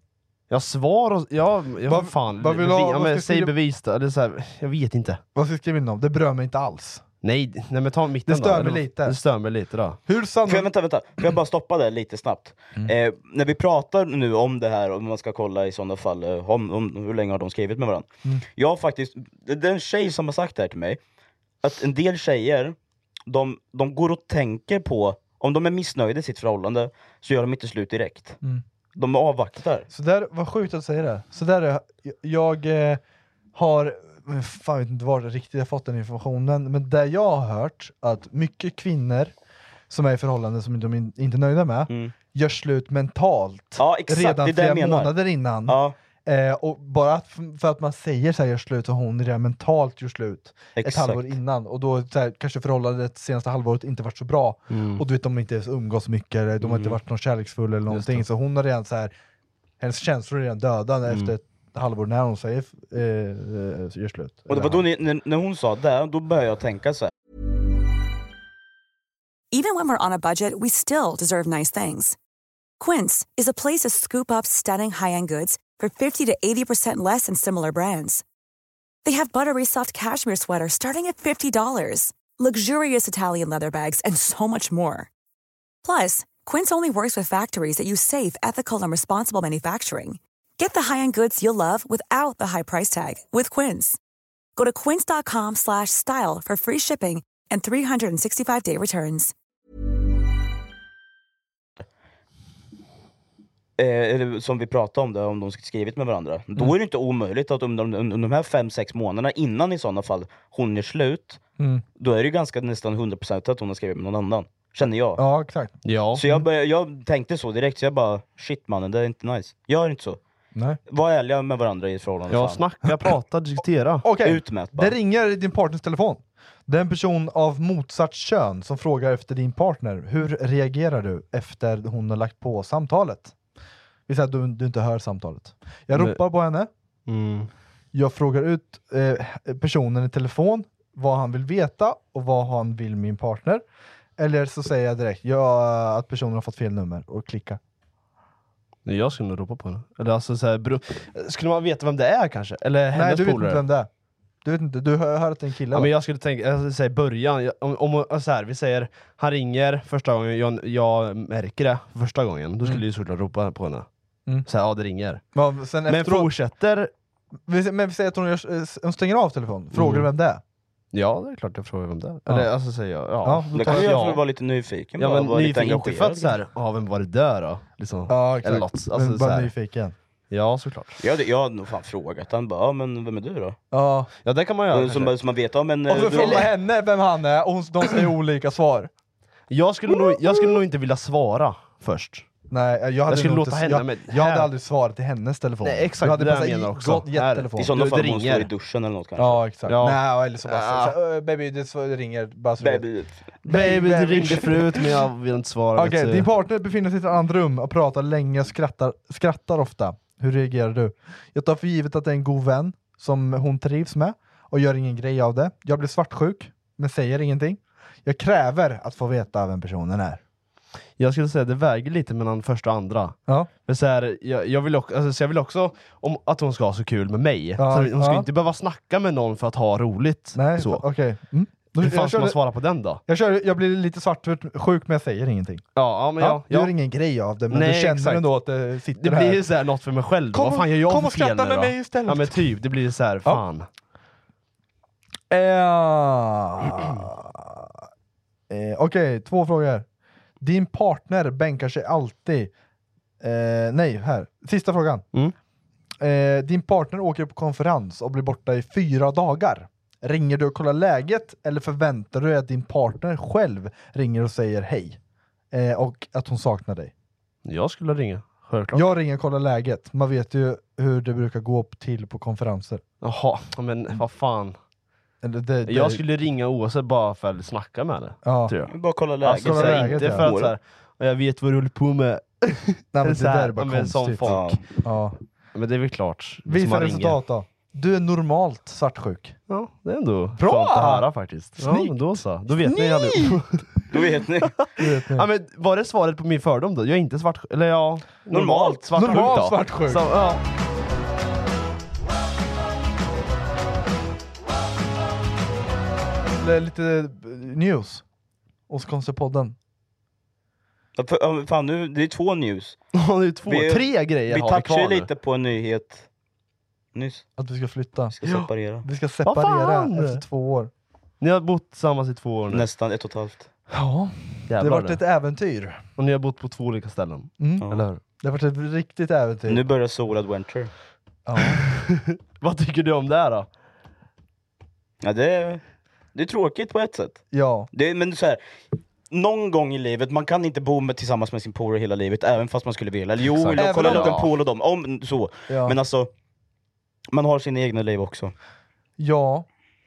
Speaker 3: Jag svar och... Ja, ja
Speaker 4: Vad-
Speaker 3: fan.
Speaker 4: vad vill du ha?
Speaker 3: ja,
Speaker 4: Vad
Speaker 3: men,
Speaker 4: ska
Speaker 3: säg
Speaker 4: skriva-
Speaker 3: bevis då. Eller så här, jag vet inte.
Speaker 4: Vad ska jag skriva in om? Det berör mig inte alls.
Speaker 3: Nej, nej men ta mitten
Speaker 4: Det stör
Speaker 3: då.
Speaker 4: mig
Speaker 3: Eller-
Speaker 4: lite.
Speaker 3: Det stör mig lite då.
Speaker 4: Hur
Speaker 5: Får jag,
Speaker 4: sannolikt...
Speaker 5: vänta, vänta. Får jag bara stoppa det lite snabbt? Eh, när vi pratar nu om det här, om man ska kolla i sådana fall, eh, om, om, hur länge har de skrivit med varandra? Jag har faktiskt, det det är en tjej som har sagt det här till mig, att en del tjejer, de, de går och tänker på, om de är missnöjda i sitt förhållande, så gör de inte slut direkt. De avvaktar.
Speaker 4: Så där, vad sjukt att säga det. Så där är, jag eh, har, men fan vet inte var det riktigt jag fått den informationen, men där jag har hört att mycket kvinnor som är i förhållanden som de in- inte är nöjda med, gör slut mentalt
Speaker 5: Mm. Ja, exakt, det är
Speaker 4: redan
Speaker 5: det
Speaker 4: flera
Speaker 5: jag menar.
Speaker 4: månader innan.
Speaker 5: Ja.
Speaker 4: Eh, och bara att, för att man säger så här, gör slut, och hon redan mentalt gör slut
Speaker 5: Exakt.
Speaker 4: ett halvår innan. Och då så här, kanske förhållandet senaste halvåret inte varit så bra.
Speaker 5: Mm.
Speaker 4: Och du vet, de har inte ens umgås så mycket, eller de har inte
Speaker 5: Mm.
Speaker 4: varit någon kärleksfull eller någonting. Så hon har redan så här, hennes känslor är redan döda
Speaker 5: Mm.
Speaker 4: efter ett halvår när hon säger eh, eh, gör slut.
Speaker 5: Och det var då ni, när, när hon sa det, då började jag tänka så här.
Speaker 12: Even when we're on a budget, we still deserve nice things. Quince is a place to scoop up stunning high-end goods for 50 to 80% less than similar brands. They have buttery soft cashmere sweaters starting at $50, luxurious Italian leather bags, and so much more. Plus, Quince only works with factories that use safe, ethical, and responsible manufacturing. Get the high-end goods you'll love without the high price tag with Quince. Go to quince.com slash style for free shipping and 365-day returns.
Speaker 5: eh, eller som vi pratade om, det, om de skrivit med varandra.
Speaker 4: Mm.
Speaker 5: Då är det inte omöjligt att under, under, under de här 5-6 månaderna innan i sådana fall hon är slut,
Speaker 4: Mm.
Speaker 5: då är det ju ganska nästan 100% att hon har skrivit med någon annan. Känner jag.
Speaker 4: Ja, exakt.
Speaker 3: Ja.
Speaker 5: Så jag, började, jag tänkte så direkt, så jag bara shit mannen, det är inte nice. Gör inte så.
Speaker 4: Nej.
Speaker 5: Var ärliga med varandra i ett förhållande.
Speaker 4: Ja,
Speaker 5: fan.
Speaker 3: snacka, prata, diskutera.
Speaker 4: Okej.
Speaker 5: Ut med bara.
Speaker 4: Det ringer i din partners telefon. Det är en person av motsatt kön som frågar efter din partner. Hur reagerar du efter hon har lagt på samtalet? Vi säger att du, du inte hör samtalet. Jag
Speaker 3: Men-
Speaker 4: ropar på henne.
Speaker 3: Mm.
Speaker 4: Jag frågar ut eh, personen i telefon vad han vill veta och vad han vill min partner. Eller så säger jag direkt ja, att personen har fått fel nummer och klicka.
Speaker 3: Nej, Jag skulle nog ropa på henne. Eller alltså, så här, bro... Skulle man veta vem det är kanske? Eller hennes
Speaker 4: Nej, du vet
Speaker 3: polare?
Speaker 4: inte vem det är. Du vet inte, du hör, hör att det är en kille.
Speaker 3: Ja,
Speaker 4: va?
Speaker 3: men jag skulle tänka, jag skulle säga i början, jag- om, om om- så här, vi säger han ringer första gången, jag, jag märker det första gången, då skulle
Speaker 4: Mm.
Speaker 3: du såklart ropa på henne.
Speaker 4: Mm.
Speaker 3: Så här, ja det ringer.
Speaker 4: Men, sen
Speaker 3: Men
Speaker 4: efteråt-
Speaker 3: fortsätter...
Speaker 4: Vi- Men vi säger att hon, gör, eh, hon stänger av telefonen, frågar
Speaker 3: Mm.
Speaker 4: vem det är?
Speaker 3: Ja det är klart jag frågar vem det är.
Speaker 4: Ja.
Speaker 3: Eller alltså säger jag, ja.
Speaker 4: Ja,
Speaker 5: Det kan ju göra för att vara lite nyfiken
Speaker 3: Ja
Speaker 5: bara,
Speaker 3: men
Speaker 5: vara lite
Speaker 3: nyfiken, inte för
Speaker 5: engagerad,
Speaker 3: att såhär, ja vem var det där då? Liksom.
Speaker 4: Ja, exakt.
Speaker 3: Eller något. Alltså,
Speaker 4: Men bara
Speaker 3: så här.
Speaker 4: nyfiken.
Speaker 3: Ja såklart.
Speaker 5: Jag hade, jag hade nog fan frågat han bara, ja, men vem är du då?
Speaker 4: Ja.
Speaker 3: Ja det kan man
Speaker 5: Eh,
Speaker 3: göra
Speaker 5: som,
Speaker 3: kanske.
Speaker 5: som man vet, ja men... eh,
Speaker 4: Och så frågar henne vem han är, och hon, de säger olika svar.
Speaker 3: jag, skulle nog, jag skulle nog inte vilja svara först.
Speaker 4: Nej, jag hade,
Speaker 3: skulle
Speaker 4: nog
Speaker 3: låta
Speaker 4: inte,
Speaker 3: henne,
Speaker 4: jag,
Speaker 3: men
Speaker 4: jag hade
Speaker 3: här-
Speaker 4: aldrig svarat till hennes telefon.
Speaker 3: Nej, exakt,
Speaker 4: jag hade
Speaker 3: det
Speaker 4: bara
Speaker 3: jag
Speaker 4: så här,
Speaker 3: menar också.
Speaker 4: gått- gett
Speaker 3: Här.
Speaker 4: telefonen.
Speaker 5: I sådana
Speaker 3: Det-
Speaker 5: fall
Speaker 3: det
Speaker 5: hon
Speaker 3: ringer.
Speaker 5: står i duschen eller något kanske.
Speaker 4: Ja, exakt.
Speaker 3: Ja.
Speaker 4: Nej, eller så bara
Speaker 3: Ja.
Speaker 4: så, här, "Ö, Baby, det, så- det ringer. Bara så
Speaker 5: Baby.
Speaker 3: Baby du ringde förut men jag vill inte svara.
Speaker 4: Okej,
Speaker 3: vet du.
Speaker 4: din partner befinner sig i ett annat rum och pratar länge och skrattar, skrattar ofta. Hur reagerar du? Jag tar för givet att det är en god vän som hon trivs med och gör ingen grej av det. Jag blir svartsjuk, men säger ingenting. Jag kräver att få veta vem personen är.
Speaker 3: Jag skulle säga det väger lite mellan första och andra.
Speaker 4: Ja.
Speaker 3: Men så här, jag, jag, vill också, alltså, så jag vill också om, att hon ska ha så kul med mig.
Speaker 4: Ja,
Speaker 3: så hon ska
Speaker 4: ja.
Speaker 3: inte behöva snacka med någon för att ha roligt.
Speaker 4: Nej,
Speaker 3: så.
Speaker 4: okej. Mm. Jag
Speaker 3: Hur fan ska man
Speaker 4: körde-
Speaker 3: svara på den då?
Speaker 4: Jag, kör, jag blir lite svartsjuk, men jag säger ingenting.
Speaker 3: Ja, ja men
Speaker 4: Ja,
Speaker 3: ja,
Speaker 4: du
Speaker 3: ja.
Speaker 4: gör ingen grej av det, men
Speaker 3: Nej,
Speaker 4: du känner
Speaker 3: exakt.
Speaker 4: ändå att det sitter
Speaker 3: Det
Speaker 4: här.
Speaker 3: blir ju så här något för mig själv.
Speaker 4: Kom
Speaker 3: Vad
Speaker 4: och-
Speaker 3: fan gör jag
Speaker 4: kom
Speaker 3: för
Speaker 4: och skratta
Speaker 3: fel nu
Speaker 4: med
Speaker 3: då?
Speaker 4: mig istället.
Speaker 3: Ja men typ, det blir så här,
Speaker 4: Ja.
Speaker 3: fan.
Speaker 4: Eh, eh, Okej, två frågor. Din partner bänkar sig alltid... Eh, nej, här. Sista frågan.
Speaker 3: Mm.
Speaker 4: Eh, din partner åker på konferens och blir borta i fyra dagar. Ringer du och kollar läget eller förväntar du dig att din partner själv ringer och säger hej? Eh, och att hon saknar dig?
Speaker 3: Jag skulle ringa, självklart.
Speaker 4: Jag ringer och kollar läget. Man vet ju hur det brukar gå till på konferenser.
Speaker 3: Jaha, ja, men vad fan.
Speaker 4: Eller Mm. det, det,
Speaker 3: Jag skulle ringa oavsett bara för att snacka med henne.
Speaker 4: Ja.
Speaker 3: Tror jag.
Speaker 5: Bara kolla läget.
Speaker 3: Alltså, så här, inte för att
Speaker 5: Mår
Speaker 3: så här, jag vet vad du håller på med.
Speaker 4: Nej, men det
Speaker 3: Så här,
Speaker 4: där är bara
Speaker 3: ja, men
Speaker 4: konstigt.
Speaker 3: Som folk.
Speaker 4: Ja.
Speaker 3: Men det är väl klart. som
Speaker 4: Visa
Speaker 3: man
Speaker 4: resultat då. Du är normalt svartsjuk.
Speaker 3: Ja, det är ändå
Speaker 4: Bra!
Speaker 3: skönt att höra faktiskt. Ja,
Speaker 4: Snyggt!
Speaker 3: men då så. Då vet ni allihop.
Speaker 4: Snyggt!
Speaker 5: Då vet ni.
Speaker 3: ja, men var det svaret på min fördom då? Jag är inte svartsjuk, eller ja...
Speaker 5: Normalt
Speaker 3: svartsjuk
Speaker 4: Normalt
Speaker 3: då.
Speaker 4: svartsjuk.
Speaker 3: Så, ja.
Speaker 4: Eller Lite eh, news. Oskonstepodden.
Speaker 5: Ja, för- ja, men Fan nu, det är två news.
Speaker 3: Ja, det är två,
Speaker 5: Vi-
Speaker 3: tre grejer
Speaker 5: Vi
Speaker 3: har vi
Speaker 5: touchade
Speaker 3: kvar
Speaker 5: lite på en nyhet nyss.
Speaker 4: Att vi ska flytta.
Speaker 5: Ska separera.
Speaker 4: Vi ska
Speaker 3: Vad
Speaker 4: separera
Speaker 3: fan?
Speaker 4: efter två år.
Speaker 3: Ni har bott tillsammans i två år nu.
Speaker 5: Nästan ett och ett halvt.
Speaker 4: Ja, det
Speaker 3: Jävlar
Speaker 4: har varit
Speaker 3: nu.
Speaker 4: ett äventyr.
Speaker 3: Och ni har bott på två olika ställen.
Speaker 4: Mm.
Speaker 5: Ja.
Speaker 3: Eller hur?
Speaker 4: Det har varit ett riktigt äventyr.
Speaker 5: Nu börjar Soul Adventure.
Speaker 3: Vad tycker du om det här då?
Speaker 5: Ja, det, är, det är tråkigt på ett sätt.
Speaker 4: Ja.
Speaker 5: Det, är- men så här, någon gång i livet, man kan inte bo med, tillsammans med sin polare hela livet, även fast man skulle vilja. Eller jo,
Speaker 4: Exakt.
Speaker 5: jag kollar
Speaker 4: Även
Speaker 5: upp
Speaker 4: om-
Speaker 5: en polare och dem, om, så.
Speaker 4: Ja.
Speaker 5: Men alltså, man har sina egna liv också.
Speaker 4: Ja,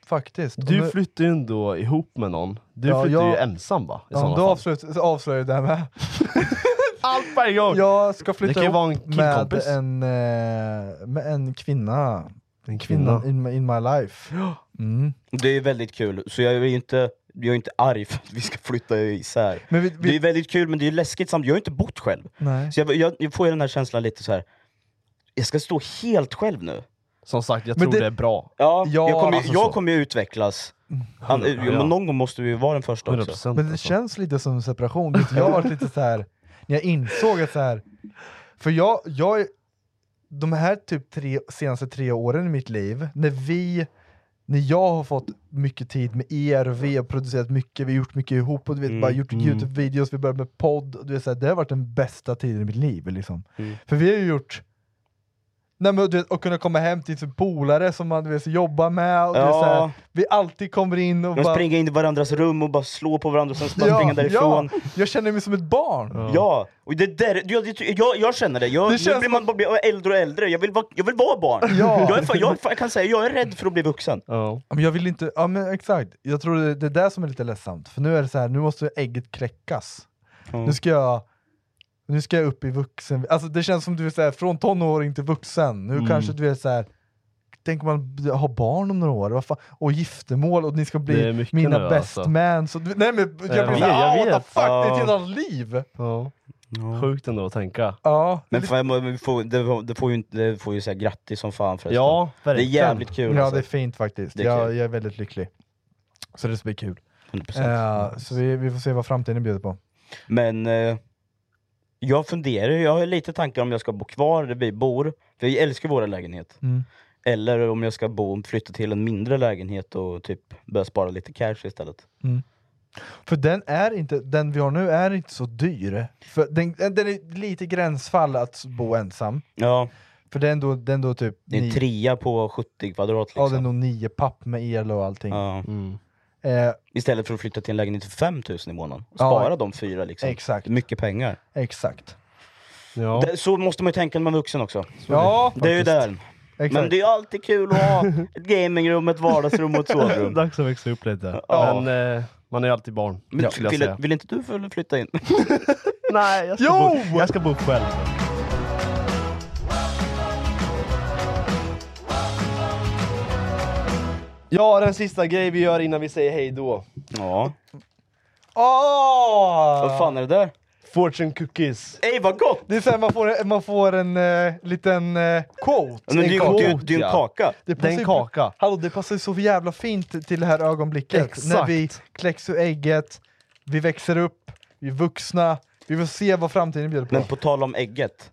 Speaker 4: faktiskt. Om
Speaker 3: Du flyttar ju ändå ihop med någon. Du
Speaker 4: Ja,
Speaker 3: flyttar ju
Speaker 4: jag-
Speaker 3: ensam va? I
Speaker 4: ja, då
Speaker 3: sådana fall.
Speaker 4: avslut, avslöjar du det här med.
Speaker 3: Allt på en gång!
Speaker 4: Jag ska
Speaker 3: Det
Speaker 4: flytta
Speaker 3: kan ju
Speaker 4: ihop
Speaker 3: vara en
Speaker 4: med
Speaker 3: killkompis.
Speaker 4: en, eh, med en kvinna.
Speaker 3: En
Speaker 5: kvinna.
Speaker 4: in, my- in my life. Mm.
Speaker 5: Det är väldigt kul, så jag är ju inte, jag är inte arg för att vi ska flytta isär.
Speaker 4: Men vi-
Speaker 5: Det är väldigt kul, men det är läskigt samtidigt. Jag har ju inte bott själv.
Speaker 4: Nej.
Speaker 5: Så jag, jag, jag får ju den här känslan lite så här. jag ska stå helt själv nu.
Speaker 3: Som sagt, jag
Speaker 5: Men
Speaker 3: tror
Speaker 5: det-
Speaker 3: det... är bra.
Speaker 5: Ja, jag kommer ju
Speaker 3: alltså så.
Speaker 5: jag kommer ju utvecklas.
Speaker 4: Mm.
Speaker 5: Han,
Speaker 3: Hundra-
Speaker 5: men
Speaker 3: ja.
Speaker 5: Någon gång måste vi ju vara den första också.
Speaker 4: Men det
Speaker 3: alltså.
Speaker 4: känns lite som en separation. Vet du, Jag har varit lite så här när jag insåg att så här för jag, jag, är- de här typ tre, senaste tre åren i mitt liv, när vi, när jag har fått mycket tid med er, och vi har producerat mycket, vi har gjort mycket ihop, och du vet,
Speaker 5: Mm,
Speaker 4: bara gjort
Speaker 5: mm.
Speaker 4: Youtube-videos, vi började med podd, och du vet, så här, det har varit den bästa tiden i mitt liv. Liksom.
Speaker 5: Mm.
Speaker 4: För vi har ju gjort Nej, men, du vet, och kunna komma hem till sin polare som man du vet, så jobbar med, och du vet, så här,
Speaker 5: Ja.
Speaker 4: vi alltid kommer in och
Speaker 5: De
Speaker 4: bara...
Speaker 5: springer in i varandras rum och bara slår på varandra och sen bara springer därifrån.
Speaker 4: Ja, jag känner mig som ett barn.
Speaker 5: Ja. och det där, jag, det, jag, jag känner det. Jag,
Speaker 4: Det
Speaker 5: nu
Speaker 4: känns
Speaker 5: blir man bara blir äldre och äldre, jag vill vara, jag vill vara barn.
Speaker 4: Ja.
Speaker 5: Jag, är, fan- jag, är fan- jag kan säga, jag är rädd för att bli vuxen.
Speaker 3: Ja.
Speaker 4: Men jag vill inte, ja men exakt. Jag tror det, det är det som är lite ledsamt. För nu är det så här, nu måste ägget kläckas. Nu ska jag nu ska jag upp i vuxen... Alltså det känns som du är så här, från tonåring till vuxen. Nu
Speaker 3: Mm.
Speaker 4: kanske du är så här. Tänk om man har barn om några år, vad fan? och giftermål och ni ska
Speaker 3: Det är
Speaker 4: bli
Speaker 3: mycket
Speaker 4: mina
Speaker 3: nu,
Speaker 4: best
Speaker 3: alltså.
Speaker 4: mans. Och, du- nej men jag
Speaker 3: Jag
Speaker 4: blir
Speaker 3: vet,
Speaker 4: såhär,
Speaker 3: jag
Speaker 4: what the
Speaker 3: vet.
Speaker 4: fuck, det är ett
Speaker 5: Ja.
Speaker 4: helt annat liv!
Speaker 3: Ja. Sjukt ändå att tänka.
Speaker 4: Ja,
Speaker 5: Men fan, man får, det, det får ju, inte- det får ju säga grattis som fan förresten.
Speaker 3: Ja,
Speaker 5: det är
Speaker 3: verkligen.
Speaker 5: jävligt kul
Speaker 4: ja
Speaker 5: alltså.
Speaker 4: det är fint faktiskt.
Speaker 5: Det är
Speaker 4: jag,
Speaker 5: kul.
Speaker 4: jag är väldigt lycklig. Så det ska bli kul.
Speaker 5: 100%.
Speaker 4: Eh, så vi, vi får se vad framtiden bjuder på.
Speaker 5: Men eh, jag funderar, jag har lite tankar om jag ska bo kvar där vi bor, för vi älskar våra lägenhet.
Speaker 4: Mm.
Speaker 5: Eller om jag ska bo, flytta till en mindre lägenhet och typ börja spara lite cash istället.
Speaker 4: För den är inte, den vi har nu är inte så dyr. För den, den är lite gränsfall att bo ensam.
Speaker 5: Ja,
Speaker 4: För det är ändå, det är ändå typ
Speaker 5: det är en trea på 70 kvadrat liksom.
Speaker 4: ja, det är nog nio papp med el och allting.
Speaker 5: Ja.
Speaker 4: Eh,
Speaker 5: Istället för att flytta till en lägenhet för 5000 i månaden. Och
Speaker 4: Ja.
Speaker 5: spara de fyra liksom.
Speaker 4: Exakt.
Speaker 5: Det är mycket pengar.
Speaker 4: exakt.
Speaker 3: Ja.
Speaker 5: Det, så måste man ju tänka när man är vuxen också.
Speaker 4: Ja,
Speaker 5: det är ju där.
Speaker 4: exakt.
Speaker 5: Men det är ju alltid kul att ha ett gamingrum, ett vardagsrum och ett sovrum.
Speaker 3: Dags att växa upp lite.
Speaker 5: Ja.
Speaker 3: Men eh, man är ju alltid barn,
Speaker 5: Men,
Speaker 3: skulle jag
Speaker 5: vill,
Speaker 3: säga.
Speaker 5: vill inte du väl flytta in?
Speaker 3: Nej, jag ska,
Speaker 4: Jo!
Speaker 3: Bo, jag ska bo själv. Ja, den sista grej vi gör innan vi säger hej då.
Speaker 5: Ja.
Speaker 4: Åh!
Speaker 5: Vad fan är det där?
Speaker 3: Fortune cookies.
Speaker 5: Ey vad gott!
Speaker 4: Ah! Det är såhär, man får, man får en eh, liten eh, quote.
Speaker 5: Men det, är
Speaker 4: En
Speaker 5: ju-
Speaker 4: quote.
Speaker 5: det, är ju- det är ju en
Speaker 3: ja.
Speaker 5: kaka.
Speaker 4: Det
Speaker 3: Det är en kaka.
Speaker 4: Hallå, det passar ju så jävla fint till det här ögonblicket.
Speaker 3: Exakt.
Speaker 4: När vi kläcks ur ägget, vi växer upp, vi är vuxna, vi får se vad framtiden bjuder på.
Speaker 5: Men på tal om ägget.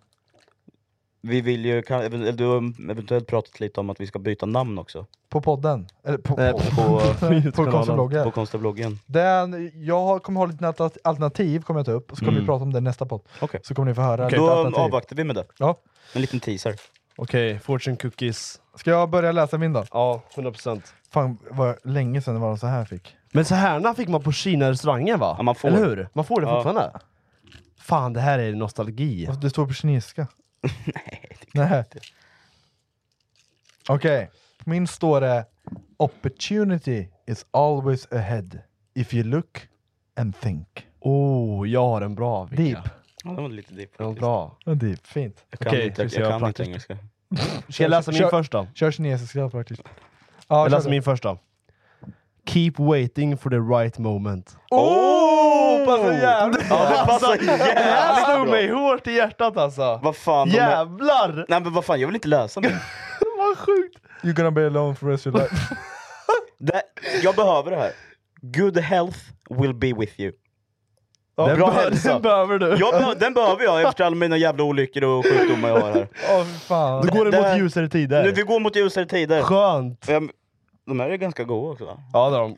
Speaker 5: Vi vill ju, kan, eventuellt- du har eventuellt pratat lite om att vi ska byta namn också.
Speaker 4: På podden. Eller på,
Speaker 3: Nej,
Speaker 4: på,
Speaker 5: På,
Speaker 4: på,
Speaker 3: YouTube-kanalen.
Speaker 5: på
Speaker 4: konstbloggen.
Speaker 5: konstabloggen.
Speaker 4: Den, jag har- kommer ha lite alter- alternativ, kommer jag ta upp, och så kommer
Speaker 5: Mm.
Speaker 4: vi prata om det i nästa podd.
Speaker 5: Okej.
Speaker 4: Så kommer ni få höra
Speaker 5: Då
Speaker 4: lite alternativ.
Speaker 5: avvaktar vi med det.
Speaker 4: Ja.
Speaker 5: En liten teaser.
Speaker 3: Okej, fortune cookies.
Speaker 4: Ska jag börja läsa min då?
Speaker 3: Ja, 100%.
Speaker 4: Fan, vad länge sedan det var de så här fick.
Speaker 3: Men så härna fick man på Kina-restaurangen va?
Speaker 5: Ja, man får.
Speaker 3: Eller hur? Man får det
Speaker 5: Ja.
Speaker 3: fortfarande? Fan, det här är nostalgi.
Speaker 4: Och Alltså, Det står på kinesiska. Nej. Okej, på min står det Opportunity is always ahead if you look and think.
Speaker 3: Oh, jag har en bra Vicka.
Speaker 4: Deep.
Speaker 5: Ja, det var lite deep
Speaker 3: Den var
Speaker 5: faktiskt.
Speaker 3: bra.
Speaker 4: Ja, Deep, fint.
Speaker 5: Jag kan
Speaker 3: Okej,
Speaker 5: inte,
Speaker 3: vi
Speaker 5: jag,
Speaker 3: ska göra
Speaker 5: kan inte
Speaker 3: praktiskt.
Speaker 5: engelska.
Speaker 3: Ska jag läsa min
Speaker 4: Kör-
Speaker 3: först då?
Speaker 4: Kör kinesiska praktiskt. Ja,
Speaker 3: Jag
Speaker 4: kör
Speaker 3: läser
Speaker 4: du.
Speaker 3: min först då. Keep waiting for the right moment.
Speaker 4: Oh, passar jävligt
Speaker 5: Ja, det passar
Speaker 3: Det här
Speaker 5: Alltså, jävligt
Speaker 3: slog
Speaker 5: bra!
Speaker 3: mig hårt i hjärtat alltså!
Speaker 5: Vad fan, de är...
Speaker 3: Jävlar!
Speaker 5: Nej men vad fan, jag vill inte läsa mer.
Speaker 3: Vad sjukt!
Speaker 4: You're gonna be alone for the rest of your life.
Speaker 5: Det, jag behöver det här. Good health will be with you.
Speaker 3: Den,
Speaker 5: bra
Speaker 3: behö-
Speaker 5: hälsa.
Speaker 3: den behöver du!
Speaker 5: Jag behö- den behöver jag efter alla mina jävla olyckor och sjukdomar jag har här.
Speaker 4: Åh fy fan.
Speaker 3: Du går
Speaker 5: det- typ-
Speaker 3: emot ljusare tider.
Speaker 5: Nu, vi går mot ljusare tider.
Speaker 3: Skönt!
Speaker 5: Jag, De här är ganska goda också va?
Speaker 3: Ja, det är de.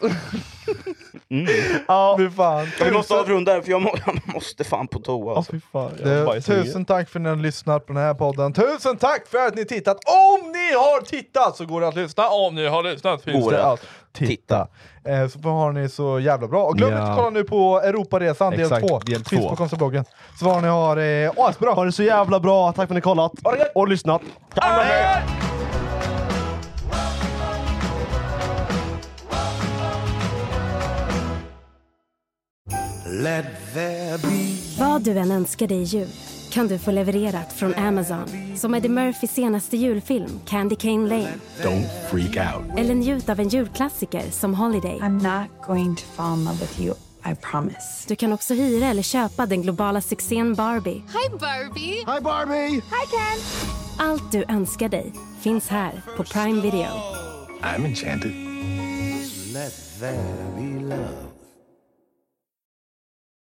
Speaker 4: Ja, fy fan.
Speaker 5: Ja, vi måste avrunda här för jag, må, jag måste fan på toa alltså.
Speaker 4: Du, tusen tack för att ni har lyssnat på den här podden. Tusen tack för att ni tittat. Om ni har tittat så går det att lyssna. Om ni har lyssnat finns
Speaker 5: Går
Speaker 4: det
Speaker 5: det
Speaker 4: att titta. Eh, Så har ni så jävla bra. Och glöm
Speaker 3: Ja.
Speaker 4: inte att kolla nu på Europaresan del 2.
Speaker 3: Exakt, del
Speaker 4: Finns
Speaker 3: två.
Speaker 4: på konstbloggen. Så vad ni har eh, asbra.
Speaker 3: Ha det så jävla bra, tack för att ni kollat och lyssnat.
Speaker 12: Vad du än önskar dig i jul kan du få levererat från Amazon. Som Eddie Murphys senaste julfilm Candy Cane Lane.
Speaker 1: Don't freak out.
Speaker 12: Eller njut av en julklassiker som Holiday. I'm not going to fall in love with you, I promise. Du kan också hyra eller köpa den globala succén Barbie.
Speaker 13: Hi Barbie!
Speaker 1: Hi Barbie!
Speaker 13: Hi Ken!
Speaker 12: Allt du önskar dig finns här på Prime Video.
Speaker 1: I'm enchanted. Let there be love.